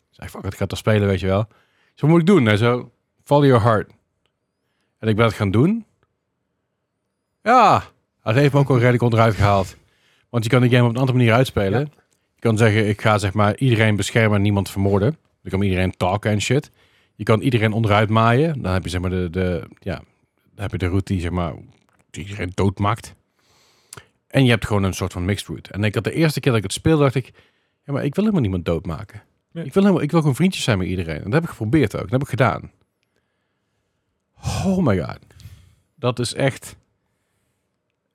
zei, fuck it, ik ga het toch spelen, weet je wel. Zo, wat moet ik doen? Hij zo, follow your heart. En ik ben het gaan doen. Ja, dat heeft me ook wel redelijk onderuit gehaald. Want je kan die game op een andere manier uitspelen. Je kan zeggen, ik ga zeg maar iedereen beschermen en niemand vermoorden. Je kan iedereen talken en shit. Je kan iedereen onderuit maaien. Dan heb je zeg maar de, de ja, dan heb je de route die zeg maar die iedereen doodmaakt. En je hebt gewoon een soort van mixed route. En ik had de eerste keer dat ik het speelde, dacht ik, ja, maar ik wil helemaal niemand doodmaken. Nee. Ik wil helemaal, ik wil gewoon vriendjes zijn met iedereen. En dat heb ik geprobeerd ook. Dat heb ik gedaan. Oh my god. Dat is echt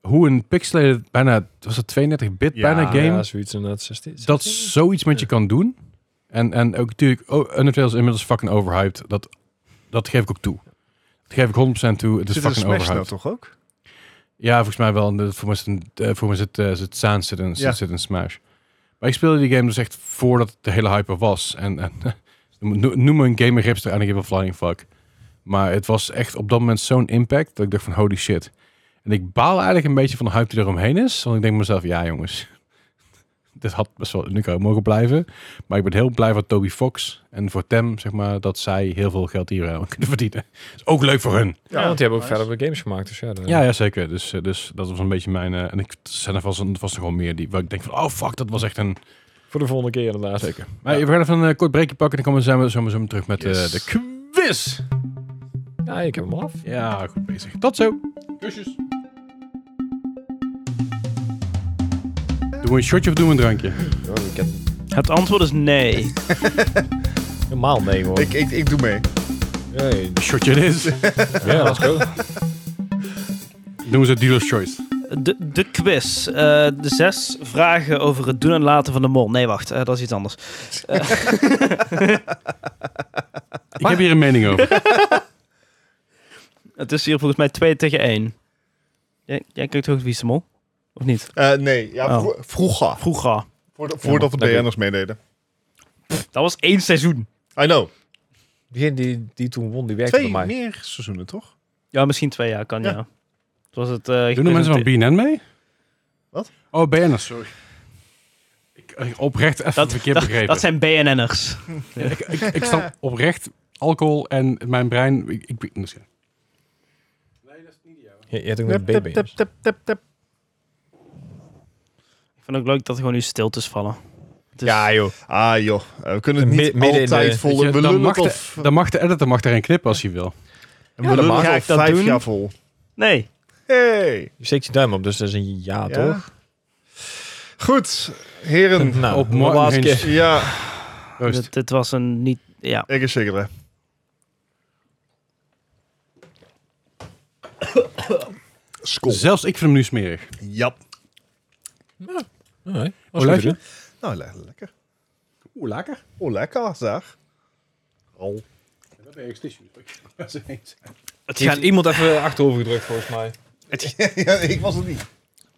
hoe een pixelated, bijna, was het 32-bit Ja, bijna game Ja, zoiets inderdaad. 16, dat zoiets met je kan doen. En, en ook natuurlijk, oh, Undertale is inmiddels fucking overhyped. Dat, dat geef ik ook toe. Dat geef ik 100% toe. Het is zit er fucking een Smash nou overhyped. toch ook? Ja, volgens mij wel. En dat- Voor mij is het, een- eh, voor mij is het, eh, is het Sans zit in, Ja. zit in Smash. Maar ik speelde die game dus echt voordat het de hele hype er was. En, <laughs> en no- noem me een gamer hipster en ik heb een flying fuck. Maar het was echt op dat moment zo'n impact dat ik dacht van holy shit. En ik baal eigenlijk een beetje van de hype die er omheen is. Want ik denk mezelf, ja jongens, <laughs> dit had best wel unico mogen blijven. Maar ik ben heel blij voor Toby Fox en voor Tem, zeg maar, dat zij heel veel geld hier aan <laughs> kunnen verdienen. Is ook leuk voor hun. Ja, want die hebben ook nice. verder games gemaakt. Dus ja, dan- Ja, ja zeker. Dus, eh, dus dat was een beetje mijn... eh, en ik er zijn er vast, er vast nog wel meer die... Waar ik denk van, oh fuck, dat was echt een... voor de volgende keer inderdaad. Zeker. Maar we gaan even een eh, kort breakje pakken. Dan komen we zo zo- zo terug met eh, Yes. de quiz. Ja, ik heb hem al af. Ja, goed bezig. Tot zo. Kusjes. Doen we een shotje of doen we een drankje? Het antwoord is nee. Normaal nee, hoor. Ik, ik, ik doe mee. Hey. Een shotje het is. Ja, let's go. doen we ze dealer's choice. De, de quiz. Eh, de zes vragen over het doen en laten van de mol. Nee, wacht, eh, dat is iets anders. <laughs> Ik heb hier een mening over. Het is hier volgens mij 2 tegen 1. Jij, jij kijkt ook wie is de mol? Of niet? Eh, nee, ja, Oh. vro- vroeger. Vroeger. Voordat, voordat dat de weet ik. BN'ers meededen. Dat was één seizoen. I know. Diegene die, die toen won, die werkte Twee bij mij. meer seizoenen, toch? Ja, misschien twee jaar kan, ja. Ja. Het was het... eh, Doen er mensen van BNN mee? Wat? Oh, BN'ers, sorry. Ik, ik oprecht even Dat- verkeerd begrepen. Dat zijn BNN'ers. ik, ik, ik snap oprecht alcohol en mijn brein. Ik, ik, misschien. Je, je hebt ook een baby. Tap, tap, tap, tap. Ik vind ook leuk dat er gewoon nu stiltes vallen. Dus Het is- Ja, joh. Ah joh, Eh, we kunnen het Mi- niet midden in altijd de- vol. Weet je, We dan, lullen mag het al de, v- dan mag de editor mag erin knippen als hij wil. we Ja, lullen dan het mag al ik dat vijf doen. jaar vol. Nee. Hey. Je steekt je duim op, dus dat is een ja, Ja. toch? Goed, <laughs> heren. Nou, Op Martin laatste Hinch. keer. Ja, Proost. Dit, dit was een niet... Ja. ik is zeker. hè. Skol. Zelfs ik vind hem nu smerig. Ja. Alright, was goed, Olijfje? Nou, le- lekker. Oeh, lekker. Oh, lekker zeg. Oh. Het hè? Die gaat, heeft iemand even achterover gedrukt, volgens mij. <laughs> ja, ik was het niet.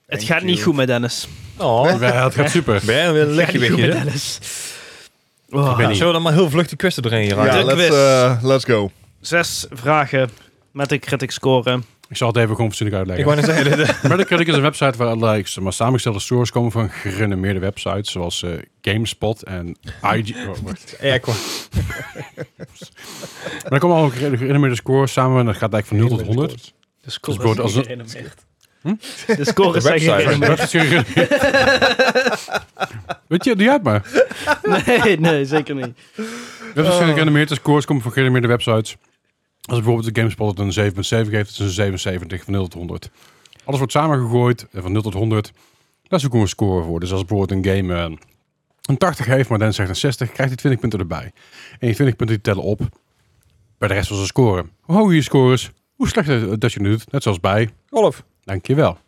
het gaat niet goed met Dennis. Oh, Ja, het gaat super. ben weer een lekker niet goed met beetje. Dennis. Oh. Ik ben niet. Zullen we dan maar heel vlug die kwestie erin hier Ja, De let's, quiz. eh, let's go. Zes vragen met een critic score. Ik zal het even gewoon fatsoenlijk Ik uitleggen. wou net zeggen, dit- Metacritic is een website waar allerlei zeg maar, samengestelde scores komen van gerenommeerde websites. Zoals eh, GameSpot en IG. oh, wacht. ja, qua- maar er komen allemaal gere- gerenommeerde scores samen. En dat gaat eigenlijk van 0 tot 100. De Dus wordt als een- De scores De zijn website. geen Dat is <laughs> gerenommeerd. Weet je, doe jij het maar. <laughs> Nee, nee, zeker niet. Websites zijn gerenommeerde scores komen van gerenommeerde websites. Als bijvoorbeeld de GameSpot het een 7.7 geeft, is het een 77 van 0 tot 100. Alles wordt samengegooid en van 0 tot 100. Daar zoeken we een score voor. Dus als bijvoorbeeld een game eh, een 80 heeft, maar dan zegt een 60, krijgt hij 20 punten erbij. En die 20 punten die tellen op bij de rest van zijn score. Hoe hoger je score is, hoe slechter dat je het doet. Net zoals bij Golf. Dankjewel.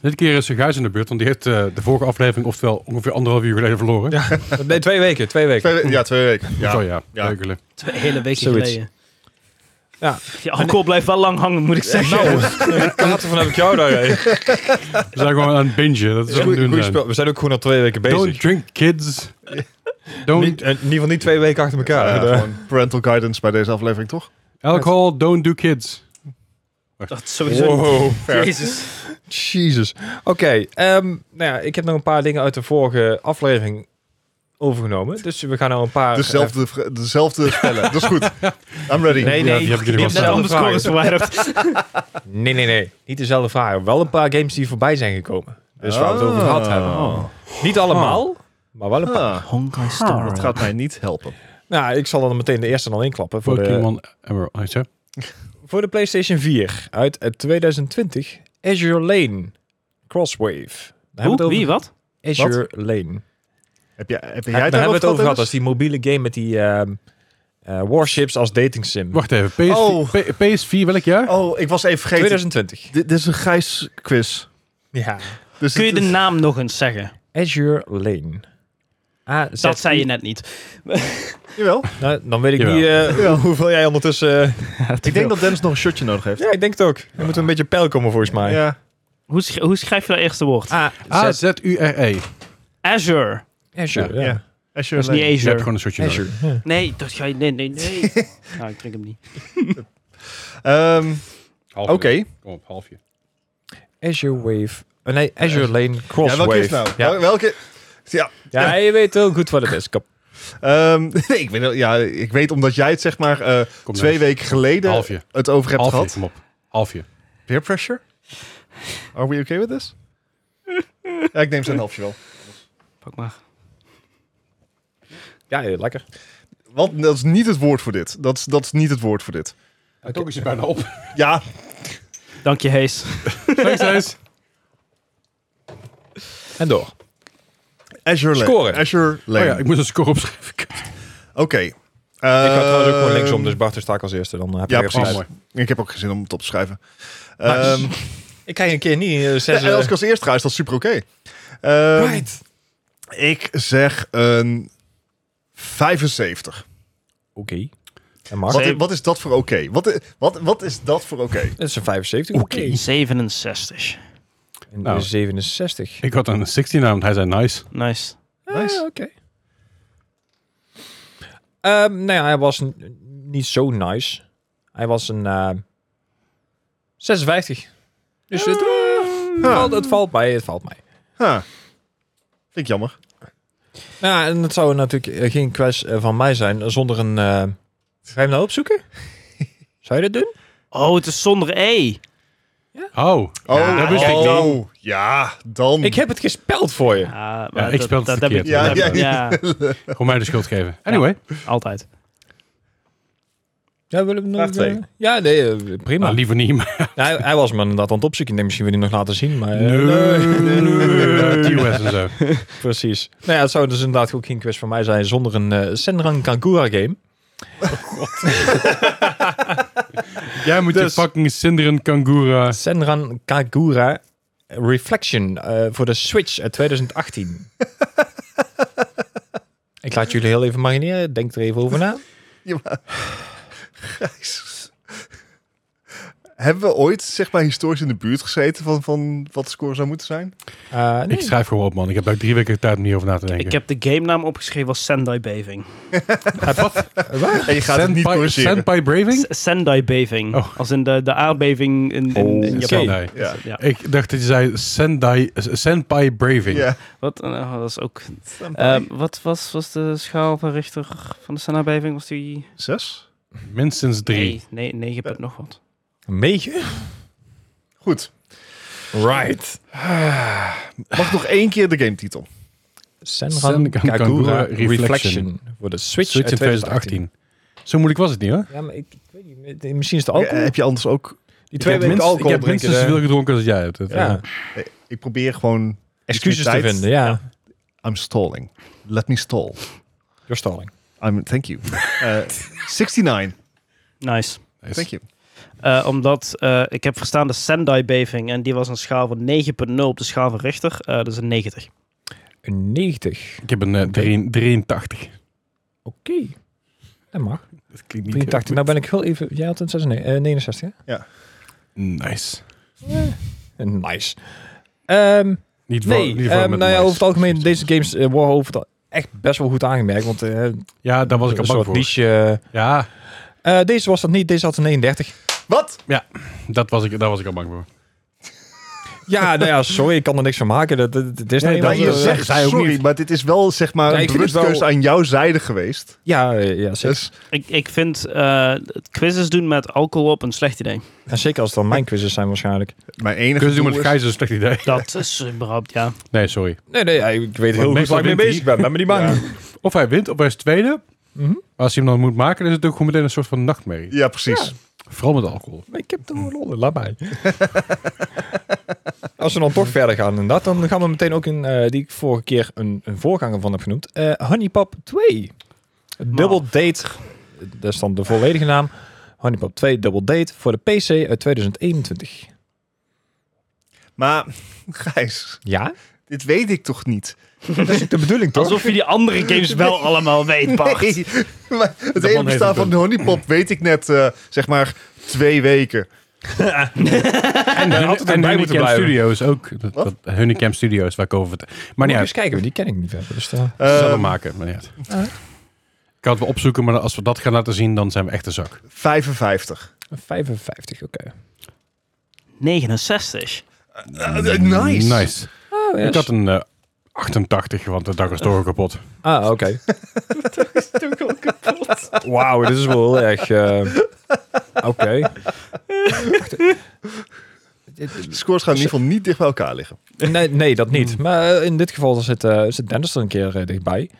Dit keer is Guys in de beurt, want die heeft eh, de vorige aflevering, oftewel ongeveer anderhalf uur geleden, verloren. Ja, Nee, twee weken. Twee weken. Twee we- ja, twee weken. ja. Ja. ja. Ja. leuk, leuk. Twee hele weken Zoiets. geleden. Ja. nou, Je alcohol blijft wel lang hangen, moet ik zeggen. <laughs> Kaarten van heb ik jou daarheen. We zijn gewoon aan het bingen. Dat is wat we doen zijn. We zijn ook gewoon al twee weken Don't drink kids. Don't in ieder geval niet twee weken achter Ja, elkaar. gewoon eh, parental guidance bij deze aflevering, toch? alcohol, don't do kids. Dat is sowieso niet. Jezus. <laughs> Jesus. Oké, ehm, nou ja, ik heb nog een paar dingen uit de vorige aflevering overgenomen. Dus we gaan nou een paar... Dezelfde, vra- dezelfde spellen. Dat is <laughs> goed. I'm ready. Nee, Ja, nee, die heb ik jullie die wel hebben Net dezelfde de vragen. score is verwijderd. eh, Nee, nee, nee. Niet dezelfde vragen. Wel een paar games die voorbij zijn gekomen. Dus waar we het over gehad hebben. Niet allemaal, maar wel een paar. Ah, Honkai Star. dat gaat mij niet helpen. Nou, ik zal dan meteen de eerste dan inklappen. Voor de, Pokémon Emerald. Ah, zo. voor de PlayStation 4 uit eh, 2020. Azure Lane. Crosswave. Daar Hoe? hebben we Wie? het Wat? over. Azure Lane. Heb, jij, heb jij Daar, daar, hebben we wat het over gehad. Dat Dennis? is die mobiele game met die ehm, eh, warships als dating sim. Wacht even. PS4, Oh. P- PS4 welk jaar? Oh, ik was even vergeten. 2020. Dit, dit is een Gijs quiz. Ja. Dus Kun je de dit is- naam nog eens zeggen? Azure Lane. Ah, Dat zei je net <laughs> niet. Jawel. Nou, dan weet ik Jawel. niet eh, Ja. hoeveel jij ondertussen... eh, Ik denk dat Dennis nog een shirtje nodig heeft. ja, ik denk het ook. Dan moeten we een beetje pijl komen volgens mij. Ja. Hoe, sch- hoe schrijf je dat eerste woord? Ah, A Z U R E. Azure. Azure. Ja. Ja. Azure Dat is niet Lane. Je hebt Azure. gewoon een soortje nodig. Azure. ja. Nee, dat ga je... Nee, nee, <laughs> nee. nou, ik drink hem niet. Ehm, Oké. Kom op, halfje. Azure Wave. Oh, nee, Azure Lane Ja, Crosswave. welke is nou? Ja. Wel- Welke? Ja. Ja, je weet heel goed wat het is. Kap. Ehm, <laughs> nee, ik weet, wel- ja, ik weet omdat jij het zeg maar eh, Kom twee weken geleden Halfje. het over hebt Halfje, gehad. kom op. Halfje. Peer pressure? Are we okay with <laughs> this? ja, ik neem zijn halfje wel. Pak maar. Ja, heel lekker. Want dat is niet het woord voor dit. Dat is, dat is niet het woord voor dit. En Toch is je bijna op. Ja, Dank je, Hees. Thanks, Thijs. En door. Azure Lane. Scoren. Azure Oh Lane. ja, ik moest een score opschrijven. Oké. ik ga trouwens ook gewoon Ehm, linksom, dus Bart sta ik als eerste. Dan heb Ja, ik er precies. Oh, gelijk. mooi. Eh, Ik heb ook geen zin om het op te schrijven. Maar- Ehm, <laughs> Ik krijg een keer niet eh, zes... en als ik eh, als eerste ga, is dat super oké. Ehm, right. Ik zeg een 75. Oké. En Mark? Wat, wat is dat voor oké? Wat, wat, wat is dat voor oké? Dat is een 75. Oké. 67. En Nou. een 67. Ik had een 16 naam, want hij zei nice. Nice. Nice. Ah, oké. Ehm, nou ja, hij was n- niet zo nice. Hij was een eh, 56. Dus het, het Ah. valt, het valt mij, het valt mij. Huh. Vind ik jammer. Nou, en het zou natuurlijk eh, geen quest eh, van mij zijn eh, zonder een... eh, Ga je hem nou opzoeken? <laughs> zou je dat doen? Oh, het is zonder E. Oh. Oh, dat wist ik oh, ja, dan. Ik heb het gespeld voor je. Ja, Ja, ik speel het verkeerd. Ja, Ja, ja, ja, Gewoon mij de schuld geven. Anyway. <laughs> altijd. Ja, willen we nog... Vraag twee. eh, Ja, nee, eh, prima. Nou, liever niet, maar... Nou, hij, hij was me inderdaad aan het opzoeken. Ik denk, misschien wil hij hem nog laten zien, maar... eh, Nee. TOS en zo. Precies. Nou ja, het zou dus inderdaad ook geen quest voor mij zijn zonder een eh, Senran Kagura game. Jij moet Dus- je fucking Sinderen Kangura. Senran Kagura Reflection eh, voor de Switch <laughs> uit 2018. Ik laat jullie heel even marineren. Denk er even over na. Ja, maar- Gijs. Hebben we ooit, zeg maar, historisch in de buurt gezeten van, van wat de score zou moeten zijn? Eh, nee. Ik schrijf gewoon op, man. Ik heb daar drie weken tijd om hierover na te denken. Ik heb de game naam opgeschreven als Sendai Beving. En je gaat het niet Senpai- corrigeren. Senpai Braving? S- Sendai Beving. Oh. Als in de, de aardbeving in, in, in oké. Japan. Sendai. Oh, Ja. Ja. Ik dacht dat je zei Sendai, Senpai Braving. Ja. Wat, eh, dat is ook... Ehm, wat was, was de schaal van Richter van de Sendai Beving? Was die... Zes? Minstens drie. Nee, nee, nee, je hebt nog wat. Mega? Goed. Right. Mag nog één keer de gametitel. Senran, Senran Kagura, Kagura Reflection. Reflection voor de Switch, Switch in uit 2018. 2018. Zo moeilijk was het niet, hoor. Ja, maar ik, ik weet niet. eh, Misschien is het Eh, alcohol. Heb je anders ook... Die Ik heb, weken minst- ik alcohol heb drinken, minstens eh, zoveel gedronken als jij hebt. Dat, Ja. eh, Eh, Ik probeer gewoon... excuses te Tijd. vinden. Ja. I'm stalling. Let me stall. Your stalling. I'm, thank you. Eh, 69. Nice. nice. Thank you. Eh, omdat eh, ik heb verstaan de Sendai-beving en die was een schaal van 9.0 op de schaal van Richter. Eh, dat is een 90. Een 90. Ik heb een eh, drie- 83. Oké. Dat mag. Dat klinkt 83. Nou ben ik heel even... Jij had een 96, eh, 69, hè? nou- Eh, Nice. Nice. Ehm, Niet voor, nee, niet voor ehm, met nou nice. ja, over het algemeen, deze games eh, worden over het al- echt best wel goed aangemerkt. Want eh, Ja, daar was ik al bang een soort voor. niche... eh, Ja, eh, deze was dat niet, deze had een 39. Wat? dat was ik, daar was ik al bang voor. Ja, <laughs> nou ja, sorry, ik kan er niks van maken. Dat, dat, dat is nou Nee, eenmaal maar je zo. zegt, zij ook sorry, niet. maar dit is wel zeg maar Ja, een ik vind het bewustkeuze wel- aan jouw zijde geweest. Ja, eh, ja zeker. Dus Ik, ik vind eh, het quizzes doen met alcohol op een slecht idee. En zeker als het dan mijn quizzes zijn waarschijnlijk. mijn enige Kunst doen met doel is- grijs is een slecht idee. Dat is überhaupt, ja. Nee, sorry. Nee, nee, ja, ik weet heel meestal goed waar ik mee wint hij. bezig ben. Ben me <laughs> niet bang. Ja. Of hij wint, of hij is tweede. Mhm. Maar als hij hem dan moet maken, dan is het ook gewoon meteen een soort van nachtmerrie. Ja, precies. Vooral met alcohol. Ik heb toch wel lol, in, laat mij. Als we dan toch verder gaan en dat, dan gaan we meteen ook in, eh, die ik vorige keer een, een voorganger van heb genoemd, Eh Honeypop 2. Double Date, dat is dan de volledige naam. Honeypop 2 Double Date voor de PC uit 2021. Maar Gijs, Ja? dit weet ik toch niet? Dat is de bedoeling toch? Alsof je die andere games wel allemaal weet, Bart. Nee, <laughs> maar het heeft hele een bestaan van punt. de honeypop weet ik net, eh, zeg maar, twee weken. En, hun, had het en erbij Honeycamp moeten blijven. Studios ook. Dat, dat, Honeycamp Studios, waar ik over het... Maar Moet niet ik uit. eens kijken, want die ken ik niet verder. Dus, eh, Ze zullen Ehm, maken, maar niet uit. Ah. Ik kan het wel opzoeken, maar als we dat gaan laten zien, dan zijn we echt een zak. 55. 55, oké. 69. Eh, eh, nice. Nice. Ah, Ik had een eh, 88, want de dag is toch al kapot. Ah, oké. <laughs> Wauw, dit is wel heel erg... eh, oké. De scores gaan in ieder geval niet dicht bij elkaar liggen. Nee, nee, dat niet. Maar eh, in dit geval zit, eh zit Dennis er een keer eh, dichtbij.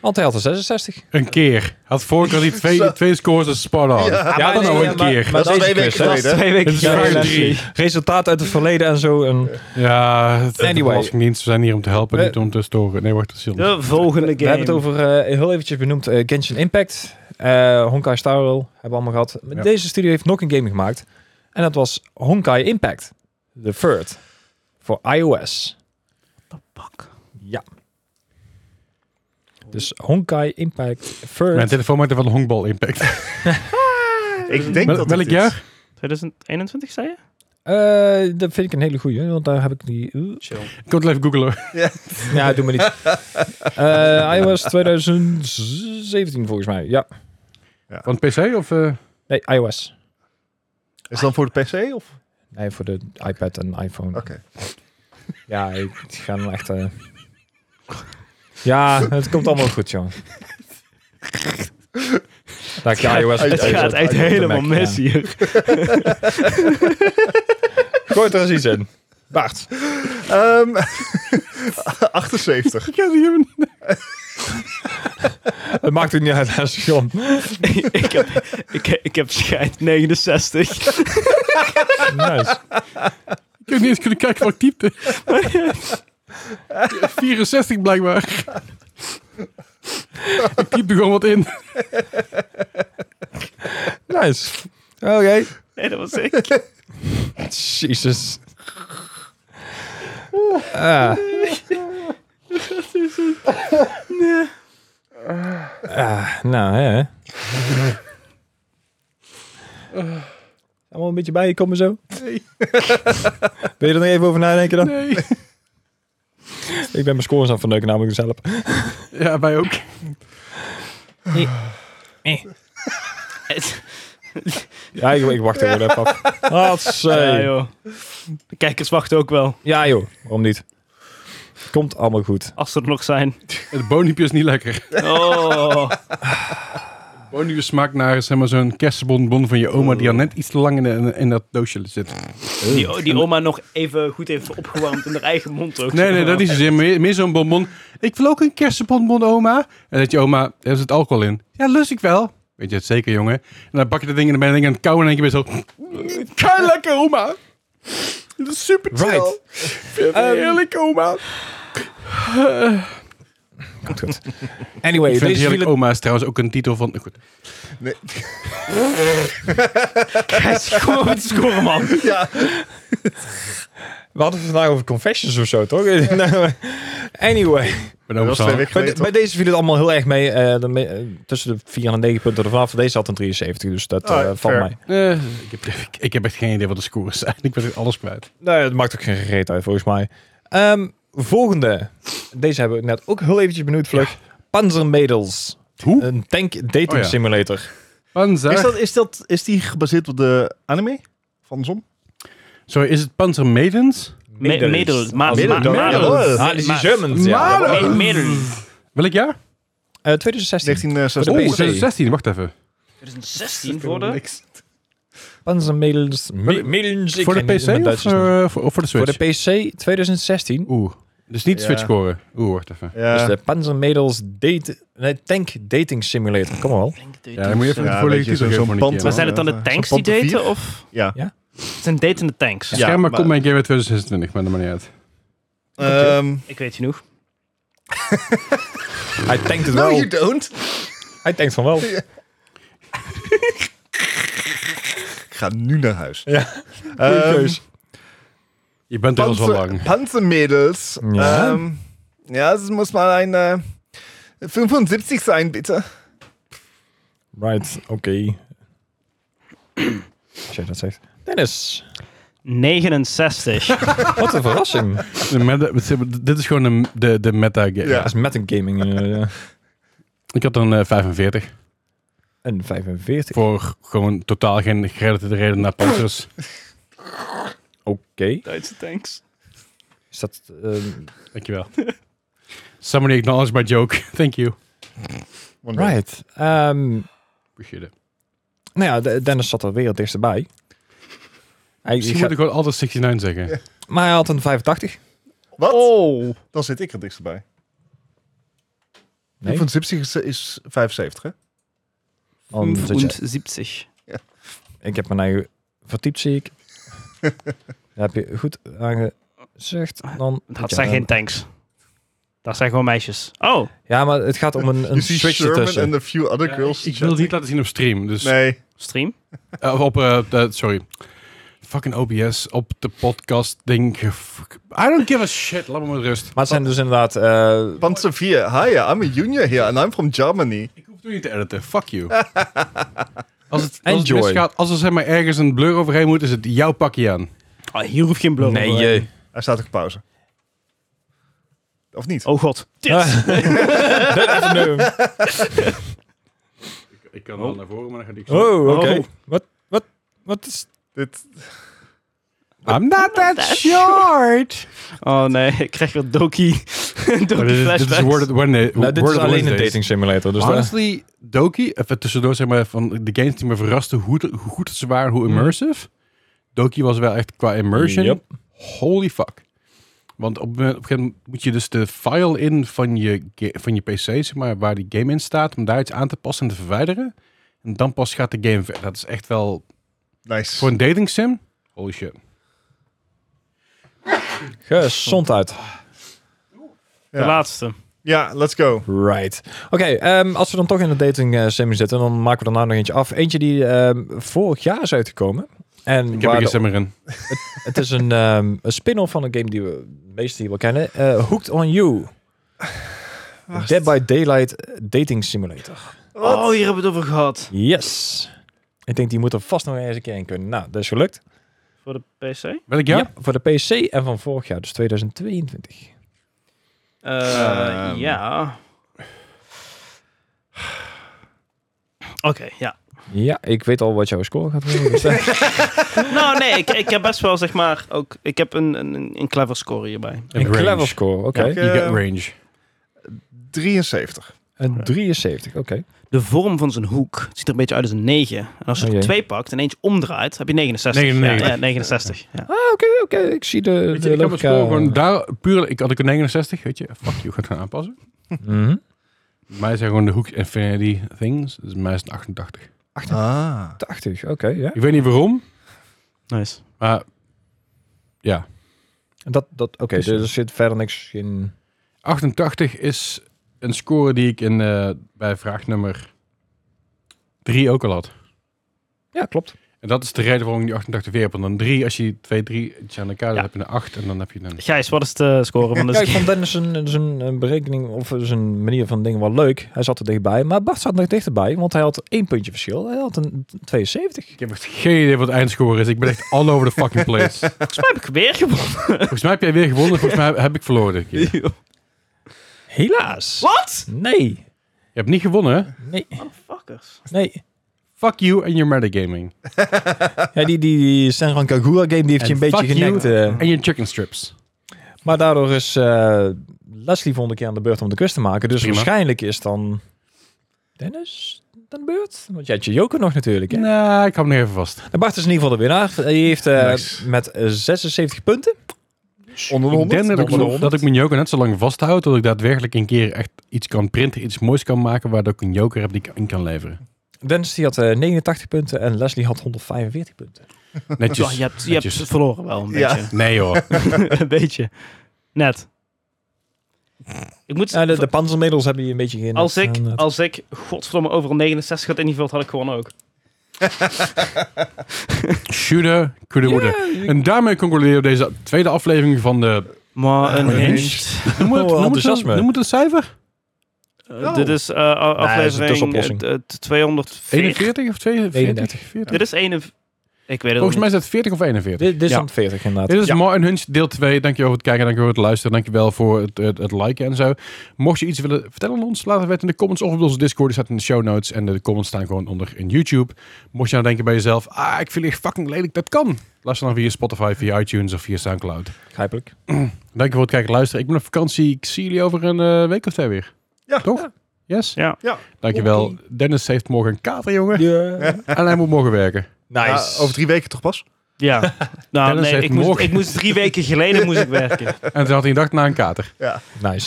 Want hij had een 66. Een keer. Had vorig jaar die <laughs> twee, Zo. twee scores is spot on. Ja. Ja, dan nee, nou ja, een maar- keer. maar Dat is deze twee weken quiz, hè? geleden. hè? Twee weken Het is Ja, geleden. ja, 5-3. Resultaat uit het verleden en zo. En Ja, het- de Anyway. Belastingdienst, we zijn hier om te helpen, Eh. niet om te storen. Nee, wacht, dat is heel De volgende game. we hebben het over, eh, heel eventjes benoemd, eh, Genshin Impact. eh, Honkai Star Rail hebben we allemaal gehad. Maar Ja. Deze studio heeft nog een game gemaakt. En dat was Honkai Impact. The third. Voor iOS. Pak. Ja. Dus Honkai Impact Third. Mijn telefoon maakte van de honkbal impact. Ik denk Wel- dat welk het jaar? is. 2021, zei je? Eh, dat vind ik een hele goeie, want daar heb ik die... Ik kon het even googlen. Ja, doe me niet. <laughs> Eh iOS 2017 volgens mij. Ja. Van PC of... eh, Nee, iOS. Is het dan voor de PC? Of? Nee, voor de iPad en iPhone. Oké. Ja, ik ik ga hem echt... eh, Ja, het komt allemaal goed, jongen. Dat ik de iOS... Het Het gaat echt helemaal mis Ja. hier. Gooi er eens iets <laughs> in. Bart. Ehm, <laughs> 78. Ik ga hier een... Het maakt ook niet uit, dat is gewoon- <laughs> ik, heb, ik, ik heb schijt 69. Nice. Ik heb niet eens kunnen kijken wat ik <laughs> typte. 64 blijkbaar. ik typte gewoon wat in. Nice. Oké. <laughs> Nee, dat was ik. Jezus. Ah. Ah, nou, hè. Allemaal een beetje bij je komen zo? <laughs> Nee. Wil je er nog even over nadenken dan? Nee. <laughs> Ik ben mijn scores aan het verneuken, namelijk zelf. Ja, wij ook. Ja, ik, ik wacht er gewoon even af. <laughs> Ja, Hatsé. joh. De kijkers wachten ook wel, Ja, joh. Waarom niet? Komt allemaal goed. als ze er nog zijn. Het boniepje is niet lekker. Oh. Het boniepje smaakt naar zeg maar, zo'n kersenbonbon van je oma die al net iets te lang in, de- in dat doosje zit. Die, die oma nog even goed heeft opgewarmd in haar eigen mond ook. Nee, nee, dat is zozeer. Meer, meer zo'n bonbon. Ik wil ook een kersenbonbon, oma. En dat je oma, er zit alcohol in. Ja, lust ik wel. Weet je het zeker, jongen. En dan pak je dat ding en dan ben je dat ding aan het kauwen en dan denk je bij zo... Ga lekker, oma. Dat is super chill. Ehm, Right. Vind je het Heerlijk, oma. Komt goed. Anyway, ik vind deze heerlijk vielen- oma is trouwens ook een titel van... Goed. Gijs, <laughs> kom op met te scoren, man. Ja, we hadden het vandaag over confessions of zo, toch? <laughs> Nou, anyway, Ik ben dat was twee overstaan. weken bij, de- geleden. bij deze viel het allemaal heel erg mee. eh, dan mee- eh, tussen de 4 en 9 punten ervan. Voor Deze had een 73, dus dat Ah, eh, valt fair. mij. Eh, ik, heb, ik, ik heb echt geen idee wat de <laughs> scores zijn. Ik ben alles kwijt. Nee, het maakt ook geen reet uit, volgens mij. Ehm, volgende. Deze hebben we net ook heel eventjes benieuwd, vlug. Panzermädels. Hoe? Een tank dating Oh ja. simulator. Panzer. Eh, Is, dat, is, dat, is die gebaseerd op de anime van Zom? Sorry, is het Panzer Maidens? Me- Medel. Ma- Als- ma- Medel. Madels. Ah, die is die Ma- Germans, ja. Me- Medels. Welk jaar? Eh, 2016. 1960. Oeh, Oh, PC. 2016. Wacht even. 2016 voor de... Niks. Panzermädels. de- Mädels. ik voor de ken niet PC mijn of Duitsers niet. eh, voor, of voor de Voor Switch? de PC 2016. Oeh. Dus niet de Ja. Switch scoren. Oeh, wacht even. Ja, Dus de Panzermädels date, nee, tank dating simulator. Kom al. Ja, dan moet je even Ja, de volledige weet je, titel zo'n geven voor een pand- keer. Maar zijn het dan de Ja, tanks die zo'n pand daten? vier. Of? ja. Het zijn datende tanks. Ja, Schermen maar- komt mijn keer weer 2026, maar dat maakt niet uit. Ehm, Ik weet genoeg. Hij tankt het no, wel. you don't. Hij tankt van wel. Ik ga nu naar huis. Ja. Ehm, Goeie keus. Je bent er al zo lang. Panzermädels. Ja. Ja, ähm, ja es muss mal ein äh, 75 sein, bitte. Right, oké. Als jij dat zegt. Dennis, 69. wat een verrassing. <laughs> De meta- dit is gewoon de, de, de meta game. Ja. Dat is met een gaming. eh, ja. Ik had dan eh, 45. Een 45. Voor gewoon totaal geen gerelateerde reden naar <laughs> Panzers. Oké. Duitse tanks. Is dat... ehm, Dankjewel. Somebody acknowledge my joke. <laughs> Thank you. right. Ehm, Appreciate it. nou ja, de- Dennis zat er weer het dichtst bij. Hij, Misschien gaat- moet ik gewoon altijd 69 zeggen. Maar hij had een 85. Wat? Oh. Dan zit ik er dichtst bij. Nee, 75 is, is 75, hè? dan zit je- 70. ik heb mijn eigen vertypt, zie ik. Dat heb je goed aangezegd. Dan Dat zijn geen tanks. Dat zijn gewoon meisjes. Oh, Ja, maar het gaat om een, You een see switch Sherman ertussen. and a few other girls. Ik wil het niet laten zien op stream. Dus, Nee. stream. Eh, of op, eh, eh, sorry. Fucking OBS op de podcast ding. Fuck. I don't give a shit. Laat me met rust. Maar het zijn dus inderdaad... eh, Panzer 4. Hi, I'm a junior here and I'm from Germany. Ik hoef het niet te editen. Fuck <laughs> you. Als het, als het Enjoy. misgaat, als er zeg maar ergens een blur overheen moet, is het jouw pakje aan. Oh, hier hoef geen blur nee, over. je. Hij staat ook op pauze. Of niet? Oh god. Dit. <laughs> Ah. Ik kan wel naar voren, maar dan ga ik Oh, oké. Oh. Wat, wat, wat is... Dit, Oh. I'm not that short. <laughs> Oh nee, ik krijg weer Doki. <laughs> Doki Dit is, dit is flashbacks. Word, Wednesday- Nou, dit Word is of alleen een Wednesdays. dating simulator. Dus daar- Honestly, Doki, even tussendoor zeg maar, van de games die me verrasten, hoe, de- hoe goed ze waren, hoe immersive. Doki was wel echt qua immersion. Yep. Holy fuck. Want op, een- op een gegeven moment moet je dus de file in van je, ga- van je PC, zeg maar, waar die game in staat, om daar iets aan te passen en te verwijderen. En dan pas gaat de game verder. Dat is echt wel nice. voor een dating sim. Holy shit. Gezondheid. De ja. laatste. ja, let's go. Right. Oké, ehm, als we dan toch in de dating eh, sim zitten, dan maken we er nou nog eentje af. Eentje die ehm, vorig jaar is uitgekomen. En Ik heb waar er geen de- stemmer in. het is een, ehm, een spin-off van een game die we de meesten hier wel kennen. Eh, Hooked on You. Dead by Daylight Dating Simulator. Oh, hier hebben we het over gehad. Yes. Ik denk, die moet er vast nog eens een keer in kunnen. Nou, dat is gelukt. Voor de Eh, PC. Welk jaar? voor de PC en van vorig jaar, dus 2022. Eh, Ehm. Ja. Oké, ja. Ja, ik weet al wat jouw score gaat <laughs> worden. dus, eh, Nou nee, ik, ik heb best wel zeg maar ook... Ik heb een, een, een clever score hierbij. een range. clever score, oké. Ja, You got Eh, range. 73. Een 73, oké. De vorm van zijn hoek het ziet er een beetje uit als een 9. En als je Oh er jee. twee pakt en eentje omdraait, heb je 69. 99. Ja, ja, 69. Ja. Ah, oké, oké. Ik zie de, eh, Weet je, de ik heb mijn logica. score gewoon daar puur... Ik had ik een 69, weet je. Fuck you, gaat gaan aanpassen. Mhm. Bij Mij zijn gewoon de hoek Infinity Things. Dus bij mij is het 88. Ah. 80, oké, ja. Ik weet niet waarom, Nice. maar Dat, dat, oké, dus er zit verder niks in. 88 is een score die ik in, eh, bij vraag nummer 3 ook al had. Ja, klopt. En dat is de reden waarom ik die 88 weer heb. Want dan 3, als je 2, 3 iets aan elkaar, dan Ja. heb je een 8 en dan heb je een... Gijs, wat is de score <laughs> van Kijk, deze van Dennis zijn, zijn eh, berekening of zijn manier van dingen wel leuk. Hij zat er dichtbij, maar Bart zat nog dichterbij, want hij had één puntje verschil. Hij had een 72. Ik heb echt geen idee wat de eindscore is. Ik ben echt all over the fucking place. <laughs> Volgens mij heb ik weer gewonnen. volgens mij heb jij weer gewonnen. Volgens mij heb ik verloren. dit keer. Helaas. Wat? Nee. Je hebt niet gewonnen, hè? Nee. Fuckers. Nee. Fuck you en your metagaming. Ja, die, die, die Senran Kagura game die heeft je En een beetje fuck you. genekt. eh. En je chicken strips. Maar daardoor is eh, Leslie volgende keer aan de beurt om de quiz te maken. Dus Prima. waarschijnlijk is dan Dennis aan de beurt. Want jij had je joker nog natuurlijk. Hè? Nou, ik hou hem nog even vast. En Bart is in ieder geval de winnaar. Hij heeft eh, Nice. met eh, 76 punten. Onder de Ik 100? denk dat ik, Onder de dat 100? ik mijn joker net zo lang vasthoud dat ik daadwerkelijk een keer echt iets kan printen, iets moois kan maken, waardoor ik een joker heb die ik in kan leveren. Dennis die had eh, 89 punten en Leslie had 145 punten. Ja, Netjes. je hebt, je hebt Netjes. verloren wel een Ja. beetje. Nee hoor. een beetje. Net. Ik moet... Ja, de, de panzermiddels hebben je een beetje geen. als ik, aan het- als ik, godverdomme, overal 69 had ingevuld, had ik gewonnen ook. Shooter, coulda, woulda. En daarmee concluderen we deze tweede aflevering van de... Maar een maar hinged. Noem het, Oh, noem het, enthousiasme. een- noem het een cijfer? Eh, dit is eh, a- aflevering tussenoplossing. eh, t- 240. 41 of 42? 31. 40? Dit is 41. Ik weet het Volgens al mij niet. is het 40 of 41. Dit, dit is Ja. dan 40 inderdaad. Dit is More Unhinged deel 2. Dankjewel voor het kijken, dankjewel voor het luisteren, dankjewel voor het, het, het liken en zo. Mocht je iets willen vertellen aan ons, laat het weten in de comments of op onze Discord. Die staat in de show notes en de comments staan gewoon onder in YouTube. Mocht je nou denken bij jezelf, ah, ik vind echt fucking lelijk, dat kan. Luister dan via Spotify, via iTunes of via Soundcloud. Begrijpelijk. Dankjewel voor het kijken en luisteren. Ik ben op vakantie, ik zie jullie over een eh, week of twee weer. Ja. Toch? Yes? Ja. Ja. Dankjewel. Oké. Dennis heeft morgen een kater, jongen. En hij moet morgen werken. Nice. Ja, over drie weken toch pas? Ja. Nou, Dennis nee, heeft ik moest, morgen- ik moest drie weken geleden moest ik <laughs> werken. En toen had hij een dag na een kater. nice.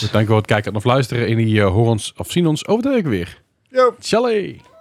Dus dankjewel voor het kijken en of luisteren. En die eh, horen ons of zien ons over de week weer. Yo. Chalet!